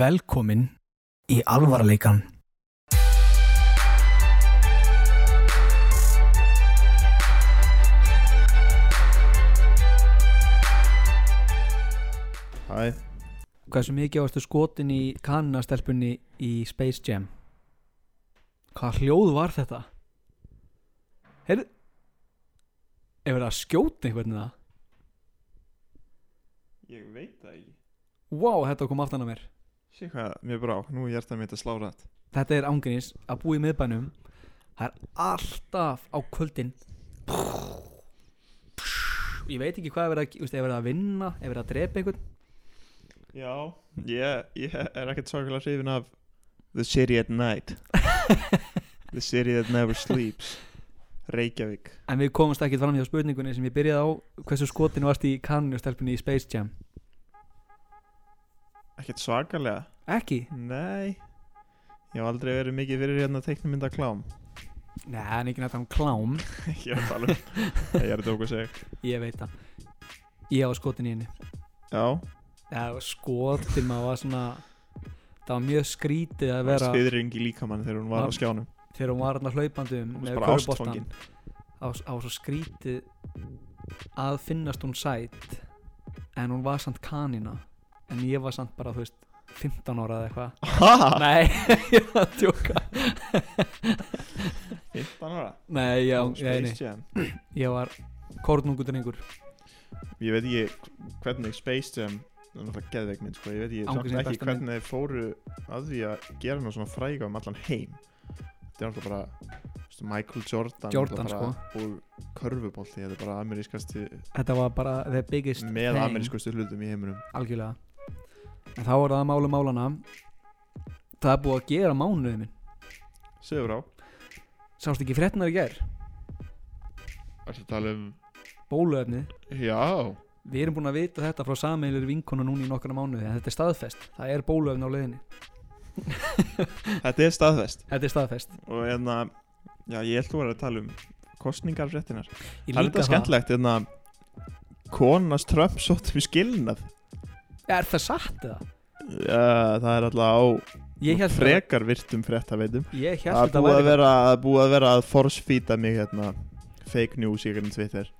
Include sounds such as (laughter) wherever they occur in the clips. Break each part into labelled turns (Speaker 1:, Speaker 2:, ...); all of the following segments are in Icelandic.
Speaker 1: Velkomin í alvarleikan.
Speaker 2: Hæ,
Speaker 1: Hversu mikið varstu skotin í kannastelpunni í Space Jam? Hvað hljóð var þetta? Heyrðu, er verið að skjóta einhvern veginn það?
Speaker 2: ég veit það ekki
Speaker 1: Vá, wow, þetta kom aftan að mér.
Speaker 2: Sé hvað, mér brá, nú er hjartað mitt að slá rætt
Speaker 1: Þetta er ángrins að búa í miðbænum. Það er alltaf á kvöldin. Ég veit ekki hvað er verið að, þú veist, er verið að vinna, er verið að drepa einhvern.
Speaker 2: Já Ég, ég er ekkert sorgulega hrifin af The City at (laughs) Night The City that Never Sleeps Reykjavík
Speaker 1: En við komumst ekkert fram hjá spurningunni sem ég byrjaði á hversu skotin varst í kannastelpunni í Space Jam.
Speaker 2: Ekkert svakalega
Speaker 1: Ekki?
Speaker 2: Nei Ég hef aldrei verið mikið fyrir hérna teiknumynda klám
Speaker 1: Nei, það er ekki nættan klám
Speaker 2: (laughs) Ég er að tala um (laughs) Ég er að tóka sig
Speaker 1: Ég veit það Ég var skotin í henni
Speaker 2: Já,
Speaker 1: Eða skotin maður var svona Það var mjög skrítið að vera
Speaker 2: skriðring í líkamann þegar hún var á
Speaker 1: Var-
Speaker 2: skjánum
Speaker 1: Þegar hún var alltaf hlaupandi um
Speaker 2: Hún
Speaker 1: með
Speaker 2: var bara
Speaker 1: körfuboltann.
Speaker 2: ástfangin
Speaker 1: Það var Það var svo skrítið Að finnast hún sætt En hún var samt kanina En ég var samt bara, þú veist 15 ára eða eitthvað
Speaker 2: Ha,
Speaker 1: (laughs) Nei, (laughs) ég var að tjóka
Speaker 2: 15 ára
Speaker 1: (laughs) Nei, já,
Speaker 2: Nú,
Speaker 1: ég,
Speaker 2: Space
Speaker 1: nei,
Speaker 2: Jam.
Speaker 1: ég var Kornungu drengur
Speaker 2: ég veit ekki hvernig Space Jam það er náttúrulega geðveik mynd sko, ég veit ég
Speaker 1: Angurs
Speaker 2: samt
Speaker 1: er
Speaker 2: ekki
Speaker 1: besta
Speaker 2: hvernig þeir fóru að því að gera nú svona fræga um allan heim þetta er náttúrulega bara veistu, Michael Jordan,
Speaker 1: Jordan, sko.
Speaker 2: náttúrulega bara, og körfubólti, þetta er bara amerískasti
Speaker 1: Þetta var bara the biggest
Speaker 2: með
Speaker 1: thing.
Speaker 2: amerískustu hlutum í heiminum
Speaker 1: algjörlega en þá er það málu málana það er búið að gera mánuðið minn
Speaker 2: sögur á,
Speaker 1: sást ekki fréttnar í gær
Speaker 2: ætla að tala um
Speaker 1: bóluefnið
Speaker 2: já,
Speaker 1: við erum búin að vita þetta frá sameilir vinkonu núna í nokkana mánuði en þetta er staðfest það er bóluefni á leiðinni
Speaker 2: þetta er staðfest
Speaker 1: þetta er staðfest
Speaker 2: og en að, já ég ætla að vera að tala um kostningarfréttinar,
Speaker 1: ég
Speaker 2: það er
Speaker 1: líka
Speaker 2: þetta skemmtilegt en að konas Trump sótt við skilnað
Speaker 1: er það satt eða
Speaker 2: Já, það er alltaf
Speaker 1: ég
Speaker 2: á
Speaker 1: held að-
Speaker 2: frekar virtum fréttaveitum
Speaker 1: ég held
Speaker 2: Það er
Speaker 1: þetta
Speaker 2: búið
Speaker 1: væri
Speaker 2: að vera að búið að vera að force-feeda mig hérna fake news í hvernig Twitter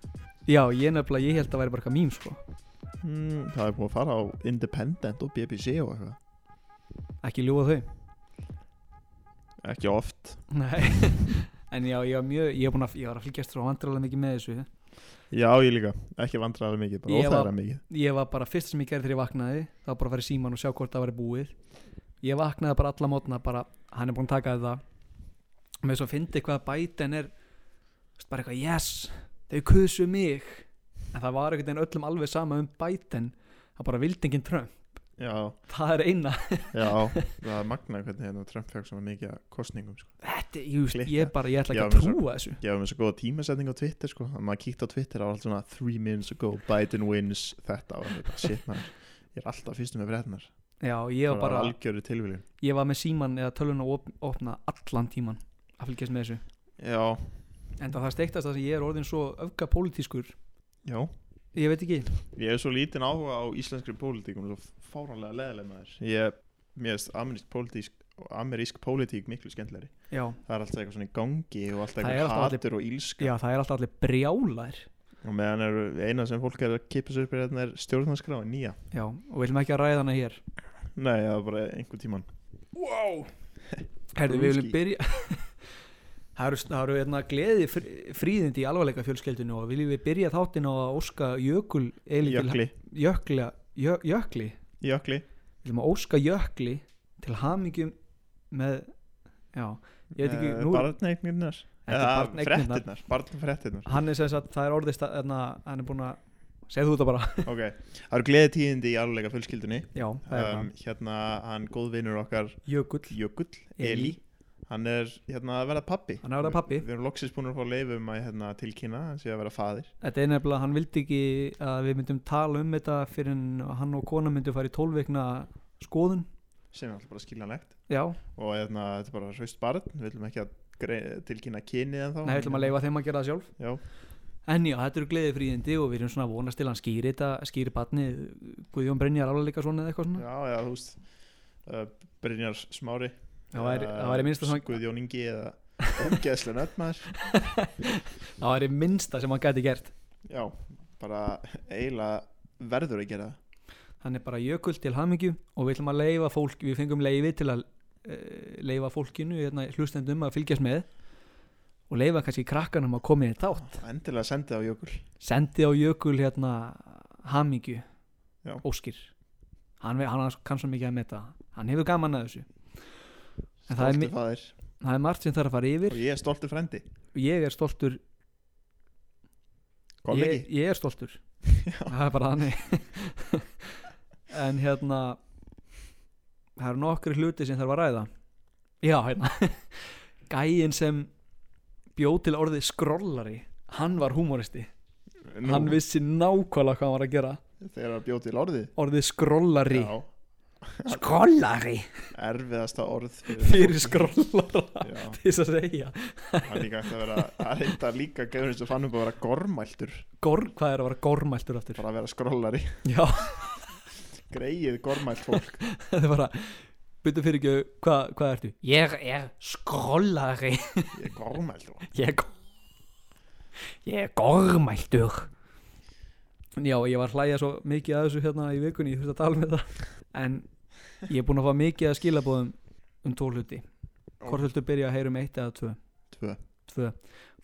Speaker 1: já ég nefnilega ég held að væri bara eitthvað mím sko
Speaker 2: mm, Það er búið að fara á Independent og BBC og eitthvað
Speaker 1: ekki ljúa þau
Speaker 2: Ekki oft
Speaker 1: nei (laughs) en já ég var mjög ég, var búin að, ég var að fylgjast svo vandrarlega mikið með þessu
Speaker 2: Já, ég líka, ekki vandrara mikið, bara
Speaker 1: Ég var-
Speaker 2: óþæra mikið
Speaker 1: ég var bara fyrst sem ég gerði þegar ég vaknaði það var bara að fara í síman og sjá hvort það var búið ég vaknaði bara alla mótna bara, hann er búinn að taka þetta með svo að fyndi hvað bætin er þú veist, bara eitthvað yes þau kusu mig en það var einhvern veginn öllum alveg sama um bætin það bara vildi enginn trömm
Speaker 2: Já,
Speaker 1: það er eina
Speaker 2: já, (laughs) það er magna hvernig hérna Trump fekk svona mikið af kostningum sko.
Speaker 1: þetta, ég, veist, ég bara, ég ætla
Speaker 2: Já,
Speaker 1: ekki
Speaker 2: mér
Speaker 1: að
Speaker 2: svo-
Speaker 1: trúa þessu
Speaker 2: Ég hafði með svo góða tímasetning á Twitter sko að maður kíkti á Twitter á allt svona 3 minutes ago, Biden wins þetta og hann er bara shit maður Ég er alltaf fyrstum með fréttinar
Speaker 1: já, ég var bara,
Speaker 2: algjöru tilvílin
Speaker 1: ég var með síman eða tölun og op opna allan tíman að fylgjast með þessu
Speaker 2: Já,
Speaker 1: en það steiktast það sem ég er orðin svo öfga pólitískur
Speaker 2: já
Speaker 1: ég veit ekki,
Speaker 2: Ég hef svo lítinn áhuga á íslenskri pólitík og svo fáránlega leðileg maður Ég, mér veist amerísk pólitík amerísk pólitík miklu skemmtilegri
Speaker 1: já
Speaker 2: Það er alltaf eitthvað svona í gangi og alltaf
Speaker 1: Það er
Speaker 2: eitthvað
Speaker 1: alltaf allir-
Speaker 2: hatur og ílska
Speaker 1: Já, það er alltaf allir brjálar
Speaker 2: og meðan eru eina sem fólk er að kippa sér upp í þetta er stjórnarskráin nýja
Speaker 1: Já, og við viljum ekki að ræða hana hér
Speaker 2: Nei, það er bara einhver tíman
Speaker 1: Wow Herðu, við viljum
Speaker 2: Brúski.
Speaker 1: byrja (laughs) Það eru, það eru hérna, gleði fr- fríðindi í alvarleika fjölskeldinu og viljum við byrja þáttinn á að óska jökul Elín til-
Speaker 2: Jökli,
Speaker 1: Jökla, jö, Jökli
Speaker 2: jökli
Speaker 1: Við viljum að óska Jökli til hamingjum með Já, ég veit ekki,
Speaker 2: Eh,
Speaker 1: nú
Speaker 2: Barneignirnar
Speaker 1: Þetta er
Speaker 2: Eða
Speaker 1: barneignirnar.
Speaker 2: fréttirnar, Barnfréttirnar
Speaker 1: Hann er sem sagt, það er orðist að hérna, hann er búin að Segðu þú þetta bara
Speaker 2: Ok, það eru gleði tíðindi í alveg fjölskyldunni
Speaker 1: Já, það er
Speaker 2: um,
Speaker 1: hann
Speaker 2: Hérna, hann góð vinnur okkar
Speaker 1: Jökull,
Speaker 2: Jökull,
Speaker 1: Elí.
Speaker 2: Eli Hann er hérna að vera pappi
Speaker 1: Hann er að verða pabbi.
Speaker 2: Við erum loksins búin að fá leifum að hérna, tilkynna hann sé að vera faðir
Speaker 1: Þetta er nefnilega, hann vildi ekki að við myndum tala um þetta fyrir en hann og kona myndum fara í tólveikna skoðun.
Speaker 2: sem er alltaf bara skiljanlegt
Speaker 1: Já,
Speaker 2: og hérna, þetta er bara hraust barn við viljum ekki að grei- tilkynna kynið en þá
Speaker 1: nei, við ætlum að leifa þeim að gera það sjálf.
Speaker 2: Já,
Speaker 1: En já, þetta eru gleðið fríðindi og við erum svona að vonast til að hann skýri þetta, skýri batnið, Guðjón Brynjar alveg líka svona eða eitthvað svona.
Speaker 2: já, já, þú veist uh, Brynjar Smári
Speaker 1: Það væri- það væri minnsta svona-
Speaker 2: Guðjón Ingi eða Ógeðslega nöfn maður
Speaker 1: (laughs) það væri minnsta sem hann gæti gert
Speaker 2: Já, bara eiginlega verður að gera það
Speaker 1: hann er bara jökul til hamingju og við ætlum að leifa fólk, við fengum leifi til að uh, leifa fólkinu, hérna, hlustendum að fylgjast með og leifa kannski krakkanum að koma inn í þátt
Speaker 2: Endilega sendið á Jökul
Speaker 1: sendi á jökul hérna hamingju
Speaker 2: Já.
Speaker 1: óskir hann, ve- hann kann svo mikið að meta hann hefur gaman að þessu En það er mi-
Speaker 2: Stolti fadir
Speaker 1: það er margt sem þarf að fara yfir
Speaker 2: Og ég er stolti frendi
Speaker 1: ég er stoltur
Speaker 2: Kollegi
Speaker 1: ég, ég er
Speaker 2: (laughs)
Speaker 1: stoltur það er bara þannig (laughs) en hérna það eru nokkri hluti sem þarf að ræða já hérna (laughs) gæin sem bjóð til orðið skrollari hann var húmoristi,
Speaker 2: Nú,
Speaker 1: hann vissi nákvæmlega hvað hann var að gera
Speaker 2: Þegar það bjóð til orðið
Speaker 1: orðið skrollari
Speaker 2: Já,
Speaker 1: skrollari
Speaker 2: erfiðasta orð
Speaker 1: (laughs) fyrir skrollara
Speaker 2: Já,
Speaker 1: til þess að segja
Speaker 2: það er líka hægt að vera að reynda líka gæður eins og fann upp að vera gormæltur
Speaker 1: Gor, hvað er að vera gormæltur aftur
Speaker 2: bara að vera (laughs) skrollari,
Speaker 1: já, (laughs)
Speaker 2: greið gormælt fólk
Speaker 1: það er bara byrju fyrir ekki, hvað, hvað ertu ég er skrollari
Speaker 2: ég er gormælt og
Speaker 1: Ég er gó- Ég er gormæltur Já, ég var að hlæja svo mikið að þessu hérna í vikunni, ég þurfti að tala með það En ég er búin að fá mikið að skilabóðum um tvo hluti Hvort viltu byrja að heyra um eitt eða tvö?
Speaker 2: tvö
Speaker 1: Tvö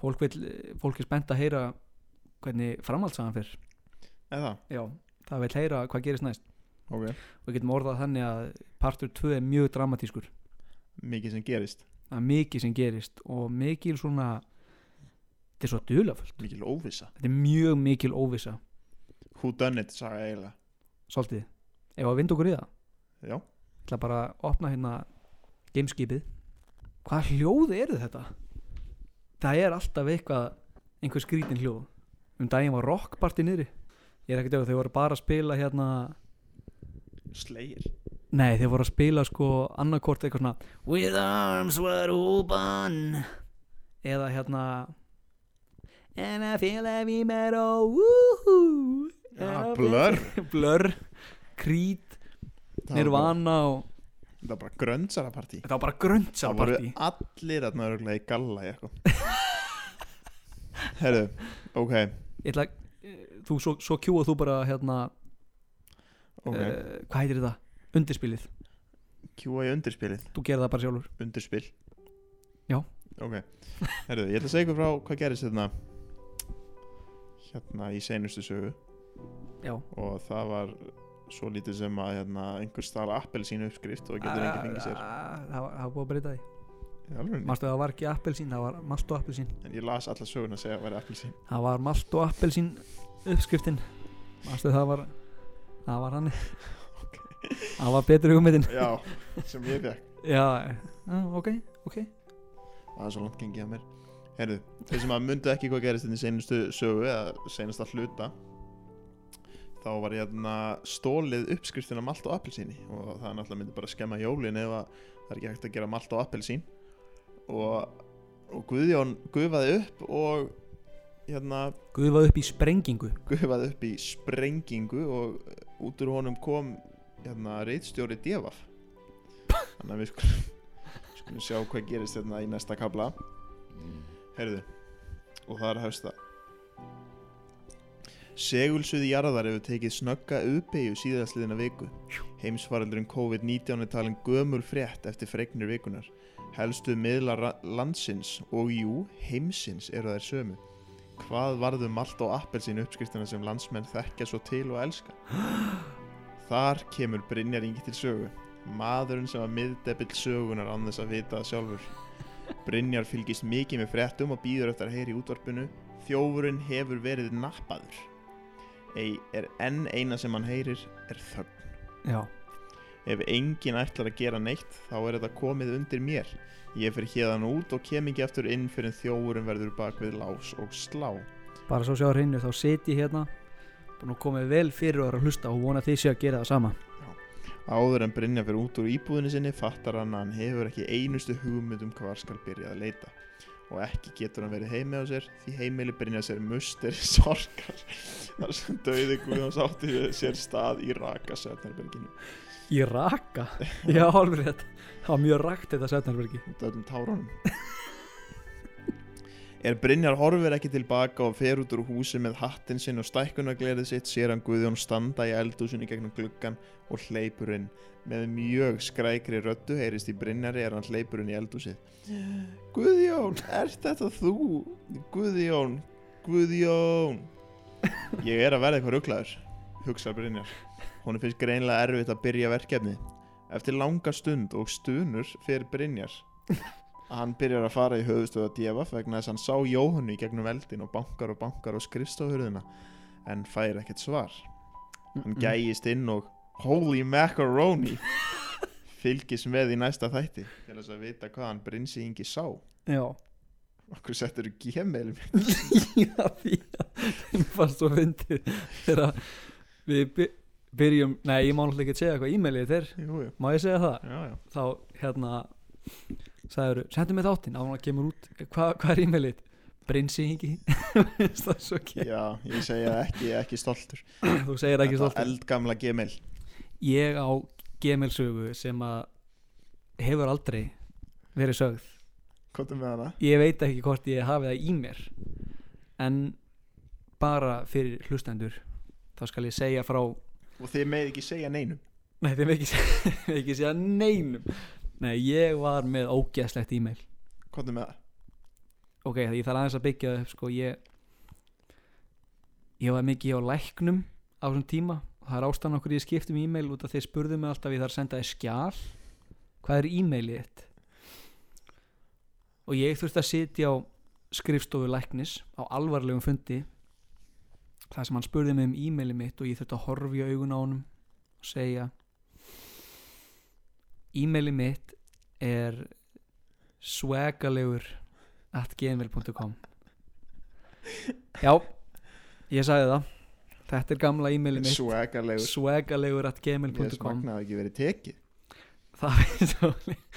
Speaker 1: Fólk, vill, fólk er spennt að heyra hvernig framhaldsaðan fyrr
Speaker 2: eða,
Speaker 1: Já, það vil heyra hvað gerist næst
Speaker 2: ok,
Speaker 1: Og við getum orðað þannig að partur tvö er mjög dramatískur
Speaker 2: mikið sem gerist
Speaker 1: Það er mikið sem gerist og mikil svona Þetta er svo dulafullt
Speaker 2: mikil óvissa,
Speaker 1: Þetta er mjög mikil óvissa
Speaker 2: who done it saga eiginlega,
Speaker 1: svolítið ef að vinda okkur í það
Speaker 2: já,
Speaker 1: ég ætla bara að opna hérna gameskipið hvað hljóð eru þetta? það er alltaf eitthvað einhver skrítin hljóð um daginn var rockparti niðri ég er ekkert ef þau voru bara að spila hérna
Speaker 2: slegir
Speaker 1: nei þau voru að spila sko annarkort eitthvað svona with arms wide open eða hérna and I feel heavy metal woohoo
Speaker 2: já, blör,
Speaker 1: blur (laughs) krít, nirvana og
Speaker 2: það var bara grönnsara partí
Speaker 1: Þetta var bara
Speaker 2: það voru
Speaker 1: gröntsapartí
Speaker 2: allir að nörgulega í galla í
Speaker 1: (laughs)
Speaker 2: eitthvað herru, ok
Speaker 1: Ég ætla að, þú, svo, svo kjúað þú bara hérna,
Speaker 2: ok,
Speaker 1: uh, hvað heitir þetta? Undirspilið,
Speaker 2: kjúa í undirspilið
Speaker 1: þú gerir það bara sjálfur
Speaker 2: Undirspil
Speaker 1: Já.
Speaker 2: Ok, herruðu, ég ætla að segja ykkur frá hvað gerist hérna hérna í seinustu sögu
Speaker 1: Já,
Speaker 2: og það var svo lítið sem að hérna, einhver stala appelsínu uppskrift og getur enginn fengið sér
Speaker 1: Ah, Það var það var búið að breyta því
Speaker 2: Í alvörunni?
Speaker 1: Mastu það var ekki appelsín, það var malt og appelsín
Speaker 2: En ég las alla söguna að segja að væri appelsín
Speaker 1: Það var malt og appelsín uppskriftin Mastu það var Það var hann Það var betri hugmyndin
Speaker 2: Já, sem ég fekk
Speaker 1: Já, ah, ok, ok
Speaker 2: Það er svo langt gengið að mér Herðu, þeir sem að mundu ekki hvað gerist hérna í seinustu sögu eða seinasta hluta þá var hérna stólið uppskriftin af malt og appelsíni og það er náttúrulega myndi bara skemma jólin ef að það er ekki hægt að gera malt og appelsín og, og Guðjón gufaði upp og hérna
Speaker 1: Guðvað upp í sprengingu
Speaker 2: gufaði upp í sprengingu og út úr honum kom hérna reitstjóri Devaf þannig að við skulum, skulum sjá hvað gerist hérna í næsta kabla heyrðu og það er að hefsta Segulsuði jarðar hefur tekið snögga uppeyju síðastliðina viku. Heimsfaraldurinn COVID-19 er talin gömul frétt eftir fregnir vikunar. Helstu miðlar ra- landsins og jú, heimsins eru þær sömu. Hvað varðu malt og appelsín uppskriftina sem landsmenn þekkja svo til og elska? (gasps) Þar kemur Brynjar Ingi til sögu. Maðurinn sem var miðdebill sögunar án þess að vita það sjálfur. Brynjar fylgist mikið með fréttum og býður eftir að heyra í útvarpinu. Þjófurinn hefur verið nappaður. Ei, er enn eina sem hann heyrir er þögn.
Speaker 1: Já,
Speaker 2: Ef enginn ætlar að gera neitt, þá er þetta komið undir mér. Ég fyrir hérðan út og kem ekki aftur inn fyrir en þjófurinn verður bak við lás og slá.
Speaker 1: bara svo sjá hreinu þá sit ég hérna búin að koma vel fyrir og er að hlusta og vona að þið séu að gera það sama
Speaker 2: Áður en Brynja fyrir út úr íbúðinu sinni fattar hann að hann hefur ekki einustu hugmynd um hvar skal byrja að leita og ekki getur hann verið heimi á sér því heimili Brynja sér musteri sorgar þar sem döiði Guðjóns átti sér stað í raka svefnarberginu
Speaker 1: Í raka? (laughs) Já, alveg rétt Það var mjög rakt þetta Svefnarbergi
Speaker 2: út af öllum tárunum Er Brynjar horfir ekki tilbaka og fer út úr húsi með hattinn sinn og stækkunaglerið sitt sér hann Guðjón standa í eldhúsinu gegnum gluggan og hleypur inn með mjög skrækri röddu heyrist í Brynjari er hann hleypur inn í eldhúsið Guðjón, er þetta þú? Guðjón, Guðjón Ég er að verða eitthvað rugglaður hugsa Brynjar Hún finnst greinlega erfitt að byrja verkefni Eftir langa stund og stunur fer Brynjar að hann byrjar að fara í höfustöða DFF vegna þess að hann sá Jóhannu í gegnum eldin og bankar og bankar og skrifstofurðina en fær ekkert svar hann gægist inn og holy macaroni fylgis með í næsta þætti til þess að vita hvað hann Brynsi Ingi sá
Speaker 1: Já (laughs)
Speaker 2: okkur settur þú gemil
Speaker 1: Já, því að Mér fannst svo fyndið Þegar við by- byrjum Nei, ég má náttúrulega ekki segja hvað e-mailið þér
Speaker 2: jújú,
Speaker 1: Má ég segja það?
Speaker 2: já já
Speaker 1: Þá, hérna Sæður, sendu mig þáttinn Ána kemur út Hvað hva er e-mailið? Brinsingi (laughs) Það er svo ekki
Speaker 2: já, ég segja ekki, ég er ekki stoltur
Speaker 1: Þú segir ekki
Speaker 2: Þetta
Speaker 1: stoltur
Speaker 2: eldgamla gemil
Speaker 1: Ég á gemilsögu sem að Hefur aldrei verið sögð
Speaker 2: komdu með hana
Speaker 1: ég veit ekki hvort ég hafi það í mér en bara fyrir hlustendur þá skal ég segja frá
Speaker 2: og þið með ekki segja neinum
Speaker 1: nei þeim ekki, (laughs) þeim ekki segja neinum nei ég var með ógeðslegt e-mail
Speaker 2: komdu með það
Speaker 1: ok það ég þarf aðeins að byggja það upp sko ég ég var mikið á læknum á þessum tíma og það er ástæðan okkur ég skipti um e-mail út af þeir spurðu mig alltaf ég þarf að senda þér skjal hvað er e-mailið þitt og ég þurfti að sitja á skrifstofu læknis á alvarlegum fundi það sem hann spurði mig um e-mailið mitt og ég þurfti að horfa í augun á honum og segja e-mailið mitt er swagalegur at gmail.com já ég sagði það þetta er gamla e-mailið mitt
Speaker 2: svegalegur
Speaker 1: swagalegur at
Speaker 2: Ég
Speaker 1: gmail.com
Speaker 2: smagnaði ekki verið tekið
Speaker 1: það er svo
Speaker 2: Ég hef verið að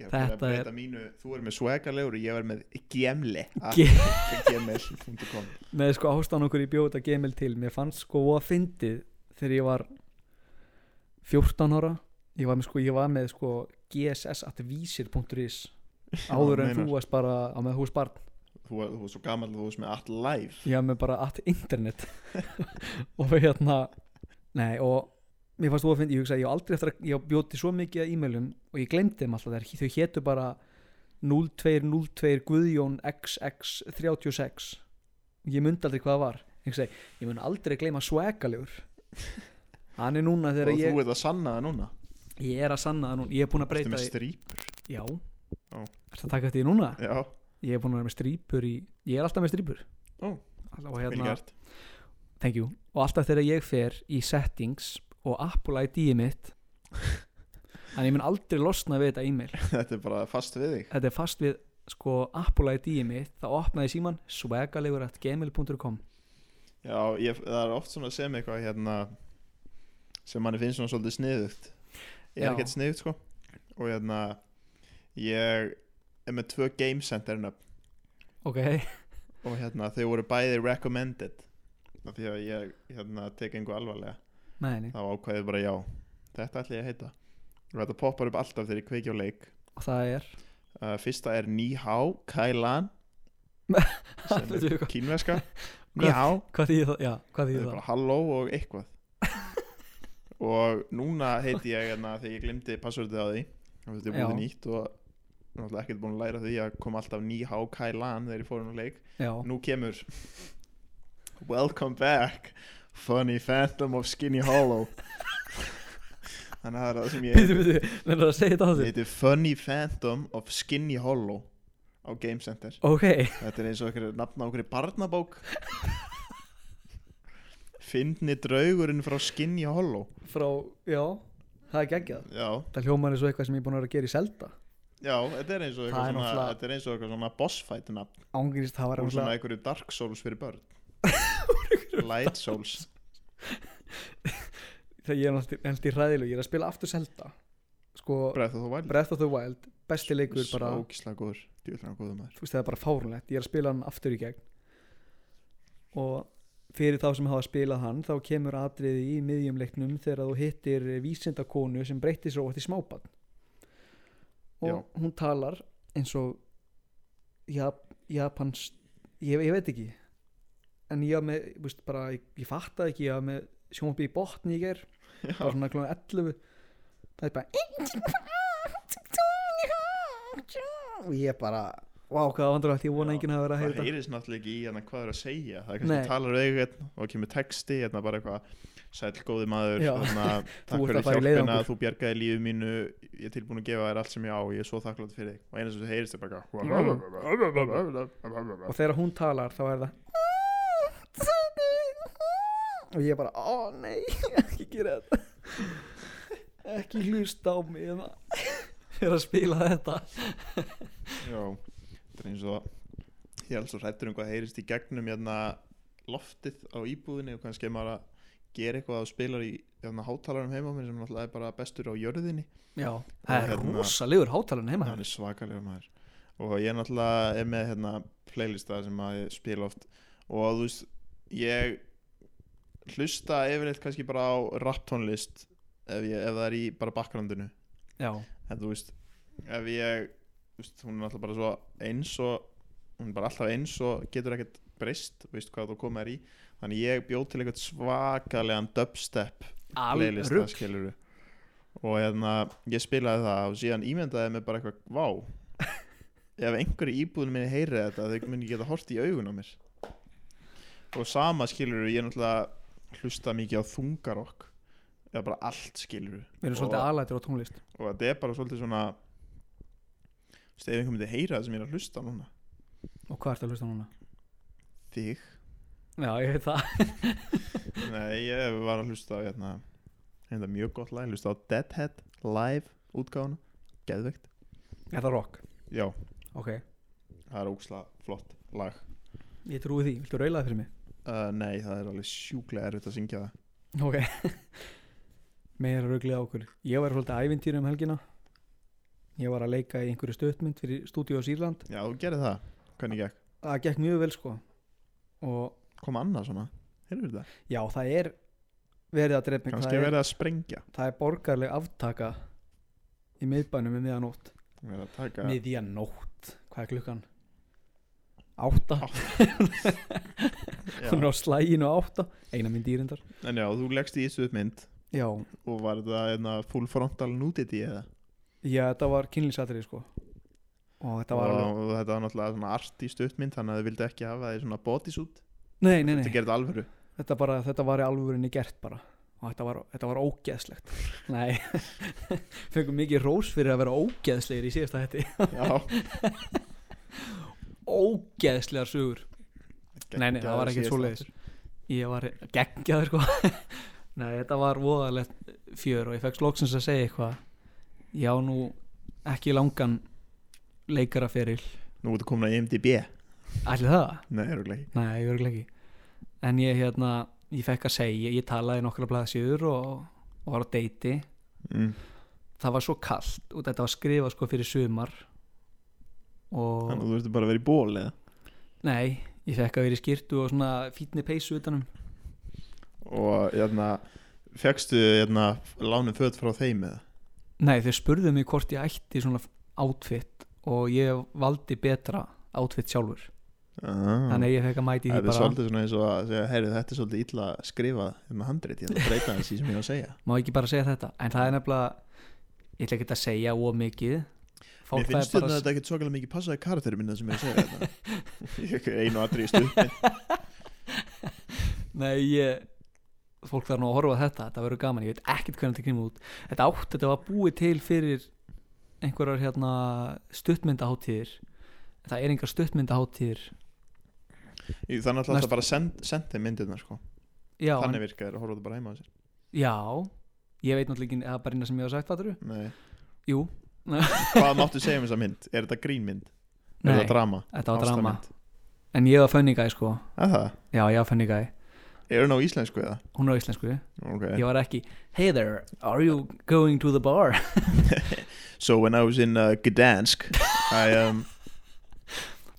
Speaker 1: Þetta er-
Speaker 2: breyta mínu, þú er með svegalegur og ég var með gemli
Speaker 1: Ge-
Speaker 2: gemli.com
Speaker 1: Nei, sko ástæðan okkur í bjóta gemil til Mér fannst sko að fyndið Þegar ég var 14 ára Ég var með sko, ég var með, sko gss.vísir.is (laughs) Áður en þú varst bara á með hús barn
Speaker 2: Þú var- þú varst svo gammal, þú varst með allt live
Speaker 1: Ég var með bara at internet (laughs) Og hérna Nei, og mér fannst þú að fyndið Ég hugsaði, ég á aldrei eftir að ég bjóti svo mikið að e-mailum Og ég glemdi þeim alltaf þær Þau hétu bara 0202 Guðjón XX36 ég myndi aldrei hvað það var ég, segi, ég mun aldrei gleyma swagalegur hann er núna
Speaker 2: og
Speaker 1: þegar
Speaker 2: þú
Speaker 1: ég
Speaker 2: ert að sanna það núna
Speaker 1: ég er að sanna það núna, ég er búin að
Speaker 2: Ertu
Speaker 1: breyta
Speaker 2: með
Speaker 1: því
Speaker 2: strýpur?
Speaker 1: já,
Speaker 2: Ó.
Speaker 1: ertu að taka þetta í núna
Speaker 2: Já,
Speaker 1: ég er búin að vera með strýpur í ég er alltaf með strýpur
Speaker 2: Ó,
Speaker 1: og
Speaker 2: vel
Speaker 1: hérna,
Speaker 2: gert (laughs)
Speaker 1: thank you og alltaf þegar ég fer í settings og Apple ID mitt en ég mun aldrei losna við þetta e-mail
Speaker 2: Þetta er bara fast við þig
Speaker 1: þetta er fast við sko Apple ID mitt, þá opnaði síman swagalegur at gmail.com
Speaker 2: Já, ég, það er oft svona sem eitthvað hérna sem manni finnst svona svolítið sniðugt Ég er
Speaker 1: Já.
Speaker 2: ekkert sniðugt sko og hérna ég er með tvö game center nöfn
Speaker 1: ok,
Speaker 2: og hérna þau voru bæði recommended af því að ég hérna tek einhver alvarlega
Speaker 1: neðinni
Speaker 2: þá ákvæði bara já þetta ætla ég að heita og þetta poppar upp alltaf þegar ég kveiki á leik
Speaker 1: og það er
Speaker 2: uh, fyrsta er Nihá
Speaker 1: (laughs)
Speaker 2: Kailan sem
Speaker 1: Veitum við
Speaker 2: er
Speaker 1: hvað-
Speaker 2: kínverska Nihá,
Speaker 1: (laughs) hvað þýðir það, já, hvað
Speaker 2: það
Speaker 1: þýðir
Speaker 2: er
Speaker 1: það
Speaker 2: bara halló og eitthvað
Speaker 1: (laughs)
Speaker 2: og núna heiti ég hérna þegar ég glemdi passvörðið á því og þetta er
Speaker 1: Já.
Speaker 2: búið nýtt og náttúrulega ekkert búin að læra því að kom alltaf Nihá Kailan þegar ég fór hún á leik
Speaker 1: já,
Speaker 2: Nú kemur Welcome back Funny Phantom of Skinny Hollow Þannig að það er það sem ég
Speaker 1: býtu, býtu, nefnir að segja þetta á
Speaker 2: Ég
Speaker 1: þér
Speaker 2: heiti Funny Phantom of Skinny Hollow á Game Center
Speaker 1: ok,
Speaker 2: Þetta er eins og okkur nafn á okkur barnabók Fyndni draugurinn frá Skinny Hollow
Speaker 1: frá, já það er geggjað,
Speaker 2: Já,
Speaker 1: það hljómar eins og eitthvað sem ég er búin að vera að gera í selda
Speaker 2: já, þetta er eins og
Speaker 1: Það
Speaker 2: eitthvað
Speaker 1: er
Speaker 2: svona,
Speaker 1: náttúrulega-
Speaker 2: þetta er eins og eitthvað svona boss fight nafn
Speaker 1: ángurist, það var
Speaker 2: Úr svona
Speaker 1: náttúrulega
Speaker 2: einhverju Dark Souls fyrir
Speaker 1: (laughs)
Speaker 2: börn Light Souls
Speaker 1: þegar ég er náttúrulega held í hræðilegu, ég er að spila aftur selda sko,
Speaker 2: Breath of the Wild
Speaker 1: Breath of the Wild besti leikur bara,
Speaker 2: Ógislega góður, djúðlega góður maður
Speaker 1: þú veist það er bara fárunlegt ég er að spila hann aftur í gegn og fyrir þá sem hafa spilað hann þá kemur atriði í miðjumleiknum þegar þú hittir vísindakonu sem breytti sér óvart í smábann og
Speaker 2: Já.
Speaker 1: hún talar eins og Jap Japans ég, ég veit ekki en ég var með, þú veist, bara, ég, ég fattaði ekki ég var með sjónvarpi í botni í ger
Speaker 2: Já.
Speaker 1: bara svona klóna 11 það er bara og ég bara vá hvað vandralegt, ég vona
Speaker 2: Já,
Speaker 1: enginn hafi verið að heyra
Speaker 2: það
Speaker 1: þetta
Speaker 2: heyrðis náttúrulega ekki í hérna hvað er að segja það
Speaker 1: Nei.
Speaker 2: er kannski talar við eitthvað og kemur texti hérna bara eitthvað sæll góði maður
Speaker 1: Já. (laughs)
Speaker 2: hérna, takk
Speaker 1: ert
Speaker 2: fyrir
Speaker 1: að fara í
Speaker 2: hjálpina,
Speaker 1: leiðangur.
Speaker 2: þú bjargaði lífið mínu ég er tilbúin að gefa þér allt sem ég á og ég er svo þakklátt fyrir þig og eina sem þú heyrist er bara
Speaker 1: og
Speaker 2: eitthvað
Speaker 1: þegar hún talar þá er það og ég bara ó nei, ekki gera þetta ekki hlusta á mig hérna. ég er að spila þetta
Speaker 2: Já, þetta er eins og ég er alls og hrættur um hvað heyrist í gegnum hérna loftið á íbúðinni og kannski ef maður er að gera eitthvað og spilar í hérna, hátalarum heima á mér sem náttúrulega er bara bestur á jörðinni
Speaker 1: já, það er
Speaker 2: Hérna.
Speaker 1: rosalegur hátalan heima
Speaker 2: hann er svakalega maður og ég náttúrulega er með hérna playlista sem að ég spila oft og þú veist ég hlusta yfirleitt kannski bara á rapptónlist ef, ég, ef það er í bara bakgrandinu
Speaker 1: já,
Speaker 2: en þú veist ef ég þú veist, hún er náttúrulega bara svo eins og hún er bara alltaf eins og getur ekkert breyst veist hvað þú komið er í þannig ég bjóð til eitthvað svakalegan dubstep playlista
Speaker 1: alveg
Speaker 2: skilur og hérna ég spilaði það og síðan ímyndaði mér bara eitthvað vá ef einhverju íbúðinu minni heyri þetta þau muni geta hort í augun á mér og sama skilur ég er náttúrulega hlusta mikið á þungarokk eða bara allt skilur
Speaker 1: við erum svolítið alætir á tónlist
Speaker 2: og þetta er bara svolítið svona þú veist, ef einhver myndi heyra það sem ég er að hlusta núna
Speaker 1: og hvað ertu að hlusta núna?
Speaker 2: þig,
Speaker 1: já, ég veit það
Speaker 2: nei ég var að hlusta á hérna, hérna mjög gott lag, hlusta á Deadhead live útgáfuna, geðveikt
Speaker 1: er það rock?
Speaker 2: já,
Speaker 1: ok,
Speaker 2: það er ógslag flott lag
Speaker 1: ég trúi því, viltu raula það fyrir mig?
Speaker 2: uh, Nei, það er alveg sjúklega erfitt að syngja það
Speaker 1: ok (laughs) meira rugglið á okkur ég var svolítið ævintýri um helgina ég var að leika í einhverju stöttmynd fyrir Studios Írland
Speaker 2: Já, þú gerir það, hvernig gekk
Speaker 1: það gekk mjög vel sko og
Speaker 2: Kom annað svona, heyrðu þetta
Speaker 1: já það er verið að drepa mig
Speaker 2: Kannski
Speaker 1: það,
Speaker 2: verið
Speaker 1: er,
Speaker 2: að sprengja
Speaker 1: það er borgarleg aftaka í miðbænum um miðanótt
Speaker 2: Verið að taka
Speaker 1: miðjanótt, hvað er klukkan? átta, hún
Speaker 2: já.
Speaker 1: er á slæginu átta eina mynd dýrindar
Speaker 2: En já, þú leggst í þessu uppmynd
Speaker 1: já,
Speaker 2: Og var þetta einna full frontal nudity eða
Speaker 1: já þetta var kynlísatrið sko og þetta var
Speaker 2: og,
Speaker 1: alveg
Speaker 2: og þetta var náttúrulega svona artist uppmynd Þannig að þau vildu ekki hafa það í svona bodysuit
Speaker 1: nei, nei, nei.
Speaker 2: Þetta gerði
Speaker 1: (laughs)
Speaker 2: alvöru
Speaker 1: þetta, bara, þetta var í alvörinni gert bara og þetta var, þetta var ógeðslegt (laughs) nei, fengum mikið rós fyrir að vera ógeðslegir í síðasta hætti
Speaker 2: Já,
Speaker 1: ógeðslegar sögur nei, nei, það var ekkert
Speaker 2: síðasta
Speaker 1: svoleiðis.
Speaker 2: þáttur.
Speaker 1: ég var geggjaður sko (laughs) nei, þetta var voðalegt fjör og ég fekk slóksins að segja eitthvað já, nú ekki langan leikaraferil
Speaker 2: Nú ertu komin E að IMDB
Speaker 1: allir það?
Speaker 2: Nei, erum ekki
Speaker 1: Nei, ég ekki En ég hérna, ég fekk að segja ég talaði nokkra blaðsjöður og, og var á deiti
Speaker 2: mm.
Speaker 1: það var svo kallt og þetta var skrifað sko fyrir sumar og
Speaker 2: Þannig að þú ertu bara að vera í ból eða
Speaker 1: nei, ég fekk að vera í skýrtu og svona fítni peysu um. utanum
Speaker 2: Og hérna, fegstu hérna lánum föt frá þeim eða
Speaker 1: nei, þau spurðu mig hvort ég ætti svona outfit og ég valdi betra outfit sjálfur
Speaker 2: Ah.
Speaker 1: þannig að ég fekk að mæti því
Speaker 2: Þetta er
Speaker 1: bara
Speaker 2: svolítið svona eins og að segja, heyri, þetta er svolítið illa skrifað hérna handrit, ég ætla að breyta þessi sem ég var að segja.
Speaker 1: má ekki bara segja þetta, en það er nefnilega ég ætla ekki að segja ómikið
Speaker 2: Mér
Speaker 1: fólk
Speaker 2: finnst
Speaker 1: það er
Speaker 2: hérna þetta að
Speaker 1: bara
Speaker 2: þetta ekkert svakalega mikið passaði karakterum minna sem ég er að segja þetta.
Speaker 1: (laughs)
Speaker 2: Ég er einu aðri í stund.
Speaker 1: Nei, ég fólk þarf nú að horfa á þetta, þetta verður gaman ég veit ekkert hvernig þetta kemur út þetta átt, þetta var búið til fyrir einhverjar hérna stuttmyndaháttíðir En það er einhver stuttmyndaháttíðir
Speaker 2: Þannig að alltaf
Speaker 1: Næst-
Speaker 2: Næst... bara send, sendi myndirnar sko.
Speaker 1: já,
Speaker 2: Þannig
Speaker 1: en-
Speaker 2: virka þér að horfa þetta bara heima á sér.
Speaker 1: já ég veit náttúrulega ekki, eða bara eina sem ég hafa sagt fattur
Speaker 2: Nei.
Speaker 1: (laughs) jú,
Speaker 2: Hvað máttu segja um þessa mynd? Er þetta grínmynd? Er
Speaker 1: nei,
Speaker 2: þetta drama?
Speaker 1: þetta var drama
Speaker 2: Ástarmynd?
Speaker 1: en ég var fönningæði sko,
Speaker 2: Er það?
Speaker 1: já, ég var fönningæði
Speaker 2: Er hún á íslensku eða?
Speaker 1: hún er á íslensku,
Speaker 2: Ok.
Speaker 1: ég var ekki hey there, are you going to the bar
Speaker 2: So when I was in uh, Gdansk, I um,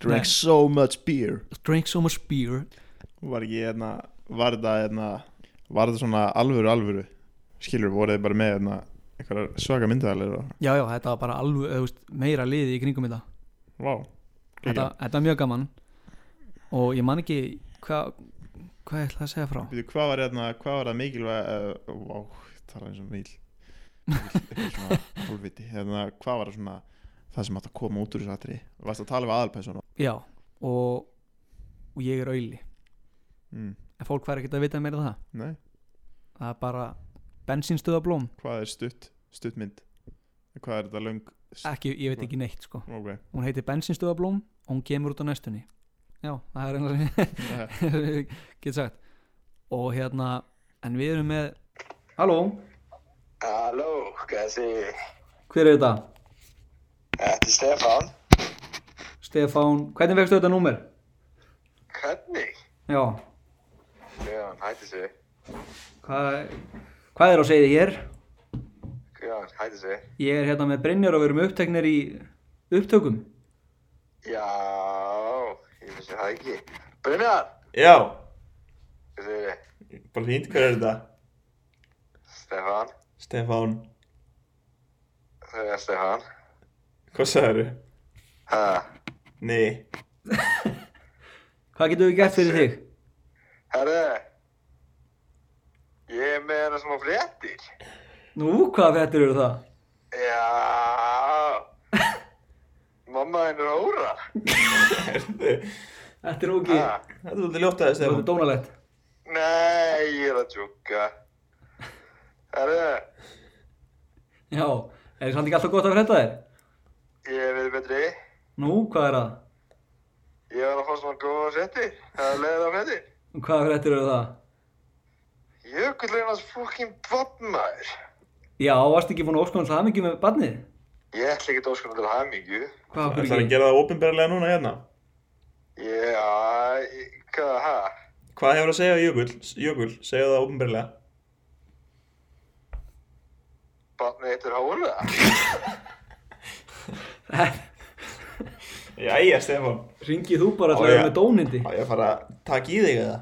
Speaker 2: drank so much beer.
Speaker 1: drink so much beer
Speaker 2: Var ekki hérna Var þetta hérna Var þetta svona alvöru alvöru Skilur voruð þið bara með hérna Einhverjar svaka myndaðalir og
Speaker 1: já, já, þetta var bara alveg, þú veist, meira liði í kringum þetta
Speaker 2: Vá
Speaker 1: þetta, þetta var mjög gaman og ég man ekki hvað hva ég ætla að segja frá
Speaker 2: Býtu, hvað var hérna Hvað var það mikilvæg uh, Vá Tala eins og mýl Eitthvað svona Hálfviti Hérna Hvað var það svona Það sem átt að koma út úr þessu aðri Varst að tala við aðalpersonu
Speaker 1: já, og, og ég er auðli
Speaker 2: mm.
Speaker 1: en fólk fær ekkert að vita meira en það
Speaker 2: Nei
Speaker 1: það er bara bensínstöðablóm
Speaker 2: Hvað er stutt Stuttmynd Hvað er þetta löng
Speaker 1: ekki, ég veit ekki neitt sko
Speaker 2: Ok
Speaker 1: hún heitir bensínstöðablóm og hún kemur út á næstunni já, það er einhverja (laughs) get sagt og hérna, en við erum með Halló,
Speaker 3: Halló, Gassi.
Speaker 1: hver er þetta?
Speaker 3: Þetta er Stefán.
Speaker 1: Stefán, hvernig vextu þetta númer?
Speaker 3: Hvernig?
Speaker 1: Já,
Speaker 3: Guðjón, hætti sig.
Speaker 1: hvað, hvað er á segið hér?
Speaker 3: Guðjón, hætti sig.
Speaker 1: Ég er hérna með Brynjar og við erum uppteknir í upptökum
Speaker 3: Já, ég finnst það ekki. Brynjar!
Speaker 2: Já
Speaker 3: Hvað segir þið?
Speaker 2: Bara hýnt hver er þetta
Speaker 3: Stefán.
Speaker 2: Stefán
Speaker 3: Það er Stefán.
Speaker 2: Hvað sagður
Speaker 3: Ha,
Speaker 4: (laughs)
Speaker 2: Nei
Speaker 1: Hvað getum við gert fyrir þig?
Speaker 3: herðu. Ég er með hana smá fréttir.
Speaker 1: Nú, hvaða frettir eru það?
Speaker 3: Já. Mamma henn er óra.
Speaker 1: Þetta er ógi,
Speaker 3: Ha,
Speaker 4: Þetta er svolítið ljótt aðeins,
Speaker 1: þetta er
Speaker 4: Stefán.
Speaker 1: dónalegt
Speaker 3: nei, ég er að tjúka. Herðu,
Speaker 1: Já, er það samt ekki alltaf gott að fretta þér?
Speaker 3: ég er verið betri.
Speaker 1: Nú, hvað er það?
Speaker 3: Ég var að fá svona góða fréttir. Það er leiðið á fréttir.
Speaker 1: Hvaða frettir eru það?
Speaker 3: Jökullin hans fokkin bobmaður.
Speaker 1: Já, varstu ekki búin að óskonum það mikið með barnið?
Speaker 3: Ég ætla ekki dóskunum til hamingju.
Speaker 1: Hvað okkur
Speaker 4: Það er að
Speaker 1: ekki?
Speaker 4: gera það ópenbarlega núna hérna.
Speaker 3: Ég, að, hvað, ha?
Speaker 4: Hvað hefur að segja Jökul? Jökul, segja það ópenbarlega.
Speaker 3: Barnið eitt er hóla?
Speaker 1: (laughs)
Speaker 4: Jæja, Stefán.
Speaker 1: Ringið þú bara
Speaker 4: Ó,
Speaker 1: til að vera
Speaker 4: já.
Speaker 1: með dónindi?
Speaker 4: Á ég að fara að taka í þig eða?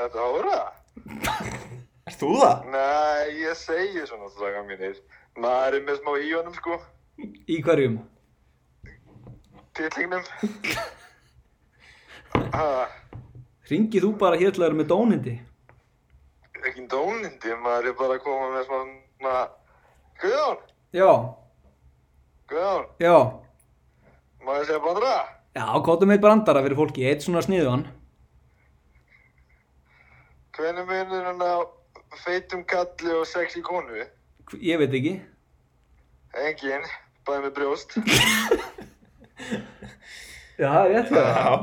Speaker 3: Þetta er hóla?
Speaker 4: Ert þú það?
Speaker 3: Nei, ég segi svona stráka mínir. Maður er með smá í honum, sko.
Speaker 1: Í hverjum?
Speaker 3: Tittlingnum. ha,
Speaker 1: Ringið þú bara hér til að vera með dónindi?
Speaker 3: ekki dónindi, maður er bara að koma með svona... Guðjón,
Speaker 1: Já,
Speaker 3: Guðjón,
Speaker 1: já
Speaker 3: maður segja bandra.
Speaker 1: Já, kóttum eitt brandara fyrir fólki, eitt svona sniðuðan
Speaker 3: Hvernig munir hann á feitum kalli og sexy konu?
Speaker 1: Hv- Ég veit ekki
Speaker 3: Engin, bæði með brjóst.
Speaker 1: Já, það er rétt hjá þér.
Speaker 4: Já.
Speaker 3: Ha.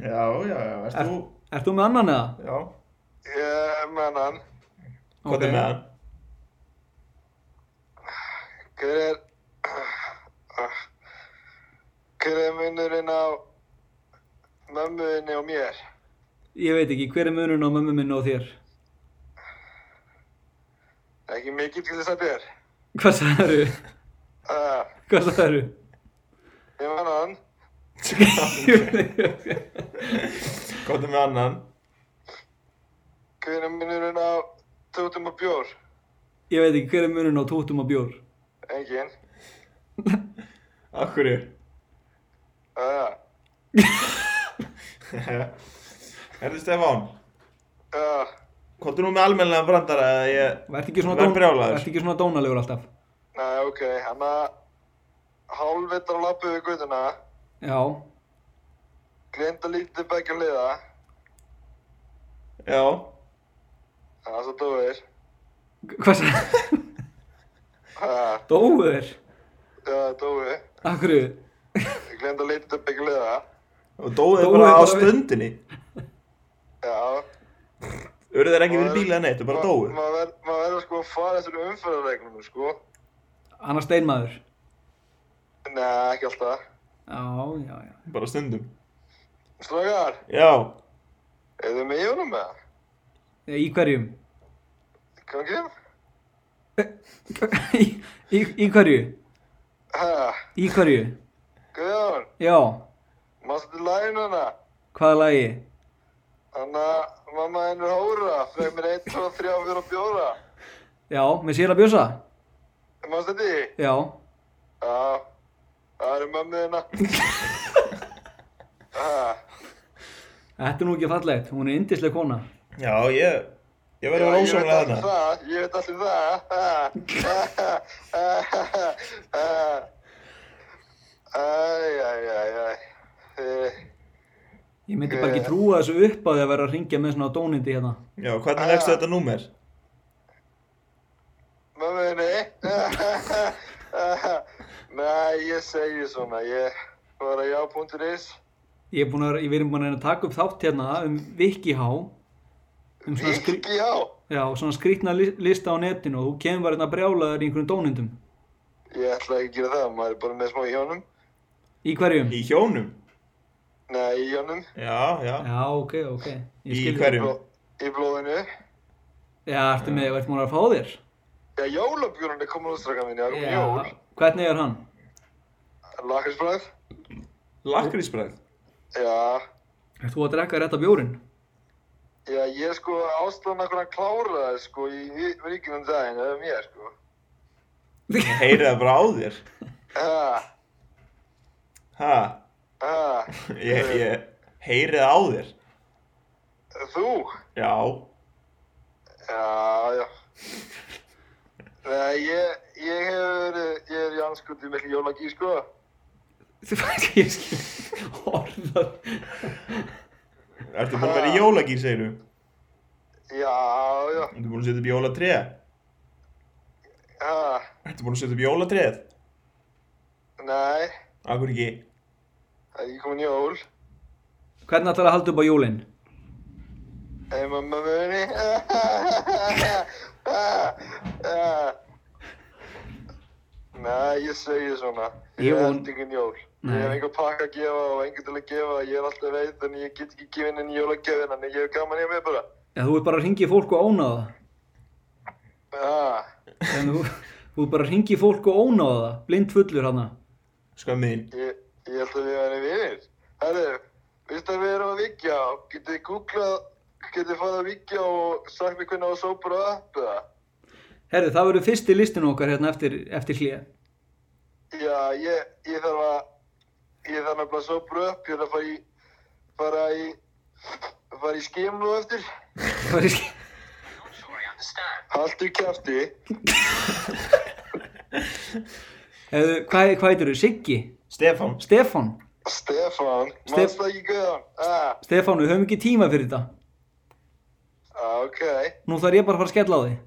Speaker 4: Já, já, já. Ert þú?
Speaker 1: Ert þú með annan eða?
Speaker 4: Já.
Speaker 3: Ég menn hann,
Speaker 4: Hvað
Speaker 1: Ok.
Speaker 4: er með (laughs) hann?
Speaker 3: hver er, ah, hver er munurinn á mömmuðinni og mér?
Speaker 1: Ég veit ekki, hver er munurinn á mömmu minni og þér?
Speaker 3: Ekki mikið til þess að þér.
Speaker 1: Hvað sagðarðu?
Speaker 3: Uh,
Speaker 1: Hvað sagðarðu?
Speaker 3: ég menn hann,
Speaker 4: Hvað er með annan?
Speaker 3: hver er munurinn á tótum og bjór?
Speaker 1: Ég veit ekki, hver er munurinn á tóttum og bjór?
Speaker 3: Engin.
Speaker 4: Akkurju. (laughs)
Speaker 3: Uh,
Speaker 4: Erðu Stefán?
Speaker 3: uh,
Speaker 4: Hvað er nú með almennilega brandara eða ég...
Speaker 1: Verð ekki svona,
Speaker 4: Verð brjálaður.
Speaker 1: vertu ekki svona dónalegur alltaf
Speaker 3: næ, ok, hann að hálfvittar lappu við guttuna,
Speaker 1: Já,
Speaker 3: glinda lítið begja liða,
Speaker 4: Já.
Speaker 3: það er svo dóir.
Speaker 1: hvað (laughs) sagðarðu?
Speaker 3: Uh,
Speaker 1: Dóður?
Speaker 3: uh, dói,
Speaker 1: Akkur
Speaker 3: glinda lítið begja liða,
Speaker 4: Og dóðu
Speaker 1: Dóu
Speaker 4: þið bara á
Speaker 1: bara við-
Speaker 4: stundinni.
Speaker 3: já.
Speaker 4: Urðu þeir ekki verið
Speaker 3: Maður-
Speaker 4: bílið að neitt, þú bara
Speaker 3: Ma-
Speaker 4: dóðu.
Speaker 3: maður ver- maður verður sko að fara eftir umfyrðarreglunum sko
Speaker 1: Annar steinmaður
Speaker 3: nei ekki alltaf
Speaker 1: Já, já, já
Speaker 4: Bara stundum.
Speaker 3: strákar
Speaker 4: Já.
Speaker 3: eru þið með í honum með það
Speaker 1: Eða Í hverjum? (laughs)
Speaker 3: gangið
Speaker 1: Í, í, í hverju?
Speaker 3: ha
Speaker 1: Í hverju?
Speaker 3: Guðjón
Speaker 1: Já
Speaker 3: mástu til lægin hana
Speaker 1: Hvaða lagi?
Speaker 3: Þannig að mamma henn er hóra, feg mér 1, 2, 3, 4 og bjóra.
Speaker 1: Já, með síla bjösa?
Speaker 3: Mást þetta í?
Speaker 1: Já.
Speaker 3: Já, það eru mömmu þina.
Speaker 1: Þetta er nú ekki fallegt, hún er yndisleg kona.
Speaker 4: Já, ég, ég verður að ósamlega þarna.
Speaker 3: það, ég veit allir það. Æj, æj, æj, æj.
Speaker 1: Ég myndi bara ekki trúa þessu upp að því að vera að ringja með svona dónindi hérna.
Speaker 4: Já, hvernig leggstu þetta númer?
Speaker 3: Mömmu þinni? Nei, ég segi svona, ég var að já.is.
Speaker 1: Ég er búin að, ég verið búin að reyna að taka upp þátt hérna um Vikihá. Um svona, skri,
Speaker 3: Ekki já.
Speaker 1: já, svona skrýtna li- lista á netinu og þú kemur bara hérna að brjála þér í einhverjum dónindum.
Speaker 3: Ég ætla ekki að gera það, maður er bara með smá í hjónum.
Speaker 1: Í hverjum?
Speaker 4: Í hjónum?
Speaker 3: Nei, í hjónum.
Speaker 4: Já, já.
Speaker 1: Já, ok, ok. Ég
Speaker 4: Í
Speaker 1: skil þig.
Speaker 4: hverjum?
Speaker 3: Bló- Í blóðinu.
Speaker 1: Já, ertu með, ertu múin að fá þér?
Speaker 3: Já, jólabjörn er komin út strakka minni, það er komin jól.
Speaker 1: Hvernig er hann?
Speaker 3: Lakrisbræð?
Speaker 4: Lakrísbræð?
Speaker 3: Já.
Speaker 1: Ert þú að drekka rétt af bjórin?
Speaker 3: Já, ég sko ástæðan að hvernig klára það sko í í- ríkinu um daginn, það er mér sko.
Speaker 4: Ég heyri það bara á þér.
Speaker 3: Ha,
Speaker 4: Ha?
Speaker 3: ha,
Speaker 4: Ég, ég heyri það á þér.
Speaker 3: þú?
Speaker 4: Já.
Speaker 3: Já, já. Nei, ég, ég hef verið, ég er í anskotu með jólagí sko.
Speaker 1: Þú veist, ég skil orðað.
Speaker 4: Ertu búin að vera í jólagýr, segir þú?
Speaker 3: Já, já,
Speaker 4: Ertu búin að setja upp jólatréð?
Speaker 3: ha,
Speaker 4: Ertu búin að setja upp jólatréð?
Speaker 3: nei,
Speaker 4: Akkur ekki?
Speaker 3: það er ekki komin jól.
Speaker 1: Hvernig ætlar að halda upp á jólinn?
Speaker 3: Hey mamma muni. (laughs) Nei, ég segi svona.
Speaker 1: Ég
Speaker 3: Ég
Speaker 1: von-
Speaker 3: held ekki jól.
Speaker 1: Nei.
Speaker 3: Ég hef enga pakka að gefa og enga til að gefa. Ég er alltaf veit en ég get ekki gefið henni jólagefin en ég hef gaman hjá mér bara.
Speaker 1: Já, þú ert bara að ringi fólk og ónáða það.
Speaker 3: Ah,
Speaker 1: Þannig þú, þú ert bara að ringi fólk og ónáða það. Blind fullur hana.
Speaker 4: Skömmin.
Speaker 3: ég, ég held að við erum vinir. Herru, veistu að við erum að vikja og getið þið googlað, getið þið farið að vikja og sagt mér hvernig á að sópa og appa það?
Speaker 1: Herri, það verður fyrst í listinu okkar hérna eftir, eftir hlýja.
Speaker 3: Já, ég, ég þarf að, ég þarf nefnilega að sopra upp, ég þarf að fara í, fara í, fara í skimlu eftir.
Speaker 1: Það er skil...
Speaker 3: Haltu kæfti,
Speaker 1: Hefðu, hvað, hvað heitir þú? Siggi?
Speaker 4: Stefán.
Speaker 1: Stefan?
Speaker 3: Stefan,
Speaker 1: Stef-
Speaker 3: mannst það ekki guðan? Ah,
Speaker 1: Stefan, við höfum ekki tíma fyrir þetta.
Speaker 3: ah, ok,
Speaker 1: Nú þarf ég bara að fara að skella á þig.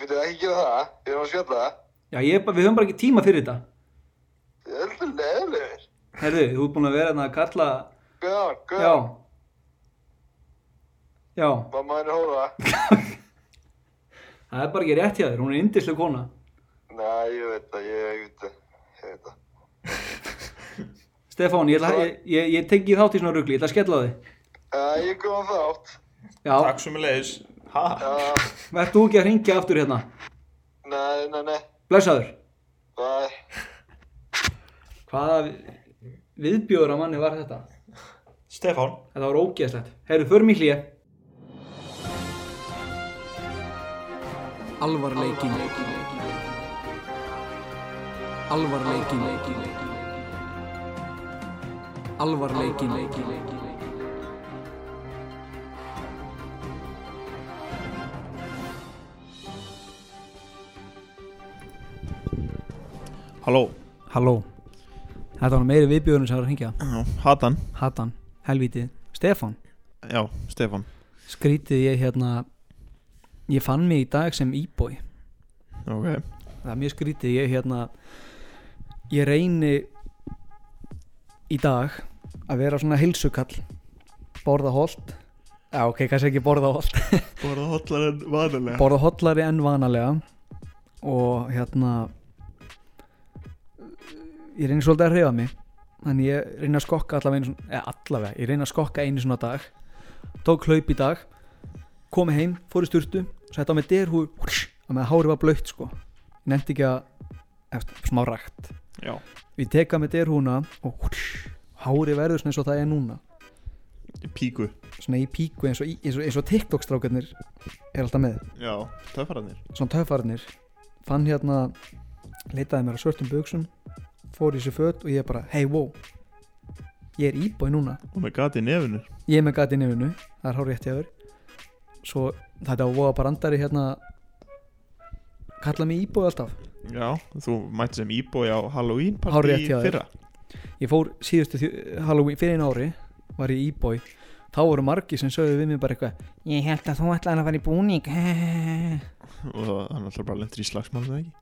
Speaker 3: við þið ekki gera það, við erum að skjalla það.
Speaker 1: Já, ég, er bara- við höfum bara ekki tíma fyrir þetta.
Speaker 3: Þið er alltaf leðilegur.
Speaker 1: Herðu, þú ert búin að vera hérna að kalla...
Speaker 3: Guðan,
Speaker 1: Já.
Speaker 3: guðan,
Speaker 1: Já.
Speaker 3: mamma henni hóra.
Speaker 1: Það er bara ekki rétt hjá þér. Hún er yndisleg kona.
Speaker 3: Nei, ég veit það, ég ég veit það, ég veit það.
Speaker 1: Stefán, ég, ætla- ég, ég, ég tek ekki þátt í svona rugli. Ég ætla að skella á þig.
Speaker 3: Já, Ah, ég kom þátt.
Speaker 1: Já.
Speaker 4: Takk sem er leiðis. Ha?
Speaker 3: Já,
Speaker 1: Verð þú ekki að ringja aftur hérna.
Speaker 3: nei, nei, nei,
Speaker 1: Blessaður.
Speaker 3: nei,
Speaker 1: Hvaða vi- viðbjóður að manni var þetta?
Speaker 4: Stefán.
Speaker 1: Þetta var ógeðslegt. Herru, förum í hlýja.
Speaker 5: Alvarleikin Alvarleikin Alvarleikin
Speaker 2: Halló
Speaker 1: Halló. Þetta var nú meiri viðbjóðurinn sem var að ringja.
Speaker 2: Já, Hatan
Speaker 1: Hatan, helvítið. Stefan,
Speaker 2: Já, Stefan
Speaker 1: skrítið ég hérna, ég fann mig í dag sem íbói.
Speaker 2: Ok
Speaker 1: Það er mjög skrítið, ég hérna, ég reyni í dag að vera svona heilsukall, borða holt. Já, ok, kannski ekki borða holt.
Speaker 2: Bara hotlar en vanilega
Speaker 1: borða hollari en vanalega og hérna ég reyni svolítið að hreyfa mig þannig ég reyni að skokka allavega einu svona, eða allavega, ég reyni að skokka einu svona á dag tók hlaup í dag kom heim, fór í sturtu sett á mig derhú og með hárið var blöytt sko ég nefndi ekki að eftir, smá rækt
Speaker 2: Já
Speaker 1: ég teka með derhúna og húrsh, hárið verður svona eins og það er núna
Speaker 2: Píku
Speaker 1: svona í píku eins og, í- eins og, eins og TikTok strákarnir er alltaf með
Speaker 2: Já, töffararnir
Speaker 1: svona töfarnir fann hérna leitaði mér á svörtum buksum fór í sér föt og ég bara hey wow ég er íbói núna
Speaker 2: Og með gati nefinu
Speaker 1: ég er með gati nefnu það er hár rétt hjá þér svo þetta var voða brandari hérna kallaði mig íbói alltaf
Speaker 2: Já, þú mætti sem íbói á Halloween
Speaker 1: Hárrétt
Speaker 2: partí í
Speaker 1: hjá þér.
Speaker 2: fyrra
Speaker 1: ég fór síðustu þjó- Halloween fyrir einu ári var ég íbói þá voru margi sem sögðu við mig bara eitthvað
Speaker 6: Ég held að þú ætlaði að fara í búning
Speaker 2: Og hann alltaf bara lendur í slagsmál eða ekki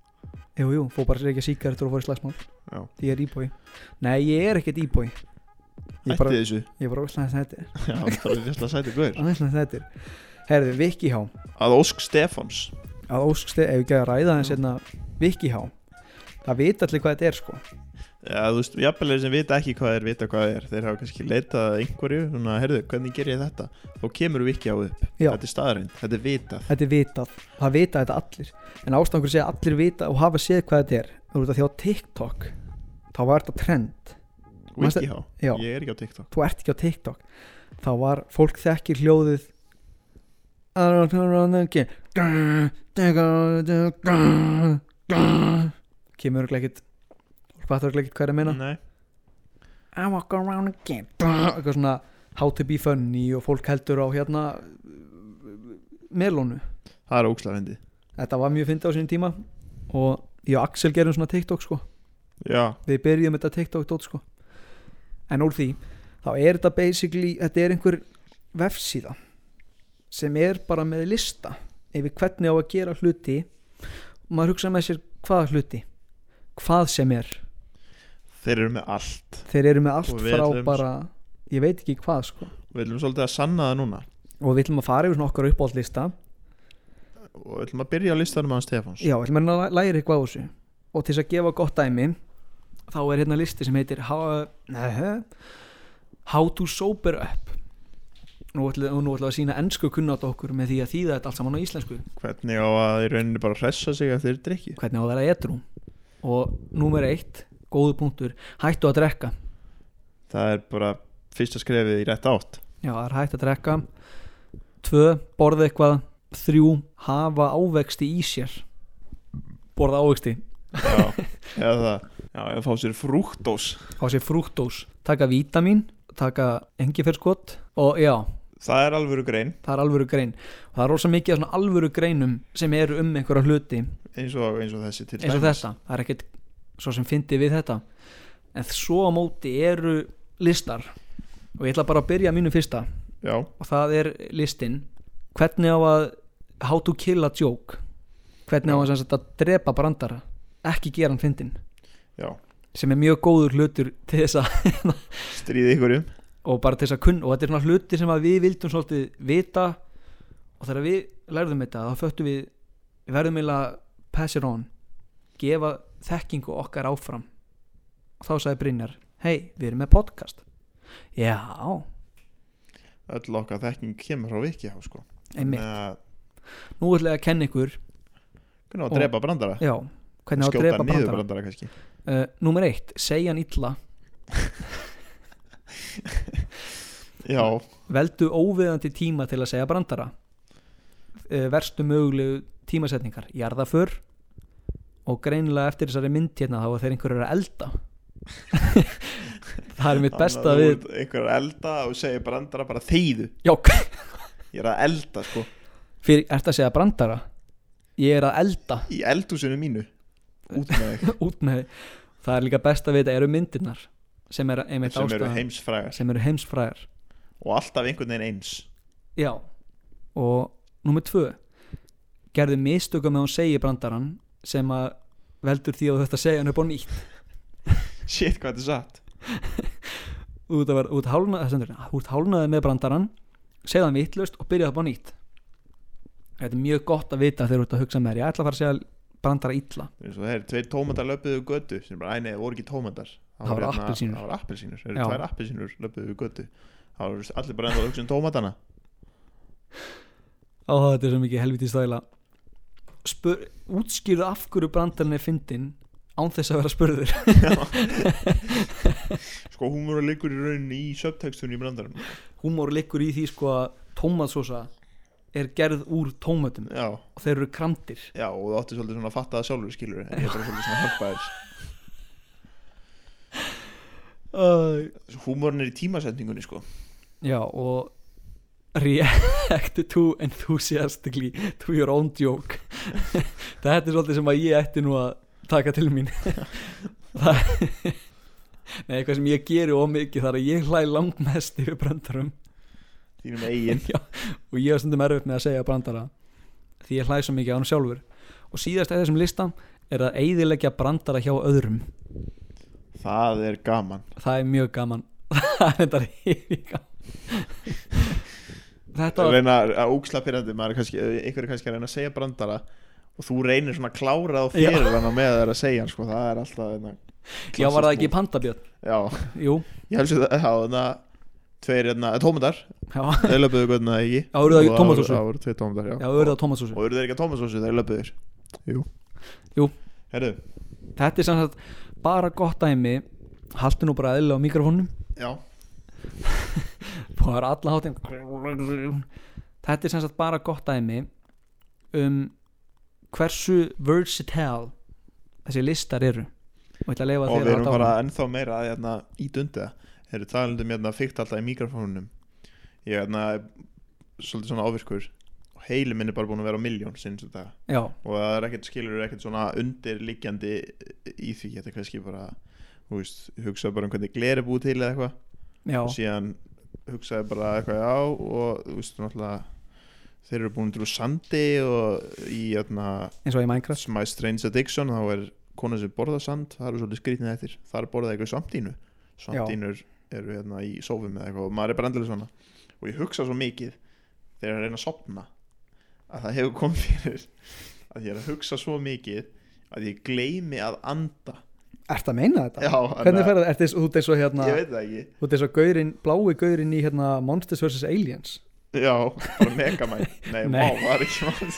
Speaker 1: Jú, jú, fór bara að reykja síkaretur og fór í slagsmál
Speaker 2: Já.
Speaker 1: Því ég er íbói Nei, ég er ekkert íbói Ég
Speaker 2: Hætti
Speaker 1: bara,
Speaker 2: þessu
Speaker 1: ég bara óslæðast þetta er
Speaker 2: Já, það er fyrst að sæti guður
Speaker 1: Óslæðast þetta er Herðu, Viki Há
Speaker 2: Að Ósk Stefáns
Speaker 1: Að óskstið, ef ég gæði að ræða hans hérna Viki Há Það vita allir hvað þetta er sko
Speaker 2: Já, þú veist, jafnvel þeir sem vita ekki hvað þeir vita hvað þeir Þeir hafa kannski leitað að einhverju Svona, heyrðu, hvernig ger ég þetta? Þá kemur við ekki á upp
Speaker 1: Já.
Speaker 2: Þetta er staðarind, þetta er vitað
Speaker 1: Þetta er vitað, það vita þetta allir En ástangur segja allir vita og hafa séð hvað þetta er Þú veist að því á TikTok Þá var þetta trend Manstu-
Speaker 2: Wiki
Speaker 1: Já.
Speaker 2: Ég er ekki á TikTok
Speaker 1: Þú ert ekki á TikTok Þá var, fólk þekkir hljóðið I don't know, okay. Kemur örglega ekkit Fólk fattar örglega ekkit hvað er að meina
Speaker 2: Nei
Speaker 6: (laughs) I walk around again
Speaker 1: Eitthvað svona How to be funny og fólk heldur á hérna Melónu
Speaker 2: Það er ógslafindi
Speaker 1: Þetta var mjög fyndið á sínum tíma Og ég og Axel gerum svona TikTok sko
Speaker 2: Já,
Speaker 1: Við byrjum þetta TikTok dót sko En úr því Þá er þetta basically Þetta er einhver vefsíða Sem er bara með lista Yfir hvernig á að gera hluti Og maður hugsa með sér hvaða hluti Hvað sem er
Speaker 2: þeir eru með allt
Speaker 1: Þeir eru með allt
Speaker 2: Og við
Speaker 1: frá
Speaker 2: ætlum-
Speaker 1: bara Ég veit ekki hvað sko
Speaker 2: Við ætlum svolítið að sanna það núna
Speaker 1: Og við ætlum að fara yfir svona okkar uppáhaldlista
Speaker 2: Og við ætlum að byrja á listanum hans Stefáns
Speaker 1: Já, við ætlum að læ- læra eitthvað á þessu Og til þess að gefa gott dæmi Þá er hérna listi sem heitir How, nehe, how to sober up Nú ætlum, nú ætlum við að sína ennsku kunnátt okkur með því að þýða þetta allt saman á íslensku
Speaker 2: Hvernig á að í rauninni bara hressa sig að þeir drikki
Speaker 1: Hvernig á að vera edrú Og númer eitt, góðu punktur Hættu að drekka
Speaker 2: Það er bara fyrsta skrefið í rétt átt
Speaker 1: Já, það er hættu að drekka Tvö, borða eitthvað Þrjú, hafa ávexti í sér Borða ávexti
Speaker 2: Já, (laughs) eða það Já, eða fá sér frúktós
Speaker 1: Á sér frúktós Taka vítamin, taka engiferskot Og já,
Speaker 2: Það er alvöru grein
Speaker 1: það er alvöru grein og það er rosa mikið af svona alvöru greinum sem eru um einhverja hluti
Speaker 2: eins og, eins og þessi til
Speaker 1: eins og
Speaker 2: dæmis.
Speaker 1: þetta, það er ekkert svo sem fyndi við þetta en svo á móti eru listar og ég ætla bara að byrja á mínu fyrsta
Speaker 2: Já,
Speaker 1: og það er listin hvernig á að how to kill a joke hvernig á að, sem sagt að drepa brandara ekki gera hann fyndin
Speaker 2: já
Speaker 1: sem er mjög góður hlutur til þess að
Speaker 2: Stríði ykkurum
Speaker 1: og bara til þess að kunna og þetta er svona hluti sem að við vildum svolítið vita og þegar við lærðum þetta þá föttum við við verðum eiginlega pass it on gefa þekkingu okkar áfram og þá sagði Brynjar hei, við erum með podcast já,
Speaker 2: Öll okkar þekking kemur frá viki á sko
Speaker 1: einmitt
Speaker 2: Með-
Speaker 1: nú ætla ég að kenna ykkur
Speaker 2: Hvernig á
Speaker 1: Og-
Speaker 2: að drepa brandara
Speaker 1: já, hvernig á að
Speaker 2: Skjóta
Speaker 1: drepa
Speaker 2: niður
Speaker 1: brandara
Speaker 2: brandara kannski
Speaker 1: uh, númer eitt, segja hann illa
Speaker 2: Já,
Speaker 1: veldu óviðandi tíma til að segja brandara uh, verstu mögulegu tímasetningar jarðaför og greinilega eftir þessari mynd hérna þá var þeir einhverjur að elda (laughs) það er mitt besta
Speaker 2: Þannig að
Speaker 1: við
Speaker 2: þú ert einhver að elda og segir brandara bara þeyðu
Speaker 1: já,
Speaker 2: Ég er að elda sko
Speaker 1: fyrir, ertu að segja brandara ég er að elda (laughs)
Speaker 2: Í eldhúsinu mínu Út með þig
Speaker 1: út með þig það er líka besta við þetta eru myndirnar sem er einmitt
Speaker 2: Sem eru
Speaker 1: ástæðan
Speaker 2: heimsfrægar
Speaker 1: sem eru heimsfræðar
Speaker 2: Og alltaf einhvern veginn eins
Speaker 1: já, og númer tvö gerðu mistökum með hún segi brandaran sem að veldur því að þetta segja hann upp á nýtt
Speaker 2: Shit hvað þetta er satt
Speaker 1: út að vera út hálnað stendur, hérna, út hálnaði með brandarann segja hann vittlust og byrja upp á nýtt þetta er mjög gott að vita þegar þú ert að hugsa með þér ég ætla að fara að segja brandara illa
Speaker 2: Eins og þeir eru tveir tómatar löpuðu götu sem bara, æ nei, það voru ekki tómatar
Speaker 1: Það voru
Speaker 2: hérna-
Speaker 1: appelsínur.
Speaker 2: Það voru appelsínur, það
Speaker 1: Já.
Speaker 2: eru tvær appelsínur löpuðu götu Það voru allir bara ennþá að hugsa um tómatana
Speaker 1: á þetta er svo mikið helviti stæla Spur, útskýrðu af hverju brandarinn er fyndin án þess að vera spurður (laughs)
Speaker 2: Sko húmur að liggur í rauninni í subtextunum í brandaranum
Speaker 1: húmor liggur í því sko að tómatsósa er gerð úr tómatum
Speaker 2: Já,
Speaker 1: og þeir eru krandir
Speaker 2: já og þú átti svolítið svona að fatta það sjálfur skilur En ég er bara svolítið svona að hjálpa þér
Speaker 1: uh,
Speaker 2: Húmurinn er hérna í tímasetningunni sko
Speaker 1: já og react to enthusiastically to your own joke (laughs) þetta er svolítið sem að ég ætti nú að taka til mín það Nei, eitthvað sem ég geri ómikið þar að ég hlæ langmest yfir brandarum
Speaker 2: Þínum eigin
Speaker 1: Já, og ég var stundum erfitt með að segja brandara því ég hlæði svo mikið á hann sjálfur og síðast eða þessum listan er að eigðilegja brandara hjá öðrum
Speaker 2: Það er gaman
Speaker 1: það er mjög gaman (laughs) það er (laughs) þetta reyðið gaman þetta var
Speaker 2: Reina að úksla pyrrandi Maður er kannski, ykkur er kannski að reyna að segja brandara Og þú reynir svona að klára á
Speaker 1: Já.
Speaker 2: fyrir hana með það að segja hann sko Það er alltaf hérna,
Speaker 1: já var það ekki pandabjörn
Speaker 2: Já,
Speaker 1: jú,
Speaker 2: ég helst að það hérna, Tveir hérna, tómatar
Speaker 1: já,
Speaker 2: Þeir löpuðu hvernig ekki
Speaker 1: Já, voru það
Speaker 2: Og
Speaker 1: tómatsósu?
Speaker 2: Það voru tveir tómatar, já (laughs)
Speaker 1: já auðvitað tómatsósu
Speaker 2: Og eru þeir ekki að tómatsósu þegar löpuður? Jú
Speaker 1: Jú.
Speaker 2: Herru,
Speaker 1: þetta er sem sagt bara gott dæmi haltu nú bara eðlilega á mikrofónum
Speaker 2: já
Speaker 1: og það er alla hátin þetta er sem sagt bara gott dæmi um hversu versatile þessi listar eru og ég ætla að leifa
Speaker 2: Og
Speaker 1: þér
Speaker 2: við erum
Speaker 1: halda
Speaker 2: bara
Speaker 1: áfram.
Speaker 2: ennþá meira að hérna í dundið Herru, talandi um hérna fyrkt alltaf í mikrofónunum Ég hérna er svolítið svona ávirkur Og heilu minn er bara búin að vera á miljón sinns þetta
Speaker 1: já,
Speaker 2: Og það er ekkert skilur ekkert svona undirliggjandi í því Þetta er kannski bara, þú veist, hugsaðu bara um hvernig gler er búið til eða eitthvað
Speaker 1: já,
Speaker 2: og síðan hugsaði bara eitthvað já og þú veist náttúrulega þeir eru búin til úr sandi og í hérna, jæna,
Speaker 1: eins og í Minecraft
Speaker 2: My Strange Addiction þá er kona sem borða sand það eru svolítið skrýtnið eftir, þar borðaði eitthvað svampdínu svampdínur eru hérna í sófum eða eitthvað og maður er bara endilega svona og ég hugsa svo mikið þegar ég er að reyna að sopna að það hefur komið fyrir að ég er að hugsa svo mikið að ég gleymi að anda
Speaker 1: Ertu að meina þetta?
Speaker 2: Já,
Speaker 1: Hvernig fer það? Ertu eins- þú ert eins og hérna
Speaker 2: ég veit það ekki
Speaker 1: Þú ert eins og gaurin, blái gaurin í hérna Monsters vs. Aliens
Speaker 2: Já, bara megamæn Nei,
Speaker 1: Nei.
Speaker 2: Nei. Má, var ekki mál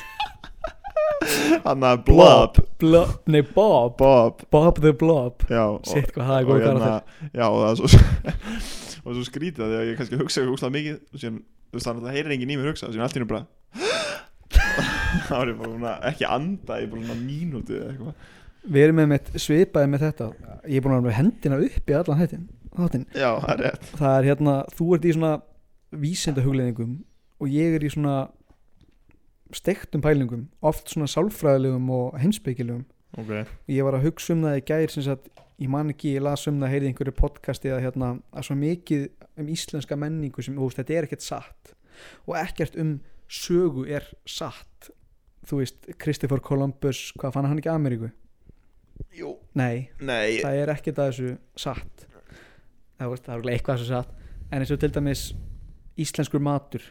Speaker 1: (laughs)
Speaker 2: Hann að Blob
Speaker 1: Blob, nei Bob
Speaker 2: Bob,
Speaker 1: Bob the Blob
Speaker 2: já og-
Speaker 1: Sitt hvað það er
Speaker 2: og
Speaker 1: góð
Speaker 2: hérna-
Speaker 1: karakter
Speaker 2: Já, og það er svo Og svo (laughs) skrítið að því að ég kannski hugsa eitthvað úslega mikið og síðan, þú veist, þannig að það heyrir enginn í mér hugsa og síðan allt í hennu bara (laughs) Það var ég bara svona, ekki anda ég bara svona mínútu eða eitthvað
Speaker 1: Við erum með mitt svipaði með þetta Ég er búin að vera með hendina upp í allan hættin Þáttin
Speaker 2: Já, það er rétt
Speaker 1: það er hérna, þú ert í svona vísindahugleðingum og ég er í svona stektum pælingum, oft svona sálfræðilegum og heimsbyggilegum
Speaker 2: Ok,
Speaker 1: ég var að hugsa um það í gær sem sagt, ég man ekki, ég las um það, heyrði í einhverju podcasti að, hérna, að svo mikið um íslenska menningu sem, þú veist, þetta er ekkert satt og ekkert um sögu er satt þú veist, Christopher Columbus hvað fann hann ekki Ameríku?
Speaker 2: jú,
Speaker 1: Nei,
Speaker 2: nei
Speaker 1: það er ekkert að þessu satt það, veist, það er örugglega eitthvað að þessu satt en eins og til dæmis íslenskur matur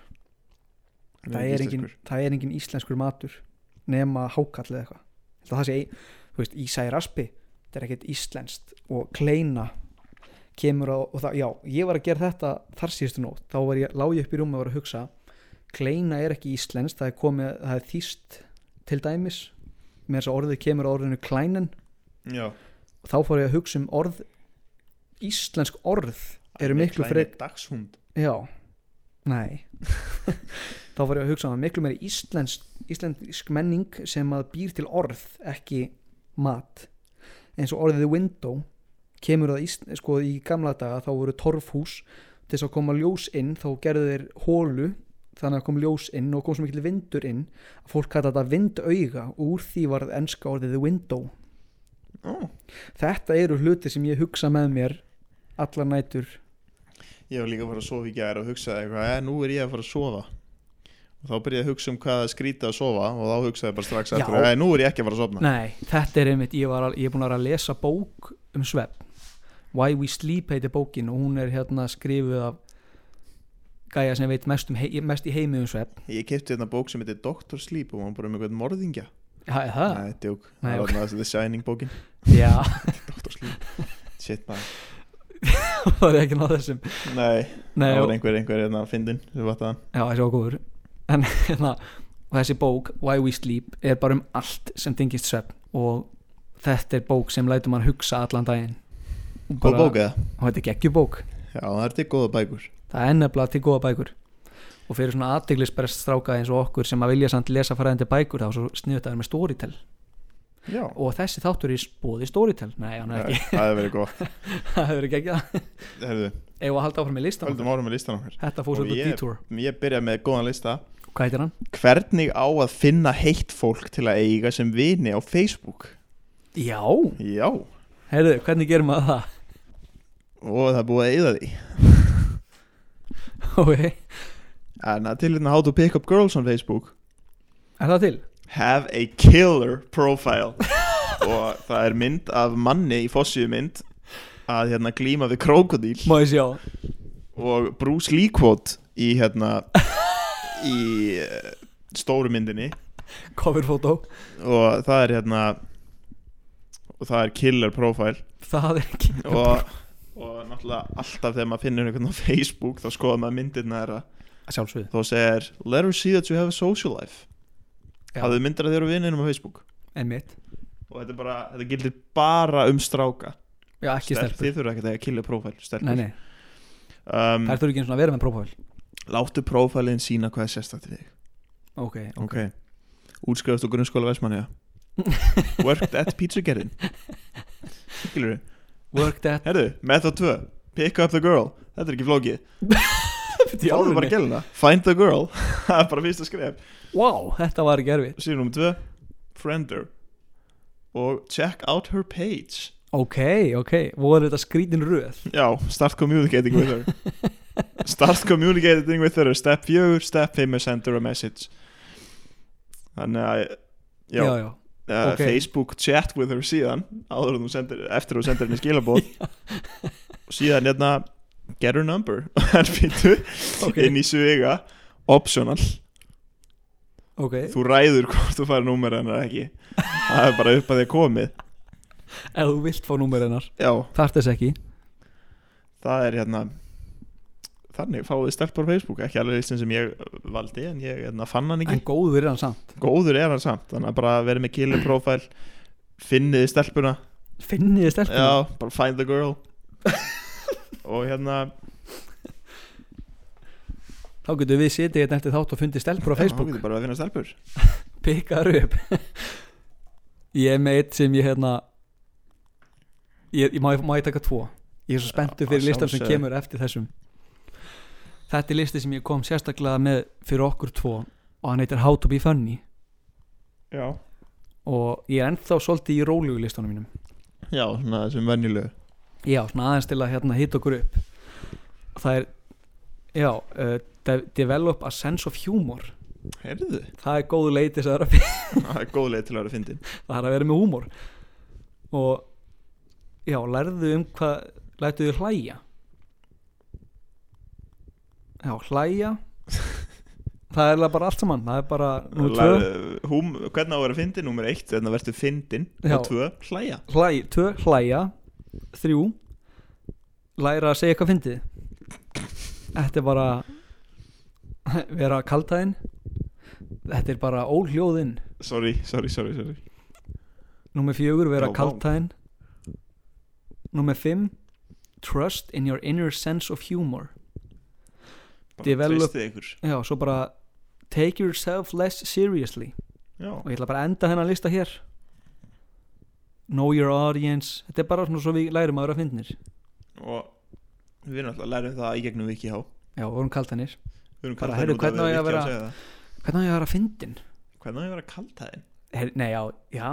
Speaker 1: það er, engin, það er engin íslenskur matur nema hákall eða eitthvað Ég held að það sé, þú veist, Ísa í raspi þetta er ekkert íslenskt og kleina kemur á og það, já, ég var að gera þetta þar síðustu nótt þá var ég, lá ég upp í rúm og var að hugsa kleina er ekki íslenskt, það er komið það er þýst til dæmis með þess að orðið kemur á orðinu klænin
Speaker 2: Já,
Speaker 1: og þá fór ég að hugsa um orð íslensk orð eru miklu
Speaker 2: Kleini
Speaker 1: frek
Speaker 2: Dagshund
Speaker 1: já, nei (laughs) þá fór ég að hugsa um að miklu meiri íslensk, íslensk menning sem að býr til orð ekki mat eins og orðið window kemur það ísl, sko, í gamla daga þá voru torfhús til þess að koma ljós inn þá gerðu þeir hólu þannig að kom ljós inn og kom svo mikil vindur inn að fólk kalla þetta vindauga og úr því varð enska orðið window
Speaker 2: Ó,
Speaker 1: þetta eru hluti sem ég hugsa með mér allar nætur
Speaker 2: Ég var líka að fara að sofa í gær og hugsaði eitthvað, "Eh, nú er ég að fara að sofa og þá byrjaði ég að hugsa um hvað að skrýta að sofa og þá hugsaði ég bara strax
Speaker 1: Já.
Speaker 2: eftir, "Eh, nú er ég ekki að fara að sofna
Speaker 1: nei, þetta er einmitt, ég, var, al- ég er búin að vera að lesa bók um svefn Why We Sleep heitir bókin og hún er hérna skrifuð af gæja sem veit mest, um hei, mest í heimi um svefn
Speaker 2: Ég kefti hérna bók sem heitir Dr. Sleep og hann bara um eitthvað morðingja
Speaker 1: ha, er það?
Speaker 2: Ah. Nei, djók,
Speaker 1: Nei,
Speaker 2: það
Speaker 1: ok.
Speaker 2: var þarna The Shining bókin
Speaker 1: já, (laughs)
Speaker 2: Dr. Sleep, (laughs) shit man
Speaker 1: það er ekki náð þessum
Speaker 2: Nei,
Speaker 1: nei,
Speaker 2: það
Speaker 1: og,
Speaker 2: var einhver, einhver hérna að fyndin sem var það
Speaker 1: já, þessi var góður en hérna, og þessi bók Why We Sleep er bara um allt sem tengist svefn og þetta er bók sem lætur mann hugsa allan daginn Og
Speaker 2: Góð
Speaker 1: bara-
Speaker 2: bók eða?
Speaker 1: og þetta er geggjubók
Speaker 2: Já, það er til góða bækur
Speaker 1: það er nefnilega til góða bækur og fyrir svona aðdeglisbrest stráka eins og okkur sem að vilja samt lesa fræðandi bækur þá er svo sniðut að það er með Storytel
Speaker 2: Já,
Speaker 1: og þessi þáttur er í bóði Storytel nei, hann er
Speaker 2: það
Speaker 1: ekki,
Speaker 2: (laughs) það er verið góð
Speaker 1: (laughs) það hefur ekki ekki það
Speaker 2: Herðu,
Speaker 1: eða að halda áfram með listan
Speaker 2: höldum Oh, árum með listan okkar
Speaker 1: þetta fór
Speaker 2: Og
Speaker 1: svolítið
Speaker 2: ég-
Speaker 1: detour
Speaker 2: Ég byrja með góðan lista
Speaker 1: hvað heitir hann?
Speaker 2: Hvernig á að finna heitt fólk til að eiga sem vini á Facebook?
Speaker 1: Já,
Speaker 2: Já,
Speaker 1: heyrðu, hvernig gerum maður það? (laughs)
Speaker 2: og það er búið að eyða því
Speaker 1: ok,
Speaker 2: En að til hérna how to pick up girls on Facebook
Speaker 1: er það til?
Speaker 2: Have a killer profile Og það er mynd af manni í fossiðu mynd Að hérna glíma við krokodil
Speaker 1: Má ég sjá
Speaker 2: Og Bruce Lee quote í hérna Í eh, stóru myndinni
Speaker 1: coverfótó
Speaker 2: Og það er hérna Og það er killer profile
Speaker 1: það er ekki
Speaker 2: og, og náttúrulega alltaf þegar maður finnur einhvern á Facebook þá skoða maður myndirna þeirra
Speaker 1: sjálfsögðu
Speaker 2: þá segir let her see that you have a social life
Speaker 1: Já.
Speaker 2: hafðu myndir að þeirra vinninum á Facebook
Speaker 1: en mitt
Speaker 2: og þetta, er bara, þetta gildir bara um stráka
Speaker 1: já, ekki
Speaker 2: Stelp-
Speaker 1: stelpur
Speaker 2: þið þurfa ekki að killa prófæl
Speaker 1: nei, nei,
Speaker 2: Um,
Speaker 1: það er ekki eins og að vera með prófál
Speaker 2: láttu prófælin sína hvað er sérstætt við þig
Speaker 1: ok,
Speaker 2: ok útskrifast á
Speaker 1: (laughs)
Speaker 2: grunnskóla Vestmanniða worked at pizzagerðin skilur við
Speaker 1: work
Speaker 2: (laughs)
Speaker 1: that
Speaker 2: herðu, method 2 pick up the girl þetta er ekki flókið
Speaker 1: Í
Speaker 2: Fáðu bara
Speaker 1: alvörunni?
Speaker 2: gæluna Find the girl (laughs) Það er bara fyrsta skref
Speaker 1: wow, þetta var ekki erfitt
Speaker 2: Síðan um tvö Friend her Og check out her page
Speaker 1: ok, ok, voru þetta skrítin röð
Speaker 2: Já, start communicating with her Start communicating with her Step fjögur, step fimm er send her a message Þannig að Já,
Speaker 1: já, já,
Speaker 2: uh,
Speaker 1: ok.
Speaker 2: Facebook chat with her síðan Áður en þú sendir Eftir að þú sendir henni skilabóð
Speaker 1: (laughs)
Speaker 2: Og síðan hérna Get her number (laughs) Það býtu
Speaker 1: Ok.
Speaker 2: Inn í svega Optional
Speaker 1: ok
Speaker 2: þú ræður hvort þú fari númer hennar ekki það er bara upp að því að komið
Speaker 1: ef þú vilt fá númer hennar
Speaker 2: já,
Speaker 1: þarft þess ekki
Speaker 2: það er hérna þannig fáið stelpur á Facebook ekki alveg listin sem ég valdi en ég hérna, fann hann ekki
Speaker 1: en góður er hann samt
Speaker 2: góður er hann samt, þannig að bara verið með killer profile finniði stelpuna
Speaker 1: finniði stelpur
Speaker 2: já, bara find the girl og hérna
Speaker 1: þá getur við setið hérna eftir þátt og fundið stelpur á
Speaker 2: já,
Speaker 1: Facebook
Speaker 2: getur bara að finna stelpur
Speaker 1: pikkaður upp (laughs) ég er með eitt sem ég hérna ég, ég, má, ég- má ég taka tvo ég er svo spenntur
Speaker 2: Já,
Speaker 1: fyrir
Speaker 2: að
Speaker 1: listan sem
Speaker 2: sjálfsögðu.
Speaker 1: kemur eftir þessum þetta er listi sem ég kom sérstaklega með fyrir okkur tvo og hann heitir How to be funny
Speaker 2: já,
Speaker 1: og ég er ennþá svolítið í rólegu listanum mínum
Speaker 2: já svona sem venjulegu
Speaker 1: já, svona aðeins til að hérna hita okkur upp það er já, uh, de develop a sense of humor
Speaker 2: heyrðu,
Speaker 1: það er góð leið til þess að vera
Speaker 2: það er góð leið til að vera fyndin
Speaker 1: það er að vera með húmor og já, lærðu um hvað lætu þið hlæja já, hlæja það er eiginlega bara allt saman það er bara nú tvö
Speaker 2: Lær- húm, hvernig á að vera fyndin, númer eitt þannig að verður fyndin
Speaker 1: Já.
Speaker 2: og tvö, hlæja
Speaker 1: hlæ, tvö, hlæja þrjú læra að segja hvað fyndið þetta er bara (laughs) vera kaldhæðin þetta er bara óhljóðinn
Speaker 2: Sorry, sorry, sorry, sorry.
Speaker 1: Númer fjögur, vera
Speaker 2: Já, vá.
Speaker 1: kaldtæðin Númer fimm Trust in your inner sense of humor
Speaker 2: Bara
Speaker 1: Develop-
Speaker 2: treystið ykkur
Speaker 1: Já, svo bara Take yourself less seriously
Speaker 2: Já,
Speaker 1: Og ég ætla bara að enda hennar lista hér Know your audience Þetta er bara svona svo við lærum að vera fyndnir
Speaker 2: og við erum alltaf að læra um það í gegnum Viki Há
Speaker 1: Já, við vorum kaldtæðinir
Speaker 2: Við erum
Speaker 1: Bara,
Speaker 2: kaldhæðin
Speaker 1: heyrðu,
Speaker 2: út af
Speaker 1: hvernig á ég að
Speaker 2: Viki Há
Speaker 1: vera-
Speaker 2: segja það.
Speaker 1: Hvernig á ég að vera fyndin?
Speaker 2: Hvernig á ég að vera kaldhæðin?
Speaker 1: Her, nei, já, já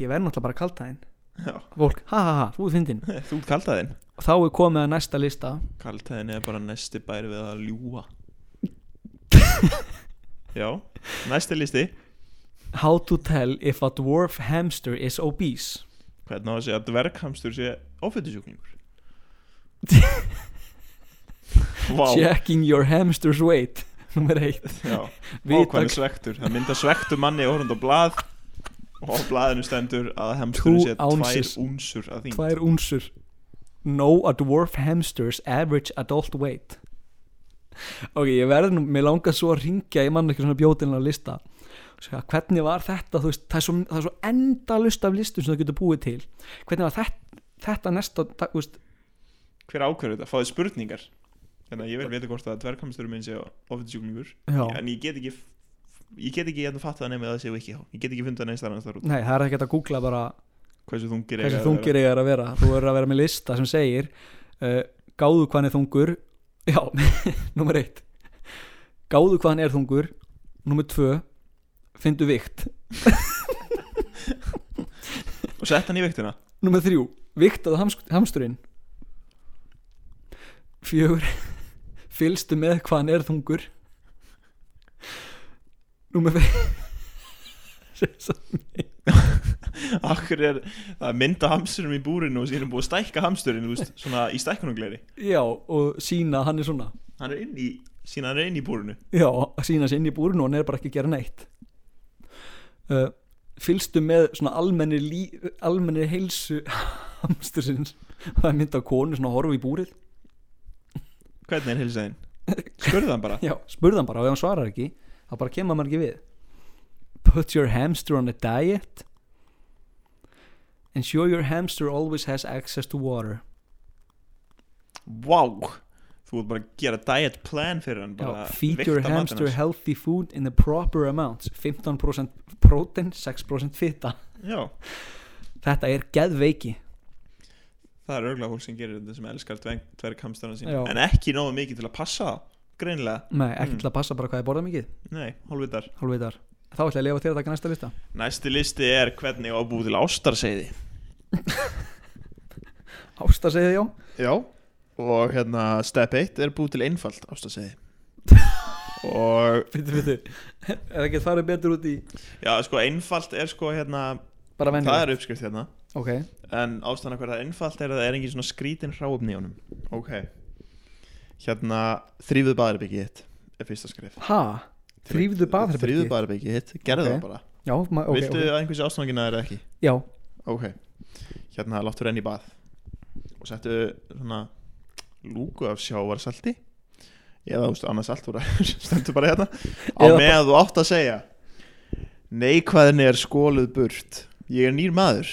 Speaker 1: Ég verð náttúrulega bara kaldtæðin
Speaker 2: Já,
Speaker 1: Fólk, ha ha ha, (laughs) þú er fyndin
Speaker 2: þú ert kaldhæðin
Speaker 1: Og þá er komið að næsta lista
Speaker 2: Kaldhæðin er bara næsti bæri við að
Speaker 1: (laughs)
Speaker 2: ljúa Já, næsti listi
Speaker 1: How to tell if a dwarf hamster is obese
Speaker 2: Hvernig á að segja að dverghamstur sé
Speaker 1: (laughs)
Speaker 2: oföldisjúklingur Vá,
Speaker 1: Checking your hamster's weight (laughs) Númer eitt
Speaker 2: já Vá,
Speaker 1: Vita
Speaker 2: hvað er svektur? Það myndar svektur manni orðund á blað og á blaðinu stendur að hemsturinn
Speaker 1: Two
Speaker 2: sé
Speaker 1: ounces.
Speaker 2: tvær únsur að þín
Speaker 1: tvær únsur Know a dwarf hamster's average adult weight Ok, ég verð nú, mér langar svo að ringja, ég mann ekki svona bjótinlega lista Ska, hvernig var þetta, þú veist, það er svo, það er svo endalust af listum sem það getur búið til hvernig var þetta, þetta næsta dag, þú veist,
Speaker 2: hver ákveður þetta, fáið spurningar þannig að ég vil vita hvort að dverghamsturum minn sé ofittisjúklingur
Speaker 1: Já.
Speaker 2: en ég get ekki ég get ekki hérna fatta það nema að það séu ekki þá. ég get ekki fundað neins þar annars þar út
Speaker 1: nei, það er ekkert að googla bara
Speaker 2: hversu þungir
Speaker 1: hversu
Speaker 2: eiga að
Speaker 1: þungir eiga þeir að vera þú verður að vera með lista sem segir uh, gáðu hvað hann er þungur já, (laughs) nummer eitt gáðu hvað hann er þungur nummer tvö, fyndu vikt
Speaker 2: vera. og sett hann í (laughs) vektina
Speaker 1: nummer þrjú, viktaðu hamsk- hamsturinn fjögur (laughs) fylgstu með hvað hann er þungur (laughs) nummer fimm
Speaker 2: akkur er það er mynd af hamsturum í búrinu og síðan búið að stækka hamsturinn þú veist, svona í stækkunungleiri
Speaker 1: já, og sína að hann er svona
Speaker 2: hann er inn í síðan hann er inn í búrinu
Speaker 1: Já, að sína sér inn í búrinu og hann er bara ekki að gera neitt uh, Fylgstu með svona almennir, lí, almennir heilsu hamstursins Það er mynd af konu svona að horfa í búrið
Speaker 2: hvernig er hilsaðin spurði
Speaker 1: (laughs)
Speaker 2: hann bara
Speaker 1: Já, spurði hann bara og ef hann svarar ekki þá bara kemur maður ekki við Put your hamster on a diet Ensure your hamster always has access to water
Speaker 2: wow þú ert bara að gera diet plan fyrir hann
Speaker 1: Já,
Speaker 2: bara
Speaker 1: Feed
Speaker 2: vigta
Speaker 1: your
Speaker 2: matinn
Speaker 1: hamster
Speaker 2: hans.
Speaker 1: healthy food in the proper amounts 15% protein, 6% fita
Speaker 2: já
Speaker 1: Þetta er geðveiki
Speaker 2: það er örgulega fólk sem gerir þetta sem elskar dveng, dverghamstarna sín
Speaker 1: Já.
Speaker 2: en ekki nógu mikið til að passa það, greinlega
Speaker 1: Nei, ekki
Speaker 2: Mm.
Speaker 1: til að passa bara hvað ég borða mikið
Speaker 2: nei, hálfvitar
Speaker 1: Hálfveitar Þá ætla ég að lifa til að taka næsta lista
Speaker 2: næsti listi er hvernig á að búi til ástarseiði
Speaker 1: Ásta segið
Speaker 2: (laughs)
Speaker 1: já
Speaker 2: já og hérna step 1 er búið til einfalt (laughs) ástarseiði og
Speaker 1: Fyrir, fyrir Er ekki að fara betur út í
Speaker 2: já, sko einfalt er sko hérna
Speaker 1: Bara venni
Speaker 2: það er uppskrift hérna
Speaker 1: Ok
Speaker 2: en ástæðan af hverju það er einfalt er að það er engin svona skrítin hráöfni í honum ok hérna þrýfuð baðarbyggi hitt er fyrsta skrif
Speaker 1: Ha? Þrýfðu baðherbergi?
Speaker 2: þrýfuð baðarbyggi hitt, gerðu
Speaker 1: Ok.
Speaker 2: það bara
Speaker 1: Já, ma- ok,
Speaker 2: viltu
Speaker 1: ok
Speaker 2: að einhversi ástæðan að það er ekki
Speaker 1: Já,
Speaker 2: Ok, hérna láttu renna í bað og settu svona lúku af sjávarsalti eða þú veist annað salt úr að (laughs) stendur bara hérna á
Speaker 1: Eða-
Speaker 2: meðan þú átt að segja neikvæðinni er skóluð burt ég er nýr maður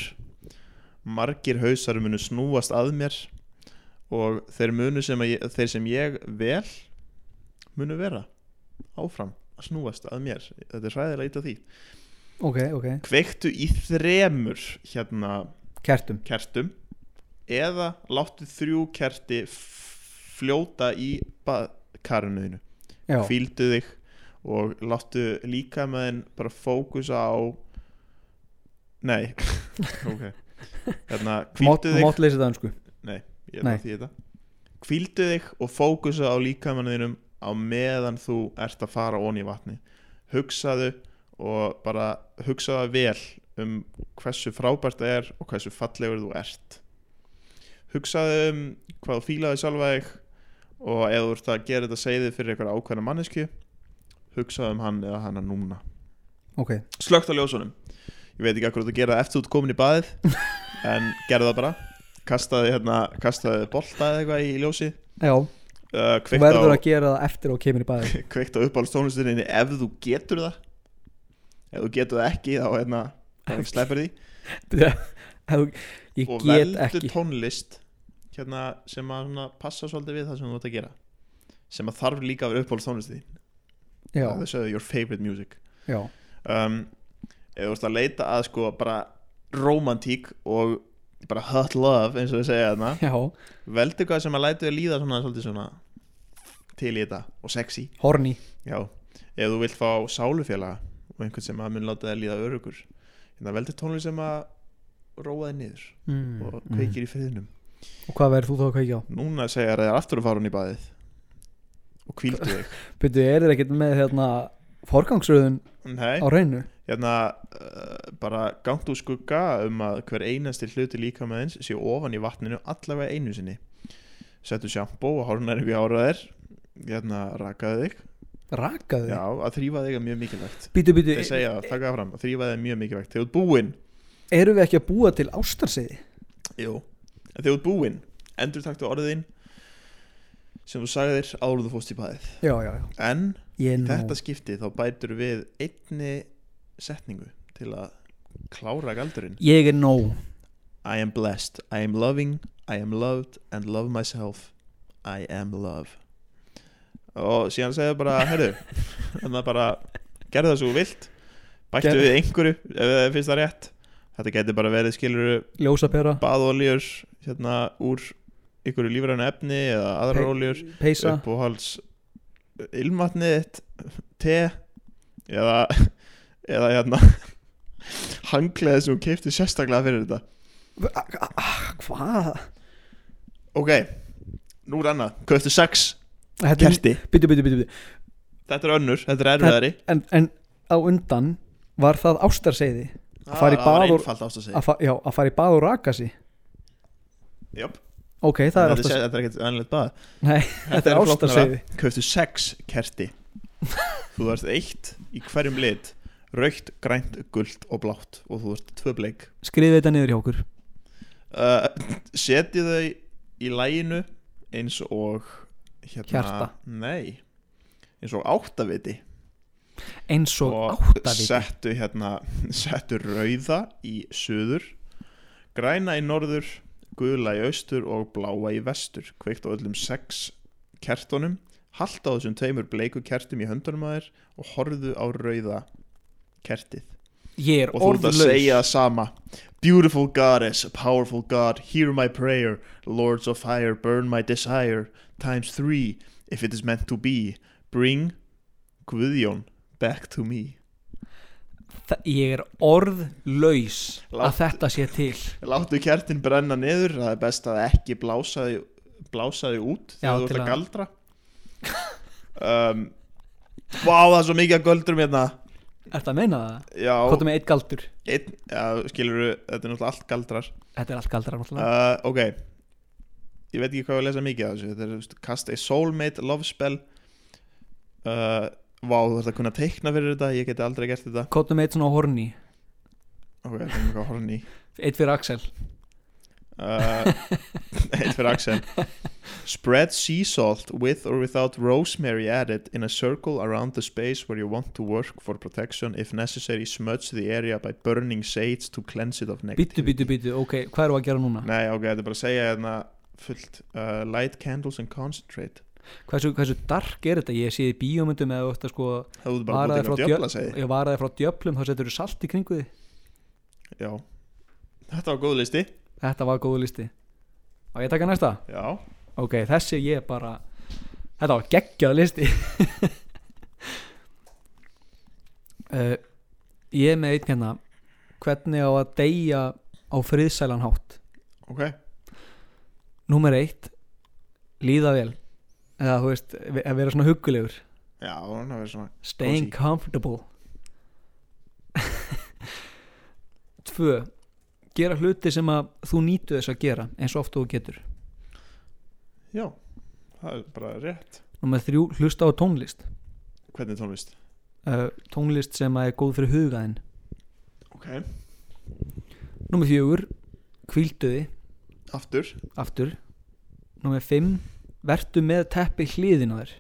Speaker 2: margir hausar munu snúast að mér og þeir munu sem, að ég, þeir sem ég vel munu vera áfram að snúast að mér þetta er hræðilega ít á því
Speaker 1: ok, ok
Speaker 2: kveiktu í þremur hérna
Speaker 1: Kertum
Speaker 2: kertum eða láttu þrjú kerti f- fljóta í baðkarinuðinu
Speaker 1: Já,
Speaker 2: fíldu þig og láttu líka með þinn bara fókusa á nei ok hérna
Speaker 1: mátt
Speaker 2: hvíldu þig
Speaker 1: mát leysa það önsku
Speaker 2: Ég ætla
Speaker 1: nei.
Speaker 2: að þýða þetta. hvíldu þig og fókusa á líkamanuðinum á meðan þú ert að fara onni í vatni hugsaðu og bara hugsaðu vel um hversu frábært það er og hversu fallegur þú ert hugsaðu um hvað þú fílaði sjálfa þig og ef þú ert að gera þetta segði fyrir eitthvað ákveðna mannesku hugsaðu um hann eða hana núna
Speaker 1: Ok,
Speaker 2: slögt á ljósunum ég veit ekki akkur þú gera það eftir út komin í
Speaker 1: (laughs)
Speaker 2: baðið en gerðu það bara kastaði hérna, kastaði bolta eða eitthvað í ljósið
Speaker 1: já
Speaker 2: uh,
Speaker 1: Þú
Speaker 2: kveikt
Speaker 1: verður
Speaker 2: á,
Speaker 1: að gera það eftir og kemur í baði
Speaker 2: (laughs)
Speaker 1: (laughs)
Speaker 2: kveikt á uppáhaldstónlistinni ef þú getur það ef þú getur það ekki þá hérna sleppir því
Speaker 1: Ég
Speaker 2: og
Speaker 1: get
Speaker 2: veldu
Speaker 1: ekki
Speaker 2: tónlist hérna, sem að svona, passa svolítið við það sem þú ert að gera sem að þarf líka að vera uppáhaldstónlistin
Speaker 1: Já,
Speaker 2: það séu your favorite music
Speaker 1: já
Speaker 2: um, eða þú veist að leita að sko bara romantík og bara hot love eins og við segja þarna
Speaker 1: Já,
Speaker 2: veldu hvað sem að lætu þér líða svona svolítið svona til í þetta og sexy
Speaker 1: horny
Speaker 2: já, ef þú vilt fá sálufélaga og einhvern sem að mun láta þér líða örugur þannig að veldu tónlist sem að róa þér niður
Speaker 1: mm.
Speaker 2: og kveikir í friðinum
Speaker 1: Og hvað verður þú þá að kveikja á?
Speaker 2: núna segja þér aftur að fara hún í baðið og kvíldu
Speaker 1: (laughs)
Speaker 2: þig
Speaker 1: Byrju, er þér ekkert með hérna forgangsröðun
Speaker 2: nei,
Speaker 1: á reynu?
Speaker 2: hérna uh, bara gangt úr skugga um að hver einasti hluti líka með eins sé ofan í vatninu allavega einu sinni settu sjampó og hárnar ykkur ára þér hérna rakaðu þig
Speaker 1: Rakaðu?
Speaker 2: já, að þrýfa þig er mjög mikilvægt
Speaker 1: Býtu, býtu,
Speaker 2: þeir segja það, taka það fram, að þrýfa þig er mjög mikilvægt þegar þú ert búinn
Speaker 1: erum við ekki að búa til ástarseiði?
Speaker 2: Jú, en þegar þú ert búinn endur taktu orðin sem þú sagðir áður en þú fórst í baðið
Speaker 1: Já, já, já
Speaker 2: en
Speaker 1: Ég
Speaker 2: í
Speaker 1: nú
Speaker 2: þetta skipti þá bætur við einni setningu til að klára galdurinn
Speaker 1: Ég er nóg
Speaker 2: I am blessed, I am loving, I am loved and love myself I am love og síðan segðu bara,
Speaker 1: (laughs)
Speaker 2: herru þannig að bara gerðu það svo þú vilt bættu
Speaker 1: Gerðu-
Speaker 2: við einhverju ef það finnst það rétt þetta geti bara verið skiluru
Speaker 1: Ljósapera,
Speaker 2: baðoljur hérna úr einhverju lífrænu efni eða aðrar
Speaker 1: Hey,
Speaker 2: oljur
Speaker 1: peysa
Speaker 2: uppáhalds ilmatnið þitt te eða (laughs) eða hérna (laughs) hangleðið sem hún keipti sérstaklega fyrir þetta
Speaker 1: Hvað?
Speaker 2: ok, nú er annað köftu sex,
Speaker 1: Þetta er,
Speaker 2: kerti
Speaker 1: byrju, byrju, byrju
Speaker 2: þetta er önnur, þetta er erfiðari
Speaker 1: en, en á undan var það ástarseiði að fara í
Speaker 2: það var
Speaker 1: bað og-
Speaker 2: einfalt ást að segja
Speaker 1: að, fa já, að fara í bað og raka sig
Speaker 2: Jöp,
Speaker 1: Ok, það
Speaker 2: þetta
Speaker 1: er
Speaker 2: er
Speaker 1: ástarseiði
Speaker 2: þetta er ekkert annað bað
Speaker 1: Nei, þetta er ástarseiði
Speaker 2: köftu sex, kerti þú varst eitt í hverjum lit raukt, grænt, gult og blátt og þú varst tvö bleik
Speaker 1: Skrifið þetta niður hjá okkur
Speaker 2: uh, setji þau í læginu eins og hérna,
Speaker 1: Hjarta.
Speaker 2: nei, eins og áttaviti
Speaker 1: Eins og
Speaker 2: og
Speaker 1: áttaviti
Speaker 2: settu hérna (laughs) settu rauða í suður græna í norður gula í austur og bláa í vestur kveikt á öllum sex kertunum halda á þessum tveimur bleiku kertum í höndunum að þér og horfðu á rauða kertið
Speaker 1: Ég er
Speaker 2: og þú ert að segja
Speaker 1: orðlaus
Speaker 2: það sama Beautiful goddess, powerful god, hear my prayer Lords of fire, burn my desire Times three, if it is meant to be Bring Guðjón back to me
Speaker 1: Þa- Ég er orðlaus að
Speaker 2: Láttu-
Speaker 1: þetta sé til
Speaker 2: Láttu kertin brenna niður Það er best að ekki blása þig, blása þig út
Speaker 1: Já,
Speaker 2: Þegar
Speaker 1: til
Speaker 2: þú ert að
Speaker 1: að-
Speaker 2: galdra um, Vá, það er svo mikið að göldrum hérna
Speaker 1: Ertu að meina það?
Speaker 2: Já,
Speaker 1: Hvað er með eitt galdur?
Speaker 2: einn, já skilurðu, þetta er náttúrulega allt galdrar
Speaker 1: Þetta er allt galdrar náttúrulega
Speaker 2: uh, ok ég veit ekki hvað ég á að lesa mikið af þessu þetta er þú veist, cast a soulmate love spell uh, vá þú þarfst að kunna teikna fyrir þetta ég geti aldrei gert þetta
Speaker 1: Hvað er með eitt svona horni?
Speaker 2: ok, það er mjög horn í
Speaker 1: Eitt fyrir Axel
Speaker 2: uh, (laughs) eitt fyrir Axel spread sea salt with or without rosemary added in a circle around the space where you want to work for protection if necessary smudge the area by burning sage to cleanse it of negativity
Speaker 1: Bítu, bítu, bítu, ok, hvað erum við að gera núna?
Speaker 2: nei ok, þetta er bara að segja hérna fullt uh, light candles and concentrate
Speaker 1: Hversu, hversu dark er þetta? Ég sé í bíómyndum eða þú ert að sko
Speaker 2: Það þú ert bara búið
Speaker 1: Varaði
Speaker 2: til að
Speaker 1: frá
Speaker 2: djöfla segi
Speaker 1: Ég varaði frá djöflum, þá setur þú salt í kringu því
Speaker 2: Já Þetta var góð listi
Speaker 1: Þetta var góðu listi Á ég að taka næsta?
Speaker 2: Já
Speaker 1: Ok, þessi ég bara Þetta var geggjað listi (laughs) uh, Ég er með einn hérna Hvernig á að deyja á friðsælan hátt
Speaker 2: Ok
Speaker 1: Númer eitt Líða vel Eða þú veist, ve- að vera svona huggulegur
Speaker 2: Já, hann var svona
Speaker 1: Staying
Speaker 2: Cozy.
Speaker 1: comfortable (laughs) Tvö Gera hluti sem að þú nýtu þess að gera eins og oft og þú getur
Speaker 2: Já Það er bara rétt
Speaker 1: Númer þrjú, hlusta á tónlist
Speaker 2: Hvernig tónlist?
Speaker 1: uh, tónlist sem að er góð fyrir hugaðin
Speaker 2: Ok
Speaker 1: Númer fjögur, kvílduði
Speaker 2: Aftur
Speaker 1: aftur Númer fimm, vertu með teppi hliðin á þér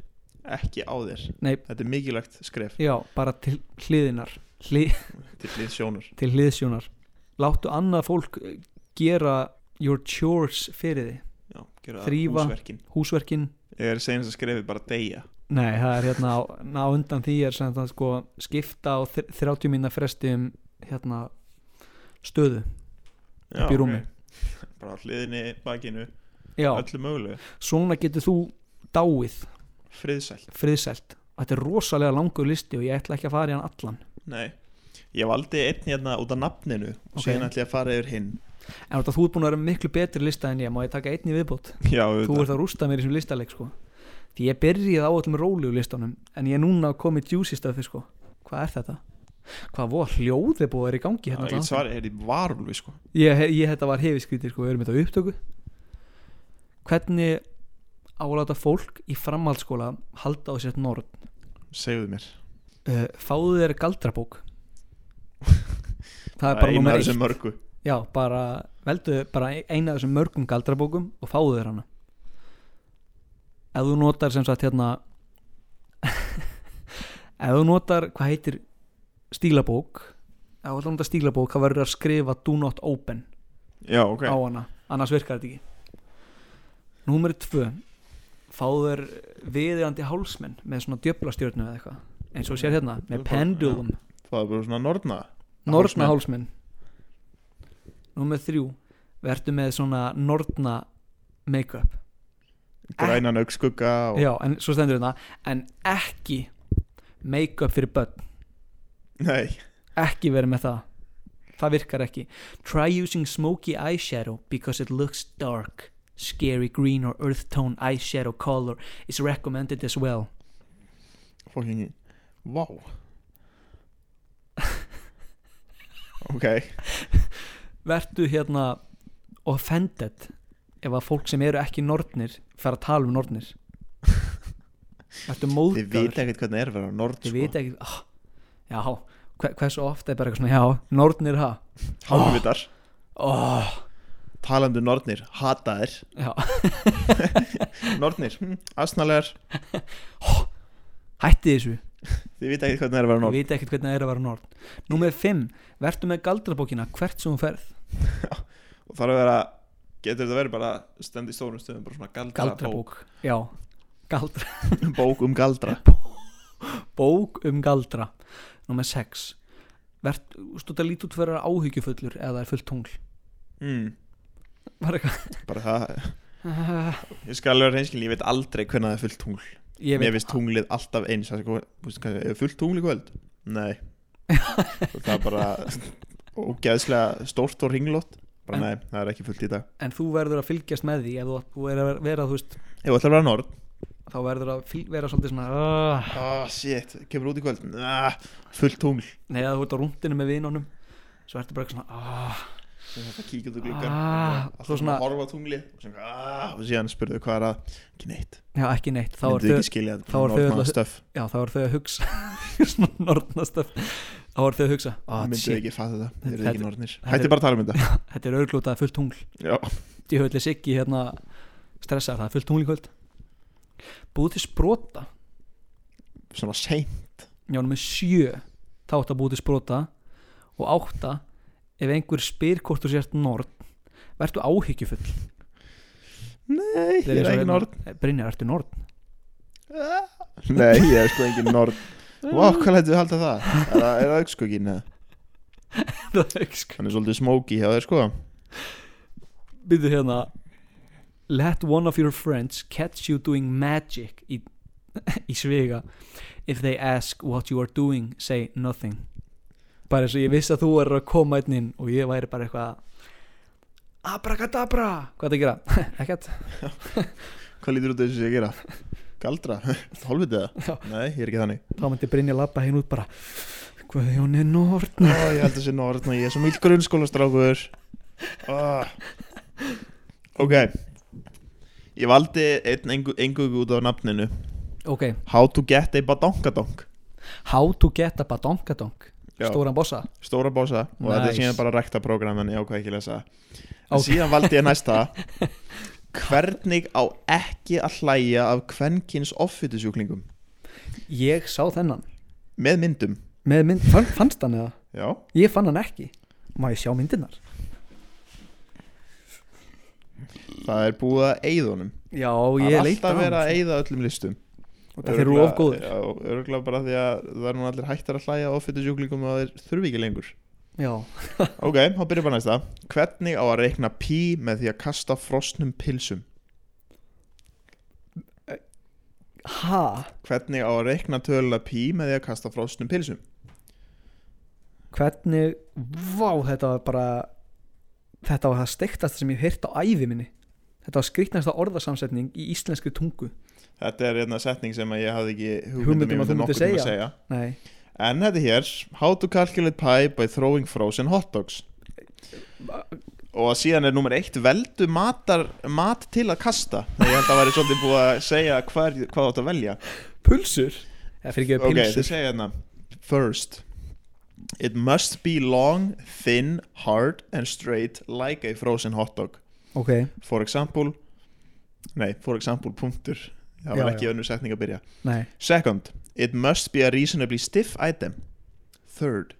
Speaker 2: Ekki á þér
Speaker 1: Nei.
Speaker 2: Þetta er mikilvægt skref
Speaker 1: Já, bara til hliðinar hli,
Speaker 2: Til hlið sjónar
Speaker 1: til hliðsjónar Láttu annað fólk eh, gera your chores fyrir þið
Speaker 2: Já, gera
Speaker 1: Þrífa.
Speaker 2: húsverkin
Speaker 1: Húsverkin,
Speaker 2: Ég er að segja þess að skrefið bara deyja
Speaker 1: nei það er hérna á, ná undan því er sem það sko skipta á þr- 30 minna fresti um hérna stöðu
Speaker 2: Já,
Speaker 1: Upp í rúmi.
Speaker 2: ok. Bara á hliðinni, bakinu
Speaker 1: Já,
Speaker 2: Öllu mögulegu
Speaker 1: svona getur þú dáið
Speaker 2: Friðsæl
Speaker 1: friðsælt þetta er rosalega langur listi og ég ætla ekki að fara í hann allan
Speaker 2: Nei Ég valdi einn hérna út af nafninu Og
Speaker 1: Ok.
Speaker 2: síðan ætla ég að fara yfir hinn
Speaker 1: en þetta þú ert búin að vera með miklu betri lista en ég má ég taka einn í viðbót
Speaker 2: Já,
Speaker 1: þú ert að rústa mér í þessum listaleik sko því ég byrjaði á öllum rólegu listanum en ég er núna að koma í juicy stöfi sko hvað er þetta? hvað vor hljóð er búið að vera í gangi
Speaker 2: Ég
Speaker 1: hérna
Speaker 2: get
Speaker 1: allan
Speaker 2: svarið, er í varulvi sko
Speaker 1: þáttinn? ég, ég þetta var hefiskvítir sko, við erum þetta á upptöku hvernig áláta fólk í framhaldsskóla halda á sér norð
Speaker 2: Segðu mér
Speaker 1: uh, fáðu þér galdrabók það er
Speaker 2: eina
Speaker 1: bara
Speaker 2: af
Speaker 1: nummer eitt
Speaker 2: þessum mörgu
Speaker 1: Já, bara veldu bara eina af þessum mörgum galdrabókum og fáðu þér hana Ef þú (laughs) notar sem sagt hérna Ef þú notar, hvað heitir stílabók ef þú ætlar að nota stílabók þá verður að skrifa do not open
Speaker 2: Já, ok
Speaker 1: á hana annars virkar þetta ekki Númer tvö fáðu þér viðjandi hálsmenn með svona djöflastjörnu eða eitthvað eins og sér hérna með pendulum
Speaker 2: Það er bara svona norna
Speaker 1: nortna hálsmenn Númer þrjú verður með svona nortna make-up
Speaker 2: Grænan augskugga og...
Speaker 1: Ah. Já, en svo stendur þetta en ekki make-up fyrir börn
Speaker 2: Nei,
Speaker 1: ekki verið með það það virkar ekki try using smoky eyeshadow because it looks dark scary green or earth tone eyeshadow color is recommended as well
Speaker 2: fokkingi Vá
Speaker 1: (laughs)
Speaker 2: Ok,
Speaker 1: vertu hérna offended ef að fólk sem eru ekki nornir fer að tala um nornir vertu
Speaker 2: þið vita
Speaker 1: móðgæður
Speaker 2: ekkert hvernig er að vera nord
Speaker 1: þið
Speaker 2: sko.
Speaker 1: vita ekki ah, já, hve- hversu ofta er bara eitthvað svona já, nornir ha
Speaker 2: Hálfvitar
Speaker 1: oh,
Speaker 2: Talandi um nornir, hataðir
Speaker 1: já.
Speaker 2: Nornir, hm, asnalegar
Speaker 1: hætti þessu
Speaker 2: Þið vita ekkert hvernig er að vera
Speaker 1: Ég
Speaker 2: norn
Speaker 1: veit ekkert hvernig það er að vera norn Númer 5, vertu með galdrabókina hvert sem þú ferð
Speaker 2: Og þarf að vera, getur þetta verið bara Stendi í stórum stöðum, bara svona galdra
Speaker 1: Galdrabók, já Galdra.
Speaker 2: bók, (laughs) bók um galdra
Speaker 1: Bók um galdra Númer 6 Vertu, stútt að líta út fyrir að vera áhyggjufullur eða það er fullt tungl
Speaker 2: mm,
Speaker 1: Bara eitthvað
Speaker 2: Bara það,
Speaker 1: Ah,
Speaker 2: ég skal alveg reynskil Ég veit aldrei hvernig það er fullt tungl
Speaker 1: Ég
Speaker 2: Mér
Speaker 1: veit
Speaker 2: finnst tunglið alltaf eins það er sko, bústu, hvað, er fullt tungli kvöld? Nei
Speaker 1: (laughs)
Speaker 2: það er bara ógeðslega stórt og ringlótt bara
Speaker 1: En-
Speaker 2: nei, það er ekki fullt í dag
Speaker 1: En þú verður að fylgjast með því ef þú, þú er að vera, vera, þú veist
Speaker 2: ef það ætlar að vera norð
Speaker 1: þá verður að fylg, vera svolítið svona uh,
Speaker 2: ah, shit, kemur út í kvöld ah, fullt tungl
Speaker 1: Nei, eða þú ert á rúndinu með vinunum Svo ertu bara eitthvað svona uh,
Speaker 2: það kíkja út í gluggan
Speaker 1: Ah,
Speaker 2: alltaf
Speaker 1: þú
Speaker 2: svona
Speaker 1: svona-
Speaker 2: að horfa á tunglið og, sem, ah, og síðan spurðu hvað er að ekki neitt,
Speaker 1: Já, ekki neitt Þá
Speaker 2: myndu
Speaker 1: ertu
Speaker 2: ekki skilja
Speaker 1: þá er þau öll að-
Speaker 2: norðmann stöf
Speaker 1: já þá er þau að hugsa (laughs) svona nornastöf þá er þau að hugsa oh,
Speaker 2: myndu
Speaker 1: shit,
Speaker 2: ekki fatta það, þau eru
Speaker 1: Þetta-
Speaker 2: ekki norðnir
Speaker 1: þetta er-
Speaker 2: hætti bara að tala um þetta
Speaker 1: þetta er örglútað fullt tungl
Speaker 2: Já.
Speaker 1: ég höfði siggi hérna stressað það er fullt tungl í kvöld búið til sprota
Speaker 2: svona sein,
Speaker 1: já nummer sjö þá átt að búið til sprota og átta ef einhver spyr hvort þú sért norn verður áhyggjufull
Speaker 2: nei, (laughs) ég
Speaker 1: hérna.
Speaker 2: er ekki norð
Speaker 1: Eh, Brynjar, ertu norn? (laughs)
Speaker 2: Nei, ég er sko engin norn Vá, hvað lættu þið halda það? Er það, er það augnskugginn eða?
Speaker 1: það er ekki sko
Speaker 2: Hann er svolítið smóki hjá þér sko
Speaker 1: byrðu hérna let one of your friends catch you doing magic í, (laughs) í svega if they ask what you are doing say nothing bara eins og ég vissi að þú er að koma einn inn og ég væri bara eitthvað abracadabra hvað það gera? (laughs) ekkert
Speaker 2: Hvað lítur út af þessu sem ég gera? Galdra? (laughs) Hálfvitið
Speaker 1: Já.
Speaker 2: það? Nei, ég er ekki þannig
Speaker 1: þá myndi Brynja labba hinn út bara hvað er hún er nort
Speaker 2: Ó, ég held þessi norn og ég er svo mjög grunnskólastrákur oh. Ok Ég valdi einn engu, engugu út af nafninu
Speaker 1: ok,
Speaker 2: How to get a badonkadonk
Speaker 1: how to get a badonkadonk
Speaker 2: Já.
Speaker 1: stóran bossa
Speaker 2: Stóra bósa Og þetta er
Speaker 1: Nice.
Speaker 2: síðan bara rekta program En ég ákvað ekki að lesa það. En
Speaker 1: Ok.
Speaker 2: Síðan valdi ég næsta
Speaker 1: (laughs)
Speaker 2: Hvernig á ekki að hlæja af kvenkins offitusjúklingum
Speaker 1: ég sá þennan
Speaker 2: Með myndum
Speaker 1: með mynd, fann- fannst hann eða?
Speaker 2: Já
Speaker 1: ég fann hann ekki má ég sjá myndirnar?
Speaker 2: Það er búið að eyða honum
Speaker 1: Já,
Speaker 2: Það
Speaker 1: ég
Speaker 2: er
Speaker 1: leita
Speaker 2: alltaf verið að eyða öllum listum
Speaker 1: Og það eru of góður
Speaker 2: Já, örgulega bara því að það er nú allir hættar að hlæja á offitusjúklingum og það er þurfi ekki lengur
Speaker 1: Já,
Speaker 2: Ok, þá byrjum bara næsta Hvernig á að reikna pí með því að kasta frosnum pilsum?
Speaker 1: ha
Speaker 2: Hvernig á að reikna töluna pí með því að kasta frosnum pilsum?
Speaker 1: Hvernig, vá, þetta var bara Þetta var það steiktast sem ég hef heyrt á ævi minni Þetta var skrýtnasta orðasamsetning í íslenskri tungu
Speaker 2: Þetta er einna setning sem að ég hafði ekki
Speaker 1: Hugmynd um
Speaker 2: hugmyndum
Speaker 1: að þú myndir segja.
Speaker 2: segja
Speaker 1: Nei,
Speaker 2: En þetta er hér How to calculate pie by throwing frozen hot dogs Og síðan er nummer eitt Veldu matar, mat til að kasta Þegar ég held að væri svolítið búið að segja hver, hvað þú átt að velja
Speaker 1: pulsur Það fyrir ekki
Speaker 2: Ok,
Speaker 1: pilsur
Speaker 2: þið segja hérna First It must be long, thin, hard and straight like a frozen hot dog
Speaker 1: Ok,
Speaker 2: For example Nei, for example, punktur Það
Speaker 1: Já,
Speaker 2: var
Speaker 1: já.
Speaker 2: ekki önnur setning að byrja
Speaker 1: nei
Speaker 2: Second, it must be a reasonably stiff item third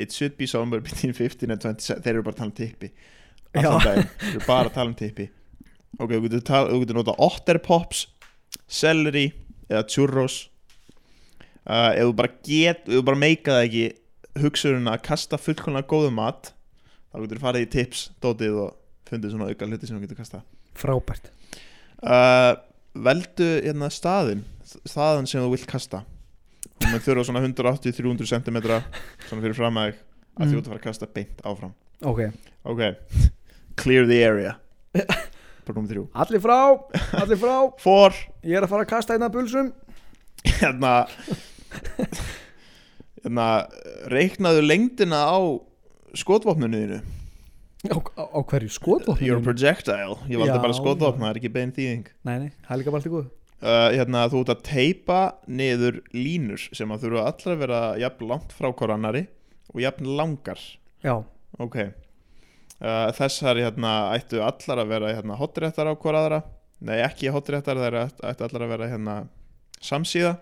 Speaker 2: It should be somewhere (laughs) between 15 and 27 Þeir eru bara að tala um tippi
Speaker 1: Já.
Speaker 2: Allan daginn, þeir eru bara að tala um tippi Ok, þú getur, tala, þú getur nota otter pops Celery Eða churros uh, Ef þú bara get, ef þú bara meika það ekki Hugsurinn að kasta fullkomlega góðu mat Þá getur þú farið í tips Dótið og fundið svona auka hluti sem þú getur kastað
Speaker 1: frábært
Speaker 2: uh, veldu hérna staðin staðan sem þú vilt kasta og maður þurfa svona 180-300 cm svona fyrir fram að þig að
Speaker 1: Mm.
Speaker 2: þú ert að fara að kasta beint áfram
Speaker 1: ok,
Speaker 2: ok, clear the area bara nummer þrjú
Speaker 1: allir frá, allir frá
Speaker 2: for,
Speaker 1: ég er að fara að kasta einna bulsum
Speaker 2: hérna hérna reiknaðu lengdina á skotvopninu þínu
Speaker 1: á, á, á hverju
Speaker 2: your
Speaker 1: skotvopnum
Speaker 2: projectile, ég valdi
Speaker 1: Já,
Speaker 2: bara skotvopn
Speaker 1: já.
Speaker 2: það er ekki bein þýðing
Speaker 1: nei, nei, það er líka bara allt í góð
Speaker 2: uh, hérna, þú ert að teipa niður línur sem að þurfa allra að vera jafn langt frá hver annari og jafn langar
Speaker 1: já,
Speaker 2: ok uh, þessar hérna, ættu allar að vera hérna, hotréttar á hver aðra nei ekki hotréttar, þær ætt- ættu allar að vera hérna, samsíða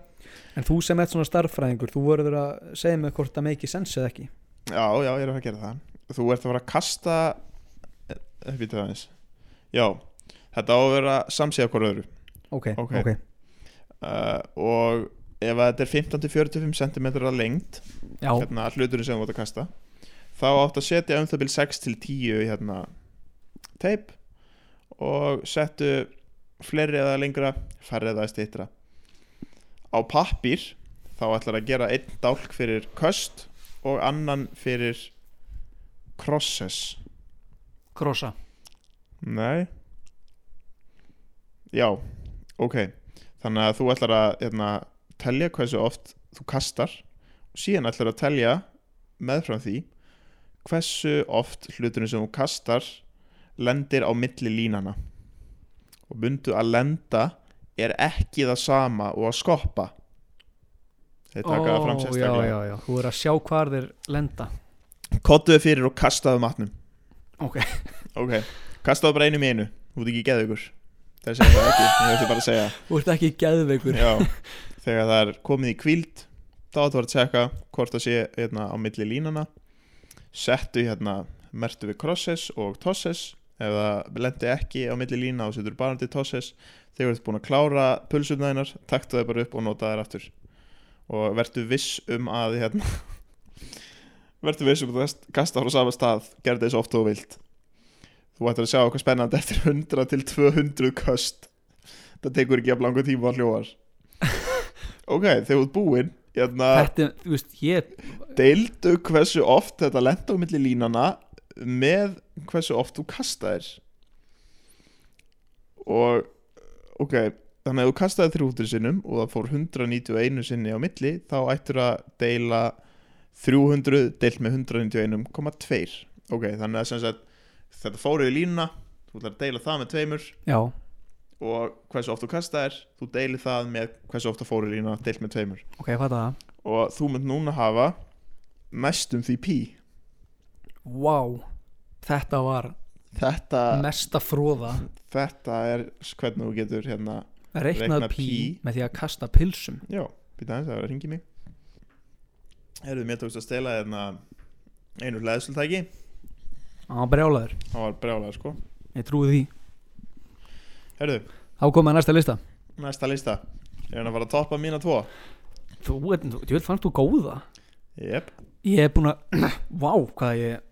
Speaker 1: en þú sem ert svona starffræðingur þú verður að segja mig hvort það meiki sens eða ekki
Speaker 2: já, já, ég er að fara að gera það þú ert að fara að kasta eh, eh, býta aðeins já, þetta á að vera samsíða hver öðru
Speaker 1: ok,
Speaker 2: Ok.
Speaker 1: ok,
Speaker 2: uh, og ef að þetta er 15-45 cm að lengt
Speaker 1: já,
Speaker 2: hérna, hluturinn sem þú átt að kasta þá átt að setja um það bil 6 til 10 hérna, teip og settu fleiri eða lengra færri eða stýttra á pappir þá ætlar að gera einn dálk fyrir köst og annan fyrir crosses
Speaker 1: krossa
Speaker 2: nei já, ok þannig að þú ætlar að hérna, telja hversu oft þú kastar og síðan ætlar að telja meðfram því hversu oft hlutunum sem þú kastar lendir á milli línana og bundu að lenda er ekki það sama og að skoppa þeir taka það fram
Speaker 1: já,
Speaker 2: sérstaklega
Speaker 1: já, já, þú verður að sjá hvar þeir lenda
Speaker 2: kottuðu fyrir og kastaðu matnum
Speaker 1: Ok.
Speaker 2: ok, kastaðu bara einum í einu þú ert ekki geðu ykkur það segja það ekki, ég ætti bara að segja
Speaker 1: þú ert ekki geðveikur
Speaker 2: Já, þegar það er komið í kvíld þá áttu að fara að tjekka hvort það sé hérna, á milli línana settu hérna, mertu við crosses og tosses ef það lendi ekki á milli lína og setur bara til tosses þegar þú ert búin að klára pulsunæðinar taktu það bara upp og nota þær aftur og vertu viss um að hérna, (laughs) vertu viss um að þú kasta frá sama stað gerði þessu oft og þú vilt þú ættir að sjá okkar spennandi eftir 100 til 200 köst það tekur ekki að blanga tíma að hljóðar ok, þegar þú ert búinn hérna,
Speaker 1: þetta, þú veist, ég
Speaker 2: deildu hversu oft þetta lenda á milli línana með hversu oft þú kastaðir og ok, þannig að þú kastaðir 300 sinnum og það fór 191 sinni á milli þá ættur að deila 300 deilt með 191,2 ok, þannig að sem sagt, þetta fór yfir línuna þú ætlar að deila það með tveimur
Speaker 1: já,
Speaker 2: og hversu oft þú kastaðir þú deilir það með hversu oft það fór í lína deilt með tveimur
Speaker 1: ok, hvað það
Speaker 2: og þú mynd núna hafa mestum því pí
Speaker 1: wow, þetta var
Speaker 2: þetta,
Speaker 1: mesta fróða
Speaker 2: þetta er s- hvernig þú getur hérna
Speaker 1: reiknað
Speaker 2: Reiknað
Speaker 1: pí,
Speaker 2: pí.
Speaker 1: með því að kasta pilsum
Speaker 2: já, býta aðeins, það var að ringi mig eruðu mér tókst að stela hérna einu hlæðsultæki
Speaker 1: hann var brjálaður,
Speaker 2: það var brjálað sko
Speaker 1: ég trúi því
Speaker 2: eruðu,
Speaker 1: þá komið að næsta lista
Speaker 2: næsta lista er hann að fara að toppa mína tvo
Speaker 1: þú, ert- þú, þú fannst þú góða
Speaker 2: jep,
Speaker 1: ég er búin að, (clears throat) vá, hvað ég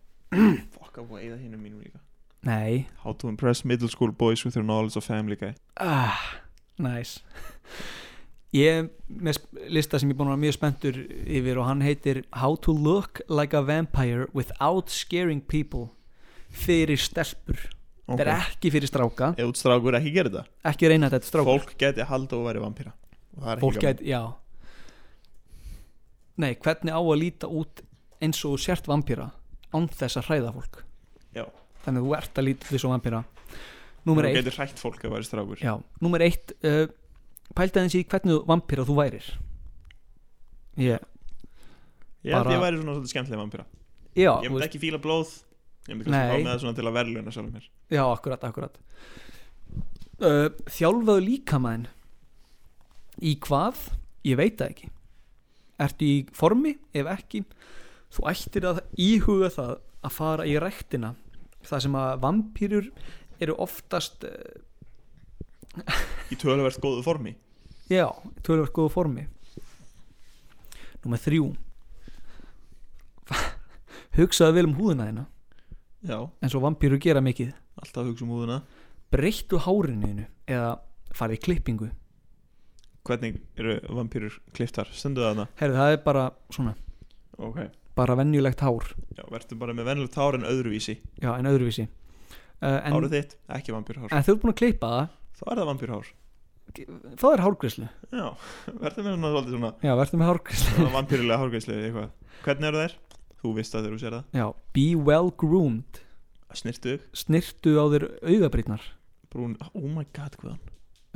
Speaker 2: fuck að veiða hinn um mínum líka
Speaker 1: nei,
Speaker 2: how to impress middle school boys with your knowledge of family guy
Speaker 1: ah, nice ég er með sp- lista sem ég er búin að vera mjög spenntur yfir og hann heitir How to look like a vampire without scaring people fyrir stelpur þetta er
Speaker 2: okay.
Speaker 1: ekki fyrir stráka,
Speaker 2: eða útstrákur ekki gera þetta
Speaker 1: ekki reyna þetta er stráka
Speaker 2: fólk geti haldið og verið vampýra og það er
Speaker 1: fólk
Speaker 2: ekki gaman.
Speaker 1: gæti, já nei, hvernig á að líta út eins og þú sért vampýra án þess að hræða fólk
Speaker 2: Já.
Speaker 1: þannig að þú ert að líta því svo vampýra
Speaker 2: þú
Speaker 1: númer eitt,
Speaker 2: geti hrætt fólk að verið strákur
Speaker 1: já, númer eitt uh, pælta eins í hvernig vampýra þú værir ég,
Speaker 2: ég held
Speaker 1: bara-
Speaker 2: ég væri svona svolítið skemmtileg vampýra
Speaker 1: já,
Speaker 2: ég
Speaker 1: þú
Speaker 2: myndi
Speaker 1: veist-
Speaker 2: ekki fíla blóð ég myndi kannski
Speaker 1: Nei.
Speaker 2: fá með það svona til að verðluna sjálfum mér
Speaker 1: já, akkurat, akkurat uh, þjálfaðu líkamæðin í hvað, ég veit það ekki ertu í formi, ef ekki þú ættir að íhuga það að fara í rektina það sem að vampýrur eru oftast eh,
Speaker 2: Í tölverst góðu formi
Speaker 1: já, tölvöld góðu formi Númer þrjú (laughs) hugsaðu vel um húðina þína
Speaker 2: Já,
Speaker 1: eins og vampýrur gera mikið
Speaker 2: alltaf hugsa um húðuna
Speaker 1: breyttu hárinu eða farið í klippingu
Speaker 2: Hvernig eru vampýrur kliftar? Stendu það hana
Speaker 1: herru það er bara svona
Speaker 2: Ok
Speaker 1: bara venjulegt hár
Speaker 2: Já, verður bara með venlegt hár en öðruvísi
Speaker 1: já en öðruvísi uh, en,
Speaker 2: Hárið þitt, ekki vampýrhár
Speaker 1: en þú ert búin að klippa það
Speaker 2: Þá er það vampýrhár
Speaker 1: það er hárgrislu
Speaker 2: Já, (laughs) verður með svona svolítið svona
Speaker 1: já verður með hárgrislu
Speaker 2: svona vampýrlega hárgæslu eitthvað Hvernig eru þær? Þú veist það þegar þú sér það
Speaker 1: já be well groomed
Speaker 2: Snirtu,
Speaker 1: snirtu á þér augabrýtnar
Speaker 2: brún, oh my god hvaðan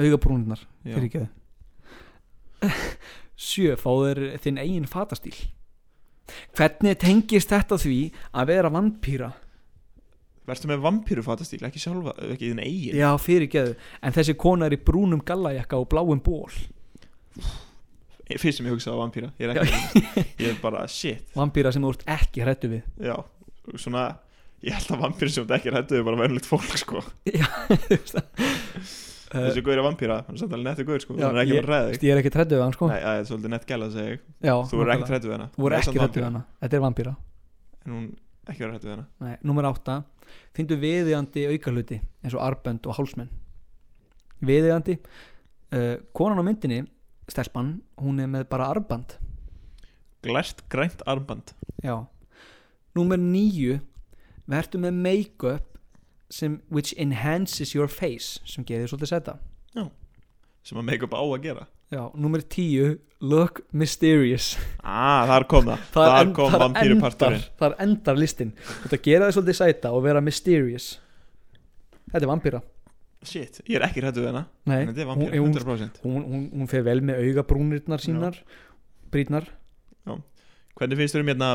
Speaker 1: augabrúnirnar
Speaker 2: Já.
Speaker 1: fyrir ekki það (laughs) sjö fá þér þinn eigin fatastíl hvernig tengist þetta því að vera vampýra
Speaker 2: Verður með vampýru fatastíl, ekki sjálfa, ekki þinn eigin
Speaker 1: já fyrir ekki en þessi kona er í brúnum gallajakka og bláum ból
Speaker 2: Fyrst sem ég hugsaði á vampýra Ég er ekki,
Speaker 1: (laughs)
Speaker 2: ég er bara shit
Speaker 1: vampýra sem þú ert ekki hrættu við (laughs)
Speaker 2: Já, svona Ég held að vampýri sem þetta ekki rættu er bara venlegt fólk sko
Speaker 1: já, þú veist það. Eh,
Speaker 2: Þessi gaur er vampýra, hann er samt alveg nettu gaur sko
Speaker 1: já,
Speaker 2: Hann er ekki
Speaker 1: ég,
Speaker 2: bara ræðið
Speaker 1: ég er ekki hrættu við hann sko
Speaker 2: Nei, það er svolítið nett gæla að segja ég.
Speaker 1: já,
Speaker 2: Þú verður
Speaker 1: nákvæmlega.
Speaker 2: ekkert hrættu við hana
Speaker 1: þú er
Speaker 2: Hún er samt
Speaker 1: ekki hrættu við
Speaker 2: vampíra.
Speaker 1: hana þetta er vampýra
Speaker 2: En hún ekki verður hrættu við hana
Speaker 1: Númer átta Fyndu viðiðandi aukaluti eins og arbönd og hálsmenn Viðiðandi uh, Konan á myndinni, stelpan hún er með bara arbönd
Speaker 2: Glært grænt armband
Speaker 1: Já. Númer níu Vertu með make-up sem, which enhances your face sem gerir svolítið setta
Speaker 2: sem að make-up á að
Speaker 1: (laughs)
Speaker 2: gera
Speaker 1: Já, númer tíu Look mysterious
Speaker 2: Ah, þar kom það,
Speaker 1: Þar,
Speaker 2: þar
Speaker 1: en-
Speaker 2: kom
Speaker 1: þar
Speaker 2: vampýruparturinn
Speaker 1: endar, þar endar listin Þetta gera þið svolítið sæta og vera mysterious Þetta er vampýra
Speaker 2: Shit, ég er ekki hrættu við hana
Speaker 1: Nei,
Speaker 2: En þetta er
Speaker 1: hún,
Speaker 2: vampýra,
Speaker 1: hún
Speaker 2: 100%
Speaker 1: hún, hún, hún fer vel með augabrúnirnar sínar brýtnar
Speaker 2: Hvernig finnst þér um hérna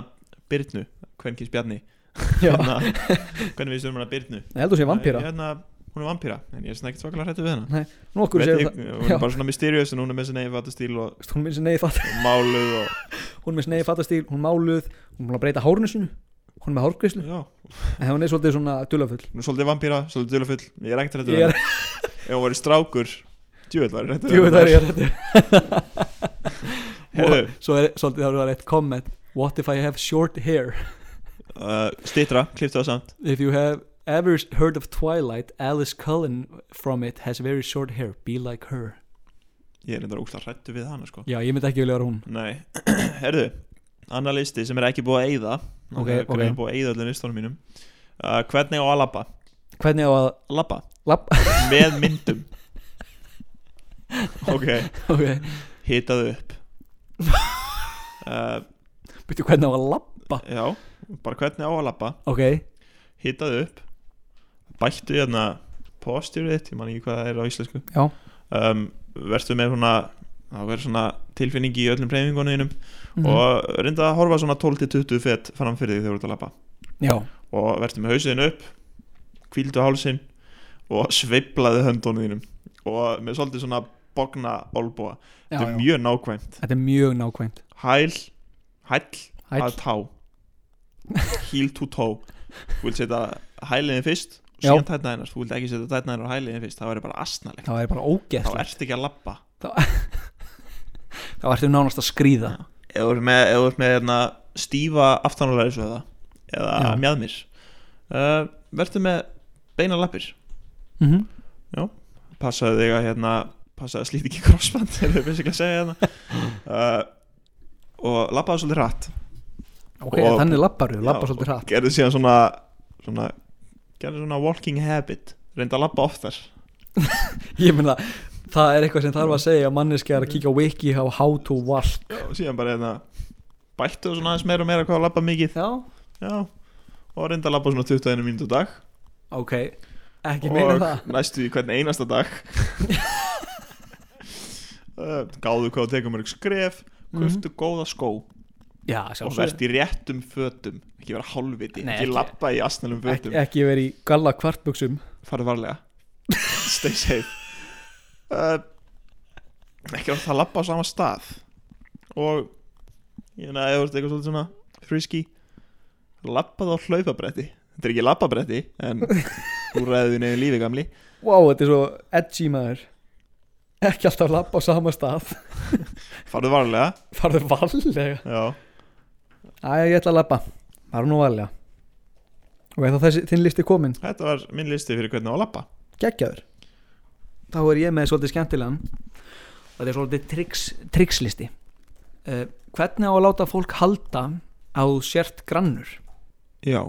Speaker 2: Byrnu, kvenkins Bjarni
Speaker 1: (laughs) Já.
Speaker 2: hérna, Hvernig finnst þér um hana Byrnu
Speaker 1: Nei, heldur sé vampýra
Speaker 2: hérna, Hún er vampýra, en ég er svona ekkert svakalega hrættu við hana
Speaker 1: Nú okkur
Speaker 2: Hún er
Speaker 1: séu
Speaker 2: ekki-
Speaker 1: það
Speaker 2: hún
Speaker 1: Já.
Speaker 2: er bara svona mysterious en hún er með þessi neyfi fattastíl og
Speaker 1: Hún minnst neyði fatt
Speaker 2: og máluð og
Speaker 1: (laughs) Hún minnst neyði fattastíl Hún máluð Hún er búin að breyta hárinu sinu Hún er með hárgrislu
Speaker 2: já,
Speaker 1: En hún er svolítið svona dullafull
Speaker 2: hún er svolítið vampýra, svolítið dulafull ég er ekkert hrættu
Speaker 1: Ég (laughs)
Speaker 2: við
Speaker 1: er
Speaker 2: hana ef hún væri strákur, djúvel var ég hræddur
Speaker 1: Jú,
Speaker 2: við
Speaker 1: það er
Speaker 2: hana
Speaker 1: ég réttu
Speaker 2: Heyrðu.
Speaker 1: Svo er svolítið þá er það rétt comment What if I have short hair
Speaker 2: uh, stýttra, klipptu það samt
Speaker 1: If you have ever heard of Twilight Alice Cullen from it has very short hair Be like her
Speaker 2: ég er reyndar ógst að hrættu við hana sko
Speaker 1: Já, ég myndi ekki vilja vera hún
Speaker 2: Nei, (clears throat) herðu annar listi sem er ekki búið að eyða
Speaker 1: Ok,
Speaker 2: Það er greinilega
Speaker 1: ok.
Speaker 2: búið að eyða öllum listunum mínum uh, Hvernig á að labba?
Speaker 1: Hvernig á að
Speaker 2: Labba,
Speaker 1: Lappa
Speaker 2: með myndum Ok,
Speaker 1: (laughs) Ok
Speaker 2: hitaðu upp uh,
Speaker 1: Býttu hvernig á að lappa
Speaker 2: Já, bara hvernig á að labba
Speaker 1: Ok,
Speaker 2: Hitaðu upp Bættu hérna postjúrið þitt Ég man ekki hvað það er á íslensku
Speaker 1: já
Speaker 2: um, Vertu með svona Það verður svona tilfinning í öllum breyfingunum
Speaker 1: Mhm.
Speaker 2: Og reynda að horfa svona 12-20 fett fram fyrir því þegar þú ert að labba
Speaker 1: Já,
Speaker 2: og verður með hausin upp kvíldu hálsin og sveiflaði höndunum þínum og með svolítið svona bogna olbúa
Speaker 1: já,
Speaker 2: þetta er mjög nákvæmt
Speaker 1: Þetta er mjög nákvæmt
Speaker 2: hæl, hæll,
Speaker 1: Hæll.
Speaker 2: að tá heel to toe þú vilt setja hæliðin fyrst og
Speaker 1: Já.
Speaker 2: síðan tætna hennar, þú vilt ekki setja tætna hennar og hæliðin fyrst, það verður bara astnalegt
Speaker 1: Það er bara
Speaker 2: þá
Speaker 1: ógeðslega
Speaker 2: ertu ekki að labba
Speaker 1: Það ertu nánast að skríða
Speaker 2: Já. ef þú ert með, ef þú ert með hérna, stífa aftanulega eins og það eða
Speaker 1: Já.
Speaker 2: mjadmir uh, verður með beina lappir
Speaker 1: mm -hmm.
Speaker 2: passaðu þig að hérna passaðu að slíti ekki crossband (laughs) er það basically að segja hérna uh, og lappaðu svolítið hratt
Speaker 1: Ok,
Speaker 2: Og-
Speaker 1: þannig lapparu, lappa
Speaker 2: Já,
Speaker 1: svolítið
Speaker 2: og
Speaker 1: hratt
Speaker 2: gerðu síðan svona, svona gerðu svona walking habit reynda að lappa oftar
Speaker 1: Ég meina, það er eitthvað sem þarf að segja manneski að kíkja á wiki á how to walk
Speaker 2: og síðan bara hérna bættu svona aðeins meira og meira hvað að lappa mikið
Speaker 1: Já,
Speaker 2: já, og reynda að lappa svona 21 mínútu á dag
Speaker 1: ok Ekki meina
Speaker 2: og
Speaker 1: það
Speaker 2: næstu í hvern einasta
Speaker 1: (laughs)
Speaker 2: dag Uh, gáðu hvað þú tekur mörg skref
Speaker 1: Mhm.
Speaker 2: kuftu góða skó
Speaker 1: Já,
Speaker 2: og
Speaker 1: sjálfsög
Speaker 2: verðt í réttum fötum ekki vera hálfviti,
Speaker 1: Nei,
Speaker 2: ekki
Speaker 1: ekki-
Speaker 2: lappa í asnælum
Speaker 1: Ek,
Speaker 2: fötum
Speaker 1: Ekki verið í galla kvartbuxum
Speaker 2: farðu (laughs) varlega stay safe uh, ekki vera það að lappa á sama stað og Ég meina, ef þú ert eitthvað svolítið svona frisky Lappa þá hlaupabretti Þetta er ekki lappabretti En (laughs) þú ræðið nefnir lífi gamli
Speaker 1: wow, þetta er svo edgy maður ekki alltaf lappa á sama stað (laughs)
Speaker 2: Farðu varlega
Speaker 1: farðu varlega
Speaker 2: Já,
Speaker 1: Æja, ég ætla að lappa Bara nú varlega Og eða þessi, þinn listi komin,
Speaker 2: þetta var minn listi fyrir hvernig á að lappa
Speaker 1: geggjaður Þá er ég með svolítið skemmtilegan Og þetta er svolítið triks, trikslisti uh, Hvernig á að láta fólk halda á sért grannur?
Speaker 2: Já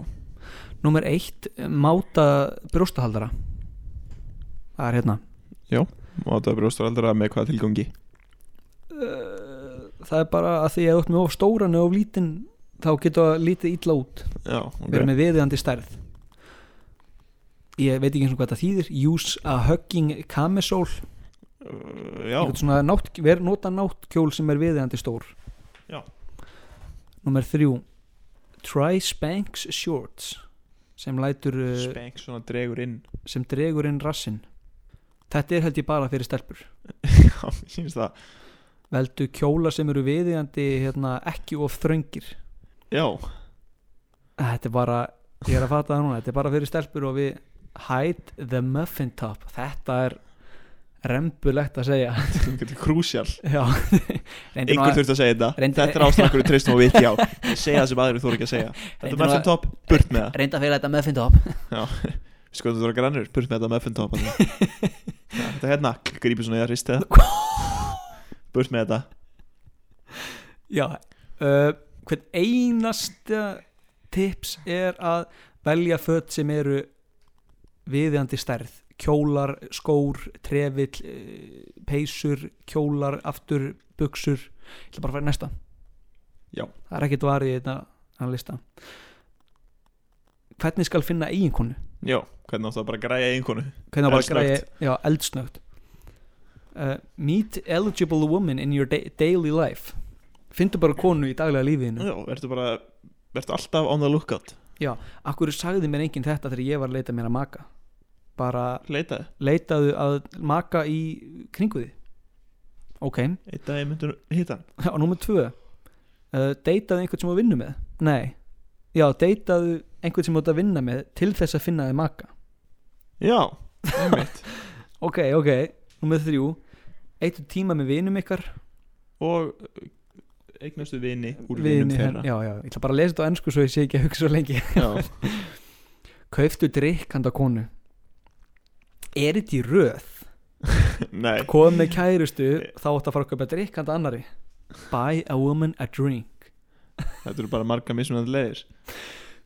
Speaker 1: Númer eitt, máta brjóstahaldara Það er hérna
Speaker 2: Og þetta er brjóstaraldara með hvaða tilgangi
Speaker 1: uh, Það er bara að því að þú ert með of stóran og of lítinn þá getur það lítið illa út
Speaker 2: Já, ok
Speaker 1: vera með viðiðandi stærð ég veit ekki eins og hvað þetta þýðir use a hugging camisole
Speaker 2: Uh, Já,
Speaker 1: Einhvern svona nátt, ver, nota náttkjól sem er viðiðandi stór
Speaker 2: Já.
Speaker 1: nummer þrjú try Spanx shorts sem lætur uh,
Speaker 2: spenk svona dregur (laughs) inn
Speaker 1: sem dregur inn rassin þetta er held ég bara fyrir stelpur
Speaker 2: Já, mér syns það
Speaker 1: veldu kjóla sem eru viðiðandi hérna, ekki of þröngir
Speaker 2: Já, (laughs)
Speaker 1: Þetta er bara, ég er að fatta það núna Þetta er bara fyrir stelpur og við Hide the muffin top Þetta er rembulegt að segja (laughs)
Speaker 2: þetta er krúsjál
Speaker 1: Já Reyndi nú
Speaker 2: Einhver
Speaker 1: að-
Speaker 2: þurft að segja þetta
Speaker 1: Reyndi-
Speaker 2: Þetta er ástæðan við treystum og viti
Speaker 1: (laughs)
Speaker 2: á Ég segja það sem aðrir þú ekki að segja Þetta
Speaker 1: Reyndi
Speaker 2: er
Speaker 1: nú að-
Speaker 2: muffin top, burt með það
Speaker 1: Reyndi að fela þetta muffin top
Speaker 2: Sko þetta voru grannur, burt með þetta muffin
Speaker 1: (laughs)
Speaker 2: top þarna. Já, Þetta er hérna, grípur svona í það, ristið það Burt með þetta
Speaker 1: Já uh, Hvern einasta tips er að velja fött sem eru viðjandi stærð kjólar, skór, trefill eh, peysur, kjólar aftur, buksur ég ætla bara að fara í næsta
Speaker 2: Já.
Speaker 1: það er ekkert varið í þetta hann lista hvernig skal finna eiginkonu
Speaker 2: Já, hvernig áttu að bara græja eiginkonu
Speaker 1: hvernig á bara að
Speaker 2: Eldsnöggt.
Speaker 1: græja já, eldsnögt uh, meet eligible woman in your da daily life findu bara konu í daglega lífiðinu
Speaker 2: Já, verður bara, verður alltaf on the lookout
Speaker 1: Akkur sagði mér enginn þetta þegar ég var að leita mér að maka Bara
Speaker 2: Leitaði,
Speaker 1: leitaðu að maka í kringu því Ok, (laughs)
Speaker 2: einn dag ég myndi hitta hann
Speaker 1: og númer tvö uh, Deitaðu einhvern sem þú vinnur með Nei, já, deitaðu einhvern sem þú ert að vinna með Til þess að finna þið maka
Speaker 2: Já, einmitt
Speaker 1: Ok, ok, númer þrjú Eittu tíma með vinum ykkar
Speaker 2: Og eignastu vini úr vinum
Speaker 1: Vini
Speaker 2: þeirra
Speaker 1: Já, já, ég ætla bara að lesa þetta á ennsku svo ég sé ekki að hugsa svo lengi (laughs)
Speaker 2: Já,
Speaker 1: Kauftu drikk handa konu Er þetta í röð?
Speaker 2: (laughs) nei
Speaker 1: komið með kærustu þá átt að fara að kaupa drikk handa annari buy a woman a drink
Speaker 2: Þetta eru bara marga mismunandi leiðir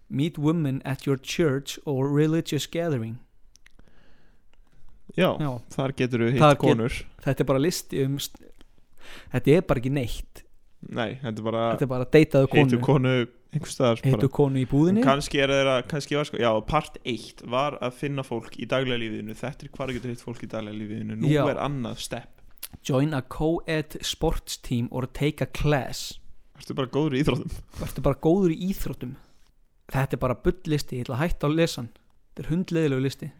Speaker 1: meet women at your church or religious gathering
Speaker 2: Já,
Speaker 1: já,
Speaker 2: þar getur
Speaker 1: Þar
Speaker 2: við hitt
Speaker 1: get-
Speaker 2: konur
Speaker 1: þetta er bara listi um st- þetta er bara ekki neitt
Speaker 2: Nei, þetta er bara
Speaker 1: þetta er bara deytaðu
Speaker 2: Heitu
Speaker 1: konu
Speaker 2: konu einhvers staðar bara.
Speaker 1: heitu konu í búðinni
Speaker 2: Kannski er þeirra, kannski var sko Já, part 1 var að finna fólk í daglega lífiðinu Þetta er hvar þú getur hitt fólk í daglega lífiðinu Nú
Speaker 1: Já.
Speaker 2: er annað step
Speaker 1: join a co-ed sports team or take a class
Speaker 2: Þetta er bara góður í íþróttum (laughs)
Speaker 1: verður bara góður í íþróttum þetta er bara bullisti, ég ætla að hætta á lesan þetta er hundleðilegu listi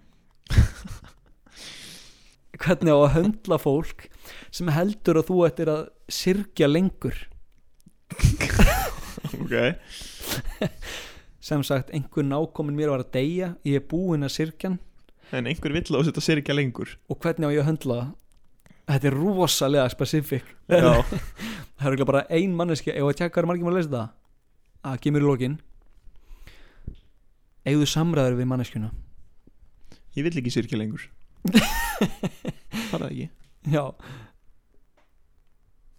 Speaker 1: hvernig á að höndla fólk sem heldur að þú ættir að sirkja lengur
Speaker 2: Ok,
Speaker 1: sem sagt, einhver nákomin mér var að deyja ég er búinn að sirkja hann
Speaker 2: en einhver vill að þetta sér ekki lengur
Speaker 1: og hvernig á ég að höndla það þetta er rosalega spesifik það er
Speaker 2: Já,
Speaker 1: örugglega bara ein manneski ef að tjekka hvað er margir maður að lesa það að kemur í lokin eigðu samræður við manneskjuna
Speaker 2: (laughs) ég vill ekki sér ekki
Speaker 1: (laughs)
Speaker 2: lengur Það er ekki
Speaker 1: Já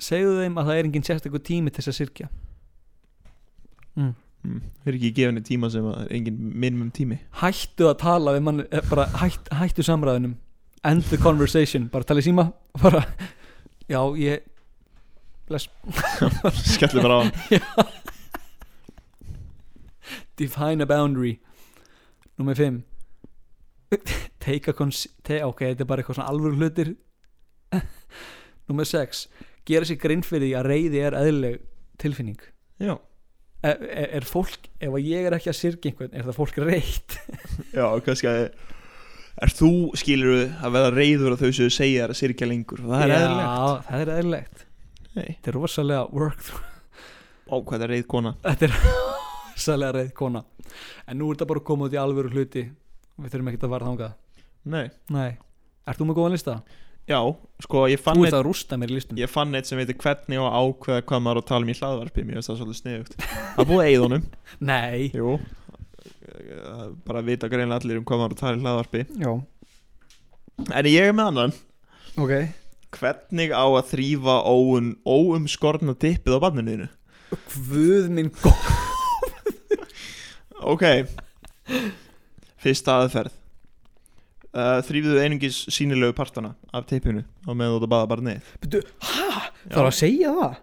Speaker 1: Segðu þeim að það er enginn sérstakur tími til þess að sirkja
Speaker 2: mm. Það er ekki gefinni tíma sem að er engin minimum
Speaker 1: (laughs)
Speaker 2: tími
Speaker 1: Hættu að tala við mann eh, bara hætt, hættu samræðunum End the conversation, bara tala í síma (laughs) bara, já ég bless,
Speaker 2: Skellir bara á hann
Speaker 1: define a boundary Númer 5 (laughs) Take a cons te, ok, þetta er bara eitthvað svona alvöru hlutir (laughs) Númer 6 Gera sér grinn fyrir því að reyði er eðlileg tilfinning
Speaker 2: Já,
Speaker 1: er, er, er fólk, ef að ég er ekki að sirka einhvern, er það fólk reytt
Speaker 2: Já, kannski að Er þú, skilur að verða reyður að þau sem segja þér að sér ekki lengur Það er
Speaker 1: Já,
Speaker 2: eðlilegt
Speaker 1: það er eðlilegt
Speaker 2: Nei,
Speaker 1: Þetta er rosalega work (laughs) through
Speaker 2: Ó, hvað það er reið kona
Speaker 1: þetta er sælega reið kona en nú er þetta bara að koma út í alvöru hluti við þurfum ekkert að fara þangað
Speaker 2: Nei
Speaker 1: nei, ert þú með góðan lista?
Speaker 2: Já, sko, ég fann
Speaker 1: þú
Speaker 2: eitt
Speaker 1: ert að rústa mér í listum
Speaker 2: Ég fann eitt sem veitir hvernig á að ákveða hvað maður á að tala um í hlaðvarpi Mér finnst það svolítið sniðugt Það er búið að eigð
Speaker 1: (laughs)
Speaker 2: honum
Speaker 1: nei,
Speaker 2: Jú Það er Bara að vita greinlega allir um hvað maður á að tala í hlaðvarpi
Speaker 1: já,
Speaker 2: En ég er með annan
Speaker 1: ok
Speaker 2: Hvernig á að þrýfa óun, óumskorna dippið á barninu þínu?
Speaker 1: hvöð minn góð
Speaker 2: Ok Fyrsta aðferð uh, Þrýfðu einungis sýnilegu partana af teipinu á meðan þú ert að baða bara neitt
Speaker 1: þarf að segja það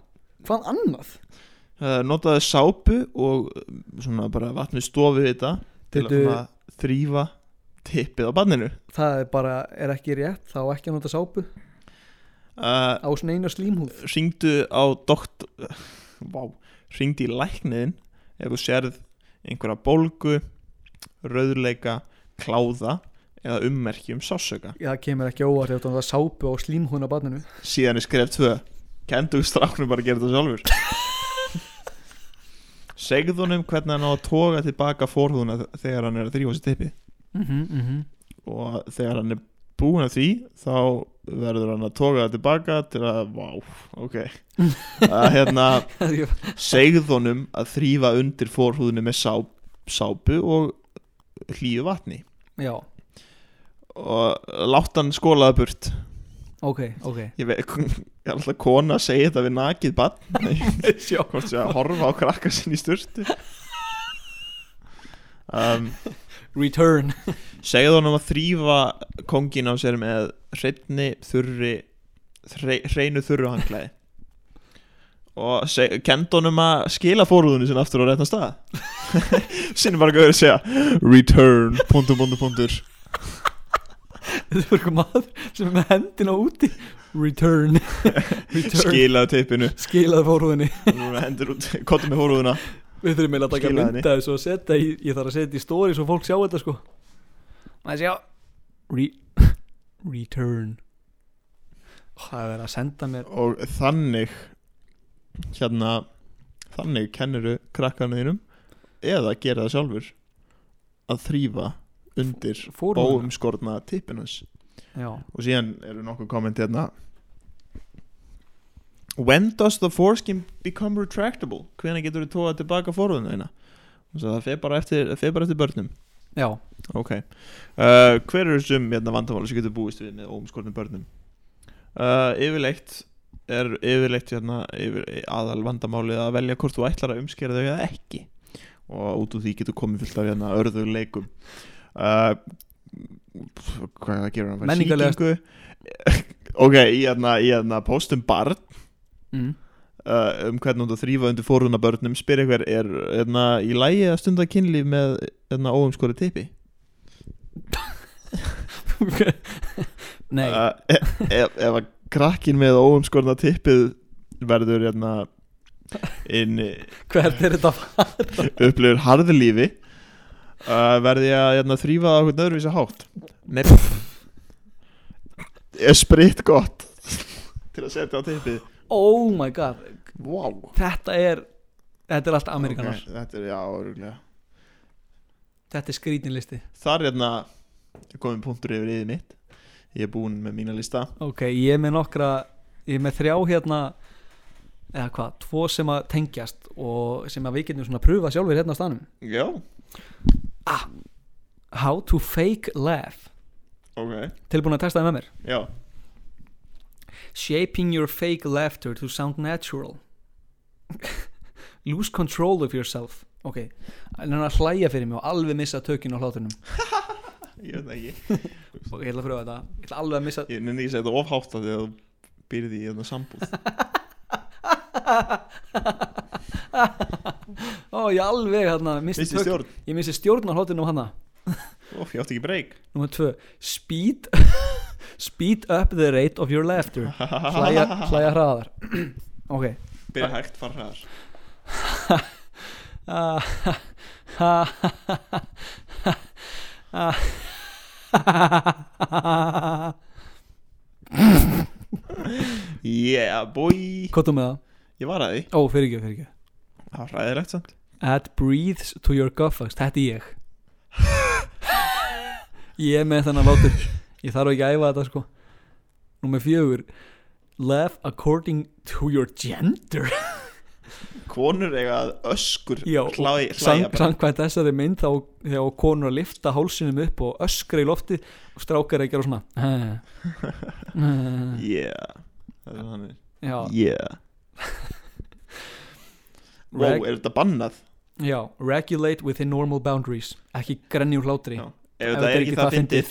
Speaker 1: hvað annað
Speaker 2: uh, Notaðu sápu og um, svona bara vatn við stofu þetta til að
Speaker 1: Bíddu.
Speaker 2: svona þrýfa tippið á banninu
Speaker 1: það er bara, er ekki rétt, þá ekki að nota sápu
Speaker 2: uh,
Speaker 1: á svona eina slímhúð
Speaker 2: Ringdu á dokt Vá, ringdu í lækniðin ef þú sérð einhverja bólgu rauðleika, kláða eða um ummerkjum sásöka
Speaker 1: Já, það kemur ekki óvart ef þú nota sápu á slímhúðin á barninu
Speaker 2: síðan er skref 2 kendu stráknum bara að gera þetta sjálfur segðu honum hvernig hann á að toga tilbaka forhúðuna þegar hann er að þrýfa sér tippi
Speaker 1: mm -hmm, mm -hmm.
Speaker 2: og þegar hann er búin að því þá verður hann að toga það tilbaka til að, vá, ok að hérna, segðu honum að þrýfa undir forhúðinu með sá, sápu og hlýju vatni
Speaker 1: (laughs) já,
Speaker 2: og látt hann skólaða burt
Speaker 1: ok, ok
Speaker 2: ég veit, ég er alltaf kona að segja þetta við nakið bann hvort sé að horfa á krakka sinni í sturtu um,
Speaker 1: return
Speaker 2: segðu honum að þrýfa kongin á sér með hreinni þurri þre- hreinu þurru hanglaði og seg, kend honum að skila fóruðunni sinna aftur á réttan stað (laughs) sinni bara gauður að segja return, punktur, punktur, punktur
Speaker 1: þetta er eitthvað maður sem er með hendina úti return, return.
Speaker 2: skilaðu teipinu
Speaker 1: skilaði fórhúðinni
Speaker 2: Núna hendur út, kottum með fóruðuna
Speaker 1: við þurfum eiginlega að taka
Speaker 2: Skilaðu
Speaker 1: mynda þessu og setja í, ég þarf að setja í story svo fólk sjá þetta sko maður sjá Re return það er verið að senda mér
Speaker 2: og þannig hérna þannig kenniru krakkanu þínum eða gera það sjálfur að þrýfa undir
Speaker 1: fórum
Speaker 2: óumskorna tippinans
Speaker 1: já,
Speaker 2: og síðan eru nokkuð komment hérna When does the foreskin become retractable? Hvenær getur þú tóað tilbaka forðuna þína? Og svo það fer bara eftir, það fer bara eftir börnum
Speaker 1: já,
Speaker 2: Ok uh, Hver eru þessum hérna, vandamáli sem getur búist við með óumskornum börnum? Uh, yfirleitt er yfirleitt hérna, yfir, aðal vandamálið að velja hvort þú ætlar að umskera þau eða ekki og út úr því getur komið fullt af hérna, örðug leikum uh, Hvað gerur hann?
Speaker 1: Menningarlegast.
Speaker 2: Sýkingu? (laughs) ok, í hérna, í hérna postum barn
Speaker 1: mm.
Speaker 2: uh, um hvernig þú átt að þrýfa undir fóruna börnum spyr eitthvað er hérna, í lægi að stunda kynlíf með hérna, óumskori tippi
Speaker 1: (laughs) nei,
Speaker 2: Uh, e- ef, ef að krakkin með óumskorna tippið verður hérna inn
Speaker 1: hvert er þetta
Speaker 2: upplifur harðlífi uh, verði að hérna, þrýfa það okkur nöðruvísa hátt Nei Er spritt gott til að setja á tippið
Speaker 1: oh my god,
Speaker 2: Wow
Speaker 1: þetta er þetta er allt amerikanar,
Speaker 2: Þetta er, já, öruglega
Speaker 1: þetta er skrítinlisti
Speaker 2: Þar hérna er komin punktur yfir yfir mitt Ég er búinn með mína lista
Speaker 1: ok, ég er með nokkra ég er með þrjá hérna eða hvað, tvo sem að tengjast og sem að við getum svona að pröfa sjálfur hérna á stanum
Speaker 2: Já
Speaker 1: How to fake laugh
Speaker 2: Ok
Speaker 1: tilbúin að testa það með mér
Speaker 2: Já
Speaker 1: Shaping your fake laughter to sound natural (laughs) Lose control of yourself Ok, hann er að hlæja fyrir mig og alveg missa tökinn á hlátunum
Speaker 2: Ég veit það ekki
Speaker 1: Ok, ég ætla að pröfa þetta Ég ætla alveg að missa (laughs)
Speaker 2: Ég nenni ekki að segja þetta ofhátt af því að þú byrði í hérna sambúð
Speaker 1: Ó, ég alveg hérna missi
Speaker 2: Missti
Speaker 1: tök-
Speaker 2: stjórn
Speaker 1: Ég missi stjórn á hérna. hlátunum hana
Speaker 2: Óf, ég átti ekki breyk
Speaker 1: Númer tvö Speed (laughs) Speed up the rate of your laughter Hlæja, (laughs) hlæja (clears throat) hraðar (laughs) Ok
Speaker 2: (laughs) Byrja hægt, fara hraðar
Speaker 1: Ah,
Speaker 2: Yeah boy
Speaker 1: Kottum með það
Speaker 2: Ég var að því
Speaker 1: Ó, fyrir ekki, fyrir ekki
Speaker 2: Það var ræðilegt samt
Speaker 1: Add breathes to your guffax Þetta (laughs) er ég Ég er með þannig að látur Ég þarf ekki að æfa þetta sko Númer fjögur Laugh according to your gender
Speaker 2: Konur eiga að öskur
Speaker 1: Já,
Speaker 2: hlæ, hlæja
Speaker 1: Sam-
Speaker 2: bara
Speaker 1: Samkvæmt þessari mynd þá þegar konur að lifta hálsinum upp og öskra í lofti og strákar að gera svona
Speaker 2: Yeah Það er hann
Speaker 1: (laughs) Já,
Speaker 2: (laughs) Yeah Wow,
Speaker 1: Reg-
Speaker 2: er þetta bannað?
Speaker 1: já Regulate within normal boundaries Ekki grenni úr hlátri
Speaker 2: Já, Ef þetta er ekki það fyndið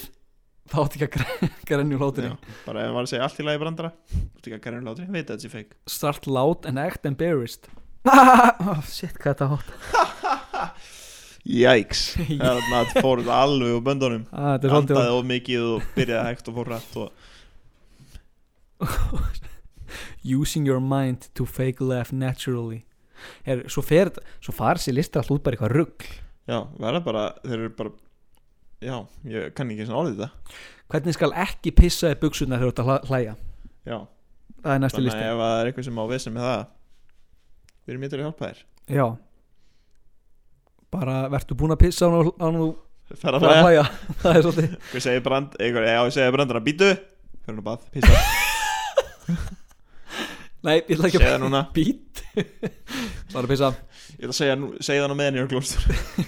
Speaker 1: Þá átt ekki að gre- (laughs) grenja úr hlátri
Speaker 2: Já, Bara ef maður var að segja allt í lagi brandara Þú ert ekki að gæra látri, veit að þetta sé feik
Speaker 1: Start loud and act embarrassed (laughs) oh, Shit, hvað þetta hótt
Speaker 2: Jæks Þannig að þetta fór þetta alveg úr böndunum
Speaker 1: ah, Þetta er svolítið
Speaker 2: Andaði of mikið og byrjaði hægt og fór rætt og
Speaker 1: Using your mind to fake laugh naturally Her, Svo fer Svo far sér listar alltaf út bara eitthvað rugg
Speaker 2: Já, verða bara, þeir eru bara Já, ég kann ekki eins og orðið þetta
Speaker 1: Hvernig skal ekki pissa í buksuna þegar þú ert að hla- hlæja
Speaker 2: Já,
Speaker 1: Það er næstu
Speaker 2: þannig að
Speaker 1: listi
Speaker 2: ef það er eitthvað sem á vesen með það Við erum mjög til að hjálpa þér
Speaker 1: Já Bara vertu búin að pissa á nú á nú
Speaker 2: Fer að
Speaker 1: að
Speaker 2: hlæja
Speaker 1: hlæja (laughs) Það er svolítið
Speaker 2: Hvað segir brand, eitthvað, já, ég segir brandara, býtu Fyrir nú bað, pissa
Speaker 1: Nei, ég ætla (laughs) ekki
Speaker 2: Segðu það núna.
Speaker 1: Bít (laughs) Bara að pissa
Speaker 2: Ég ætla að segja, nú- segja það nú meðan ég er glóstur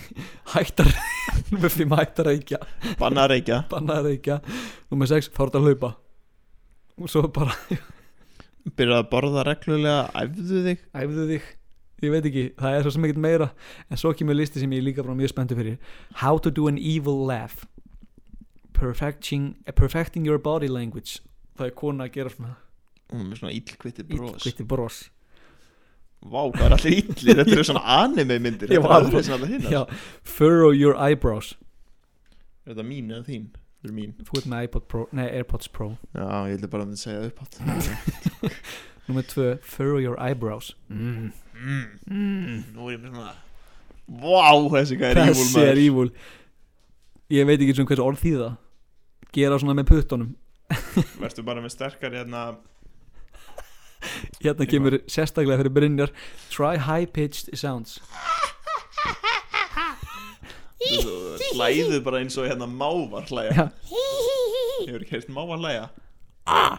Speaker 1: Hættar (laughs) Númer 5 hættar að reykja
Speaker 2: (laughs) Banna að reykja
Speaker 1: Bannaði að reykja Númer 6 Fárt að hlaupa Og svo bara
Speaker 2: Byrjaði að borða reglulega, æfðu þig
Speaker 1: Æfðu þig Ég veit ekki Það er svo sem ekkert meira En svo kemur listi sem ég er líka bara mjög spenntu fyrir How to do an evil laugh Perfecting, perfecting your body language Það er kona að gera svona
Speaker 2: Hún er með svona illkvitti bros
Speaker 1: Ítkvittir bros
Speaker 2: Vá, hvað er allir illir, þetta eru
Speaker 1: (laughs)
Speaker 2: svona anime myndir
Speaker 1: Já,
Speaker 2: Þetta er alveg svona allir
Speaker 1: Já
Speaker 2: hinnar
Speaker 1: Furrow your eyebrows
Speaker 2: Er þetta mín eða þín? Þetta er mín
Speaker 1: Þú ert með iPod Pro Nei, AirPods Pro
Speaker 2: Já, ég ætla bara að segja upp átt
Speaker 1: Númer 2 Furrow your eyebrows mm.
Speaker 2: (laughs) Nú er ég með svona Vá, þessi hvað er evil
Speaker 1: Þessi er
Speaker 2: maður
Speaker 1: evil Ég veit ekki svona hversu orð þýða Gera svona með puttunum
Speaker 2: Vertu bara með sterkar hérna
Speaker 1: Hérna kemur sérstaklega fyrir Brynjar Try high pitched sounds
Speaker 2: Hlæðu bara eins og hérna mávar hlæja Ég hefur ekki heist mávar hlæja Ah!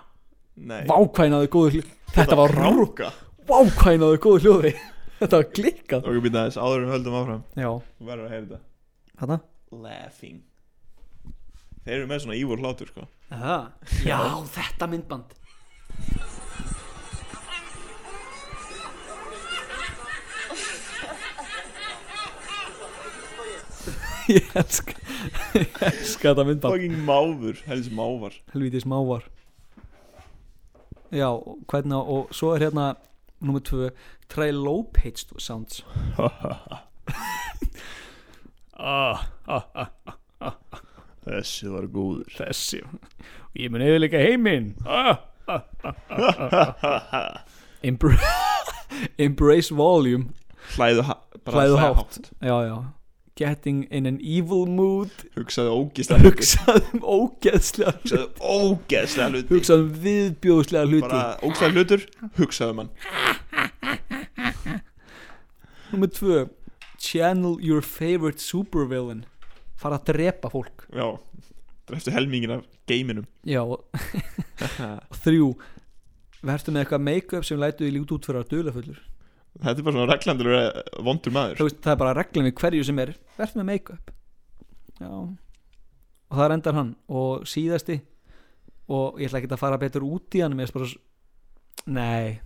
Speaker 2: Nei
Speaker 1: Vákvænaðu góðu hljóði Þetta var rár
Speaker 2: Króka
Speaker 1: Vákvænaðu góðu hljóði (laughs) Þetta var klikkað
Speaker 2: Ok, býta þess, áður en höldum áfram
Speaker 1: Já,
Speaker 2: Þú verður að heyra þetta
Speaker 1: hérna
Speaker 2: Laughing Þeir eru með svona evil hlátur sko
Speaker 1: Já, þetta myndband Ég elska (laughs) Ég elska þetta myndband
Speaker 2: Fucking máfur, helst mávar
Speaker 1: helvítið smávar já, og hvernig á- og svo er hérna nummer tvö, try low pitched sounds (laughs) ah, ah, ah,
Speaker 2: Þessi var góður
Speaker 1: þessi ég mun yfirleika heiminn ah, ah, ah, ah, ah. Embra (laughs) embrace volume
Speaker 2: Hlæðu, ha bara
Speaker 1: hlæðu
Speaker 2: hlæja
Speaker 1: hátt já, já getting in an evil (laughs) mood
Speaker 2: Hugsaðu ógislega hluti
Speaker 1: hugsaðum ógeðslega
Speaker 2: Hugsaðu ógeðslega hluti
Speaker 1: hugsaðum viðbjóðslega hluti
Speaker 2: Bara ógislega hlutur Hugsaðu mann
Speaker 1: Númer tvö Channel your favorite supervillain Fara að drepa fólk
Speaker 2: Já Dreftu helmingin af
Speaker 1: (laughs)
Speaker 2: geiminum
Speaker 1: Já og og Þrjú Vertu með eitthvað make-up sem lætu því lít út fyrir að duðla fullur
Speaker 2: Þetta er bara svona reglandur vondur maður
Speaker 1: Þú veist, það er bara reglum við hverju sem er Vertu með make-up Já Og það endar hann Og síðasti Og ég ætla ekki að fara betur út í hann Mér er bara s- Nei Ég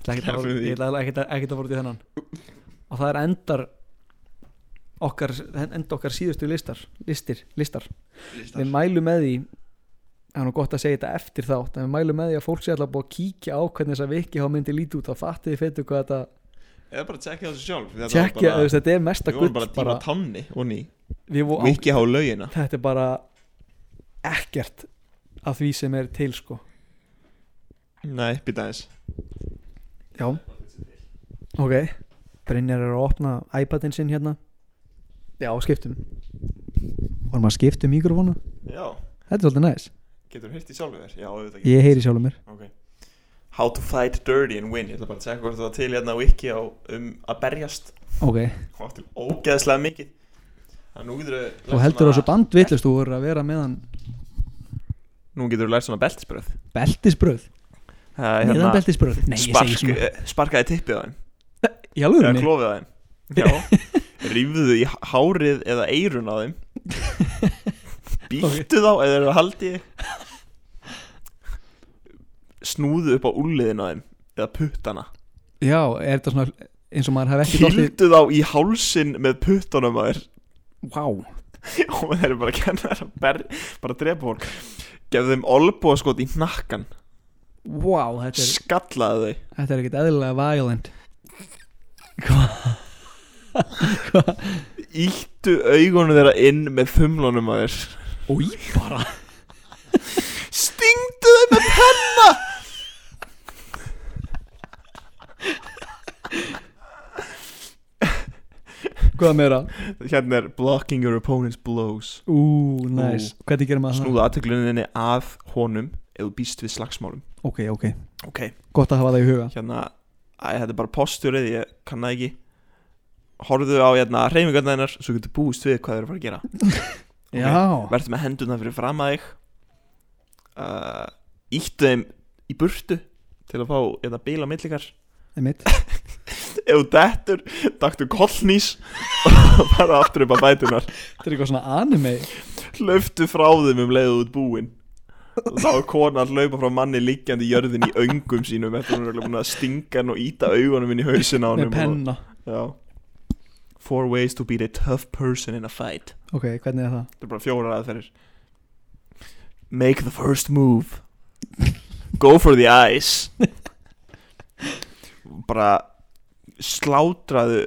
Speaker 1: ætla ekkert að fara-
Speaker 2: Sleppum því.
Speaker 1: Ég ætla ekki að, ekki að fara út í þennan Og það er endar Okkar, enda okkar síðustu listar Listir, listar við mælum með því það er nú gott að segja þetta eftir þátt en við mælum með því að fólk sé alltaf búið að kíkja á hvernig þess að viki þá myndi líti út þá fattið þið fettu hvað þetta
Speaker 2: Eða bara tjekkja þessu sjálf Þetta var
Speaker 1: tjekkja, þú
Speaker 2: bara-
Speaker 1: veist, þetta er mesta
Speaker 2: Við
Speaker 1: gull
Speaker 2: vorum bara að tíma
Speaker 1: bara,
Speaker 2: tanni og ný
Speaker 1: við vorum á,
Speaker 2: Viki há laugina
Speaker 1: þetta er bara ekkert af því sem er til sko
Speaker 2: Nei, býta aðeins
Speaker 1: já ok, Brynjar er að opna iPadin sinn hérna já, skiptum vorum að skipta um mikrofónu
Speaker 2: Já,
Speaker 1: þetta er svolítið næs,
Speaker 2: getur þú heyrt í sjálfu þér? Já, auðvitað
Speaker 1: ég heyri sjálfur mér
Speaker 2: Ok How to fight dirty and win Ég ætla bara að segja hvort það var til hérna á wiki á, um að berjast
Speaker 1: ok,
Speaker 2: og átti ógeðslega mikið Þannig að nú getur þú
Speaker 1: og heldur þessu bandvillist þú voru að vera með hann
Speaker 2: Nú getur þú lært svona beltisbröð
Speaker 1: beltisbröð,
Speaker 2: Það er
Speaker 1: neðan beltisbröð nei, ég segi
Speaker 2: hérna spark,
Speaker 1: svona,
Speaker 2: eh, Sparkaði tippið á þeim
Speaker 1: í alveg
Speaker 2: Eða klófið á þeim (laughs) Já Rífðu í hárið eða eirun á
Speaker 1: (laughs)
Speaker 2: þeim Býttu þá eða þeir haldi Snúðu upp á úliðin á þeim Eða puttana
Speaker 1: já, er þetta svona eins og maður hef ekki dottið
Speaker 2: Kýldu þá í hálsin með puttunum á þeir
Speaker 1: wow.
Speaker 2: (laughs) Og þeir eru bara að kenna þeir að ber, bara að drepa fólk Gefðu þeim olbúaskot í hnakkan
Speaker 1: wow, þetta er,
Speaker 2: Skallaðu þau
Speaker 1: þetta er ekkert eðlilega violent hvað hvað,
Speaker 2: Íttu augunum þeirra inn með þumlunum á þeir
Speaker 1: ói bara
Speaker 2: Stingdu þau með penna
Speaker 1: hvað meira,
Speaker 2: Hérna er blocking your opponent's blows
Speaker 1: ú, nice hvernig gerum maður það,
Speaker 2: Snúða aðtökluninni að honum eða býst við slagsmálum
Speaker 1: ok, ok
Speaker 2: Ok
Speaker 1: gott að hafa það í huga
Speaker 2: Hérna, æ, þetta er bara postjórið, ég kann það ekki Horfðu á hérna reyfingarna hennar Svo getur búist við hvað þeir eru að fara að gera Ok.
Speaker 1: já,
Speaker 2: Vertu með hendurna fyrir fram að þig uh, Íttu þeim í burtu Til að fá hérna bíla millikar
Speaker 1: einmitt
Speaker 2: Ef þú dettur, taktu kollnís (laughs) Og bara aftur upp að bætunar
Speaker 1: þetta er eitthvað svona anime
Speaker 2: hlöftu frá þeim um leiðu út búinn og þá er kona að hlaupa frá manni liggjandi í jörðin í öngum sínum eftir að hún er örugglega búin að stinga hann og íta augunum inn í hausin á
Speaker 1: með
Speaker 2: hann
Speaker 1: penna
Speaker 2: já. Four ways to beat a tough person in a fight
Speaker 1: ok, hvernig er það?
Speaker 2: Þetta er bara fjórar aðferðir Make the first move Go for the eyes Bara slátraðu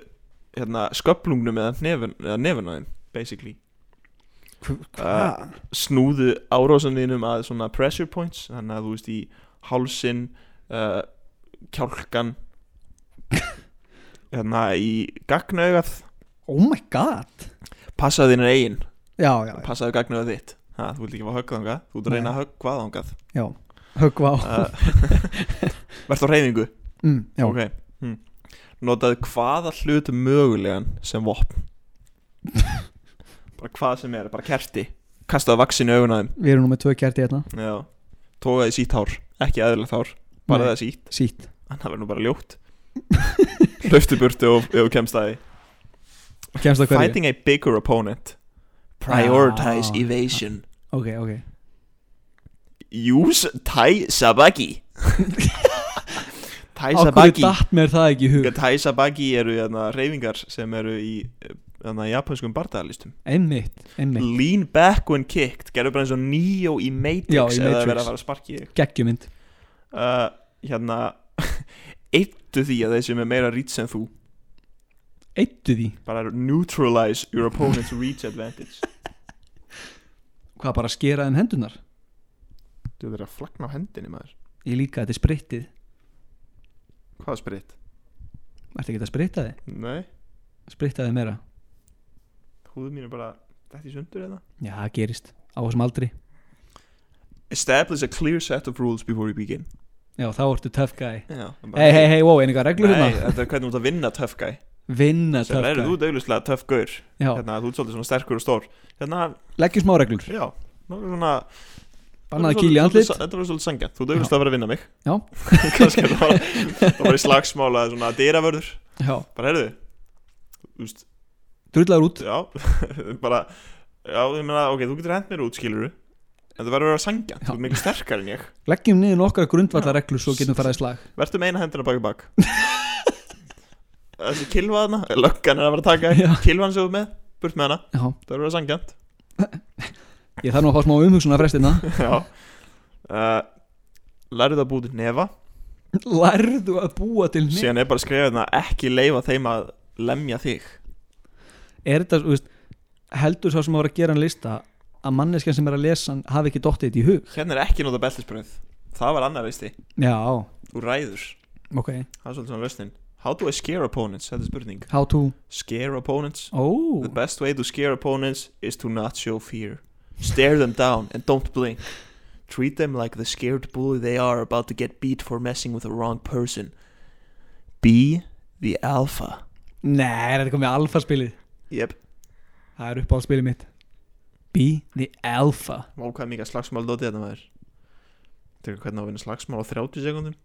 Speaker 2: hérna, sköplungnum eða nefun, eða nefun á þeim basically uh, Snúðu árásaninum að svona pressure points þannig að þú veist í hálsin uh,
Speaker 1: (laughs)
Speaker 2: kjálkan hérna í gagnaugað
Speaker 1: oh my god
Speaker 2: passaðu þínar eigin
Speaker 1: já, já, já.
Speaker 2: passaðu gagnuðu þitt ha, þú vilt ekki fá höggað þangað, þú vilt að
Speaker 1: Nei.
Speaker 2: reyna að höggvað
Speaker 1: (laughs)
Speaker 2: þangað
Speaker 1: höggva á
Speaker 2: Uh, (laughs) vertu á reyfingu
Speaker 1: mm, já,
Speaker 2: ok hmm. notaðu hvaða hlut mögulegan
Speaker 1: (laughs)
Speaker 2: sem vopn bara hvað sem er, bara kerti kastaðu vaksinu augun á þeim
Speaker 1: við erum nú með tvö kjarti hérna
Speaker 2: Já. tókaðu í sítt hár, ekki aðurlega hár bara
Speaker 1: Nei.
Speaker 2: það sítt,
Speaker 1: sítt
Speaker 2: en það verður nú bara ljótt (laughs) hlöftu burtu og, og kemst að því
Speaker 1: kemst það hverju?
Speaker 2: fighting a bigger opponent prioritize
Speaker 1: Já.
Speaker 2: evasion
Speaker 1: ok, ok
Speaker 2: Use Tai
Speaker 1: (laughs)
Speaker 2: Sabaki Tai
Speaker 1: á hverju
Speaker 2: Sabaki
Speaker 1: datt mér það ekki í hug
Speaker 2: Ja, Tai Sabaki eru hérna, reyfingar sem eru í hérna, japanskum bardagalistum
Speaker 1: einmitt, einmitt
Speaker 2: Lean back when kicked Gerðu bara eins og Neo í Matrix
Speaker 1: Já, í
Speaker 2: eða
Speaker 1: Matrix.
Speaker 2: verið að fara að sparki í þig
Speaker 1: geggjumynd
Speaker 2: uh, Hérna (laughs) Eittu því að þeir sem er meira reach en þú
Speaker 1: eittu því
Speaker 2: bara neutralize your opponent's reach advantage
Speaker 1: hvað bara skera um þeim hendunar
Speaker 2: Þú verður að flagna á hendinni maður
Speaker 1: ég líka þetta er spritið
Speaker 2: Hvað sprit?
Speaker 1: ertu ekki að sprita þið?
Speaker 2: Nei,
Speaker 1: sprita þið meira
Speaker 2: húðu mín er bara Þetta í sundur hérna. eða
Speaker 1: já, það gerist á þessum aldri
Speaker 2: Establish a clear set of rules before you begin
Speaker 1: já, þá ertu tough guy
Speaker 2: Já, bara-
Speaker 1: hei, hei, hei, wow, einhverja reglur
Speaker 2: Nei,
Speaker 1: hérna
Speaker 2: þetta er hvernig þú ert að vinna tough guy
Speaker 1: vinna
Speaker 2: Sem
Speaker 1: tough
Speaker 2: er, Þú
Speaker 1: guy
Speaker 2: ert auðvitað tough gaur
Speaker 1: já,
Speaker 2: Hérna, þú ert svolítið svona sterkur og stór Hérna,
Speaker 1: leggjum smá reglur
Speaker 2: já Nú er svona
Speaker 1: bannað að
Speaker 2: svolítið-
Speaker 1: kýla í andlit
Speaker 2: svolítið- Þetta var svolítið sangja Þú ert auðvitað að vera að vinna mig
Speaker 1: Já.
Speaker 2: (laughs) Kannski er það bara Það var í slagsmála Svona dyravörður
Speaker 1: já,
Speaker 2: Bara heyrðu Þú veist
Speaker 1: drullar út
Speaker 2: Já (laughs) Bara Já, ég meina Ok, þú getur hent mér út skilur En þú verður að vera sangja Þú ert miklu sterkar en ég
Speaker 1: leggjum niður nokkra grundvallarreglur svo getum farað í slag
Speaker 2: Vertu með eina hendina bak í bak Þessi kilvaðna Löggan er að vera að taka
Speaker 1: Já.
Speaker 2: þig. Kylfan sem þú ert með Burt með hana
Speaker 1: já,
Speaker 2: Það verður að sangjant
Speaker 1: ég þarf nú að fá smá umhugsun að frestina
Speaker 2: Já uh, Lærðu að búa til nefa
Speaker 1: (laughs) lærðu að búa til nefn
Speaker 2: Síðan er bara að skrifa hérna Ekki leifa þeim að lemja þig
Speaker 1: er þetta, þú veist, heldur sá sem að vera að gera hann lista að manneskjan sem er að lesa hann hafi ekki dottið þetta í hug
Speaker 2: Hérna er ekki nota beltisbröð Það var annar listi
Speaker 1: já,
Speaker 2: Þú ræður
Speaker 1: ok,
Speaker 2: Það er svolítið svona löstin How do I scare opponents? Þetta er spurning
Speaker 1: how to
Speaker 2: Scare opponents
Speaker 1: oh,
Speaker 2: The best way to scare opponents is to not show fear Stare them down and don't blink Treat them like the scared bully they are about to get beat for messing with the wrong person. Be the alpha.
Speaker 1: Nei, er þetta komið alfa spilið
Speaker 2: Jep.
Speaker 1: Það er upp á spilið mitt Be the alpha
Speaker 2: Vá hvað mikið slagsmál dótið þetta maður. Tekur hvernig á að vinna slagsmál á 30 sekundum.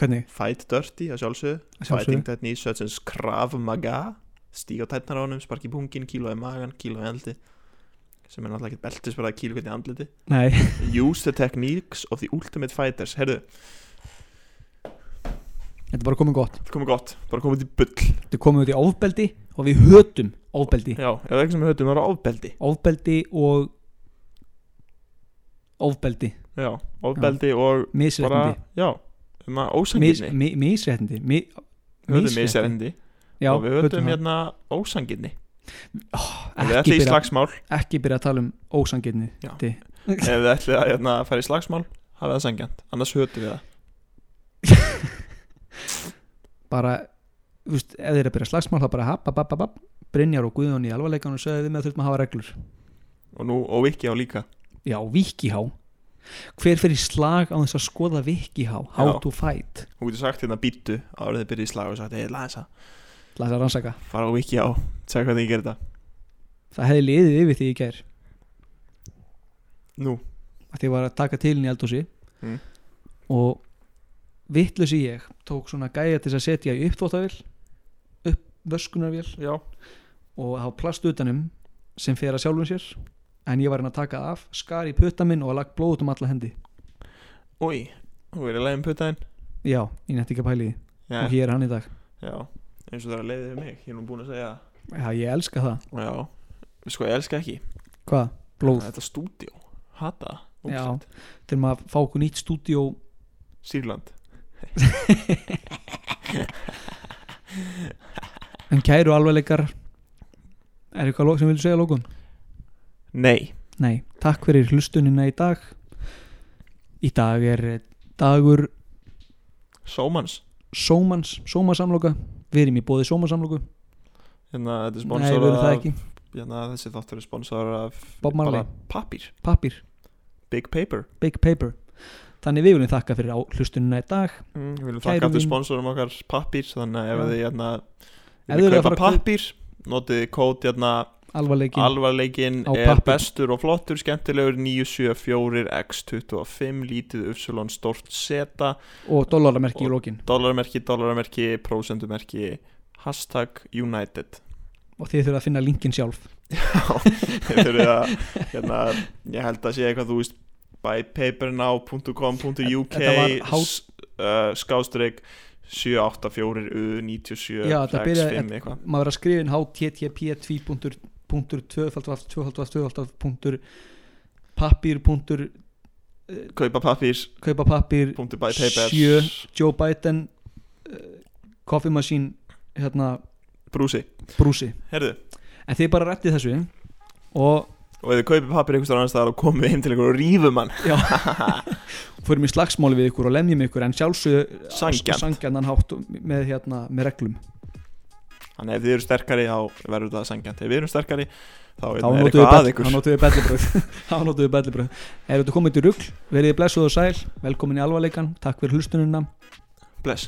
Speaker 1: Hvernig?
Speaker 2: Fight dirty að sjálfsögðu.
Speaker 1: Að sjálfsögðu.
Speaker 2: Fighting techniques such as krav maga. Stíg á tætnar á honum, sparki í pungin, kíló í magan, kíló í andli. Sem er náttúrulega ekkert beltisparað kíló hvernig andliti.
Speaker 1: Nei
Speaker 2: Use the techniques of the ultimate fighters. Herðu,
Speaker 1: (laughs) Þetta er bara komið gott
Speaker 2: þetta komið gott. Bara komið til bull.
Speaker 1: Þetta er komið út í ofbeldi og við hötum ofbeldi
Speaker 2: Já, ef það er ekki sem við höfðum, það er ofbeldi.
Speaker 1: Ofbeldi og Ofbeldi
Speaker 2: Já, ofbeldi og bara,
Speaker 1: Misréttindi
Speaker 2: já, um að
Speaker 1: Mis,
Speaker 2: ósangirni
Speaker 1: mi, Misréttindi mi,
Speaker 2: Við höfum
Speaker 1: misrétti.
Speaker 2: misréttindi
Speaker 1: Já,
Speaker 2: og við höfum
Speaker 1: það.
Speaker 2: hérna ósangirni Ef
Speaker 1: ekki
Speaker 2: við ætlum í
Speaker 1: byrja,
Speaker 2: slagsmál
Speaker 1: ekki byrja að tala um ósangirni
Speaker 2: Já.
Speaker 1: Þi-
Speaker 2: Ef við ætlum að hérna, fara í slagsmál hafa það sangjant, annars höfum við það
Speaker 1: bara, þú veist, ef þeir eru að byrja slagsmál þá bara hap, hap, hap, hap, hap, Brynjar og Guðjón í alvarleikanum sögðu við með þurfum að hafa reglur
Speaker 2: og nú, og Viki á líka
Speaker 1: Já, vikihá Hver fyrir slag á þess að skoða vikihá How
Speaker 2: Já.
Speaker 1: to fight
Speaker 2: hún getur sagt hérna býttu árið þið byrja í slag og sagt, hei, laðið það,
Speaker 1: Læs að rannsaka
Speaker 2: fara á Viki á segja hvað þið gerir þetta
Speaker 1: Það hefði liðið yfir því í gær
Speaker 2: Nú,
Speaker 1: að ég var að taka til henni í eldhúsi
Speaker 2: Mm.
Speaker 1: og vittlus í ég tók svona gæja til þess að setja í uppþóttavél upp vöskunarvél
Speaker 2: já,
Speaker 1: og hafa plast utanum sem fer að sjálfum sér en ég var henni að taka af, skar í putta minn og lagt blóð út um alla hendi
Speaker 2: úi hún verið að leiðin puttaðinn
Speaker 1: já, ég nætti ekki að pæli því og
Speaker 2: já,
Speaker 1: hér er hann í dag
Speaker 2: já, eins og það er að leiðið við mig ég er nú búin að segja,
Speaker 1: já, ég elska það,
Speaker 2: já, sko ég elska ekki
Speaker 1: hvað, blóð
Speaker 2: þetta stúdíó, hata það
Speaker 1: Já.
Speaker 2: ógeðslegt.
Speaker 1: til maður að fá okkur nýtt stúdíó
Speaker 2: Sýrland
Speaker 1: en kæru alvegleikar er eitthvað lo- sem vildu segja að lókum?
Speaker 2: Nei
Speaker 1: Nei, takk fyrir hlustunina í dag Í dag er eh, dagur
Speaker 2: Sómans
Speaker 1: sómans, sómasamloka Við erum í bóði sómasamloku
Speaker 2: hérna, þetta er
Speaker 1: Nei, við
Speaker 2: sponsor
Speaker 1: erum það
Speaker 2: af
Speaker 1: ekki
Speaker 2: hérna, þessi þáttur er sponsor af
Speaker 1: Bob Marley.
Speaker 2: pappir,
Speaker 1: Pappir,
Speaker 2: big paper
Speaker 1: big paper Þannig við viljum þakka fyrir á hlustunina í dag
Speaker 2: mm, við viljum
Speaker 1: Kæru
Speaker 2: þakka aftur
Speaker 1: vin.
Speaker 2: sponsorum okkar pappir þannig að ef
Speaker 1: Já.
Speaker 2: þið hérna,
Speaker 1: Ef þið
Speaker 2: viljum
Speaker 1: viljið
Speaker 2: kaupa
Speaker 1: fara að kaup-
Speaker 2: pappir notið kót hérna,
Speaker 1: Alvarleikin
Speaker 2: alvarleikin
Speaker 1: Á
Speaker 2: er
Speaker 1: pappír.
Speaker 2: bestur og flottur skemmtilegur 974x25 lítið uppsulon stórt seta
Speaker 1: og dollaramerki
Speaker 2: og-
Speaker 1: í lokin
Speaker 2: dólarmerki, dólarmerki, prósendumerki hashtag United
Speaker 1: (laughs) Og þið þurfa að finna linkin sjálf
Speaker 2: Þeir fyrir að hérna, ég held að sé eitthvað þú veist bypapernow.com.uk
Speaker 1: Þetta var há-
Speaker 2: s- uh, skástrík 784 u 97
Speaker 1: Já, þetta byrjaði-
Speaker 2: 65 eitthvað
Speaker 1: Maður er að skrifa inn http 2.2.2.2.2. pappír. punktur,
Speaker 2: kaupa pappir,
Speaker 1: kaupa pappír
Speaker 2: punktu bypaper
Speaker 1: Sjö. Joe Biden uh, Coffee Machine hérna,
Speaker 2: brúsi,
Speaker 1: brúsi
Speaker 2: herðu
Speaker 1: en þið bara rettið þessu og
Speaker 2: og ef þið kaupa pappir einhvers staðar annars staðar og komið heim til ykkur og rífum hann (laughs)
Speaker 1: já fórum í slagsmáli við ykkur og lemjum ykkur en sjálfsög
Speaker 2: Sanngjarnt.
Speaker 1: sangjarnan hátt og með, hérna, með reglum
Speaker 2: þannig ef þið eru sterkari þá verður það sangjant ef við erum sterkari
Speaker 1: þá
Speaker 2: þá hérna, er
Speaker 1: notuðu
Speaker 2: eitthvað að
Speaker 1: bell- þá
Speaker 2: ykkur
Speaker 1: notuðu við bellibröð (laughs) þá notuðu við bellibröð er þetta komið til rugl, verið þið blessuð og sæl velkomin í alvarleikan, takk fyrir hlustununa
Speaker 2: bless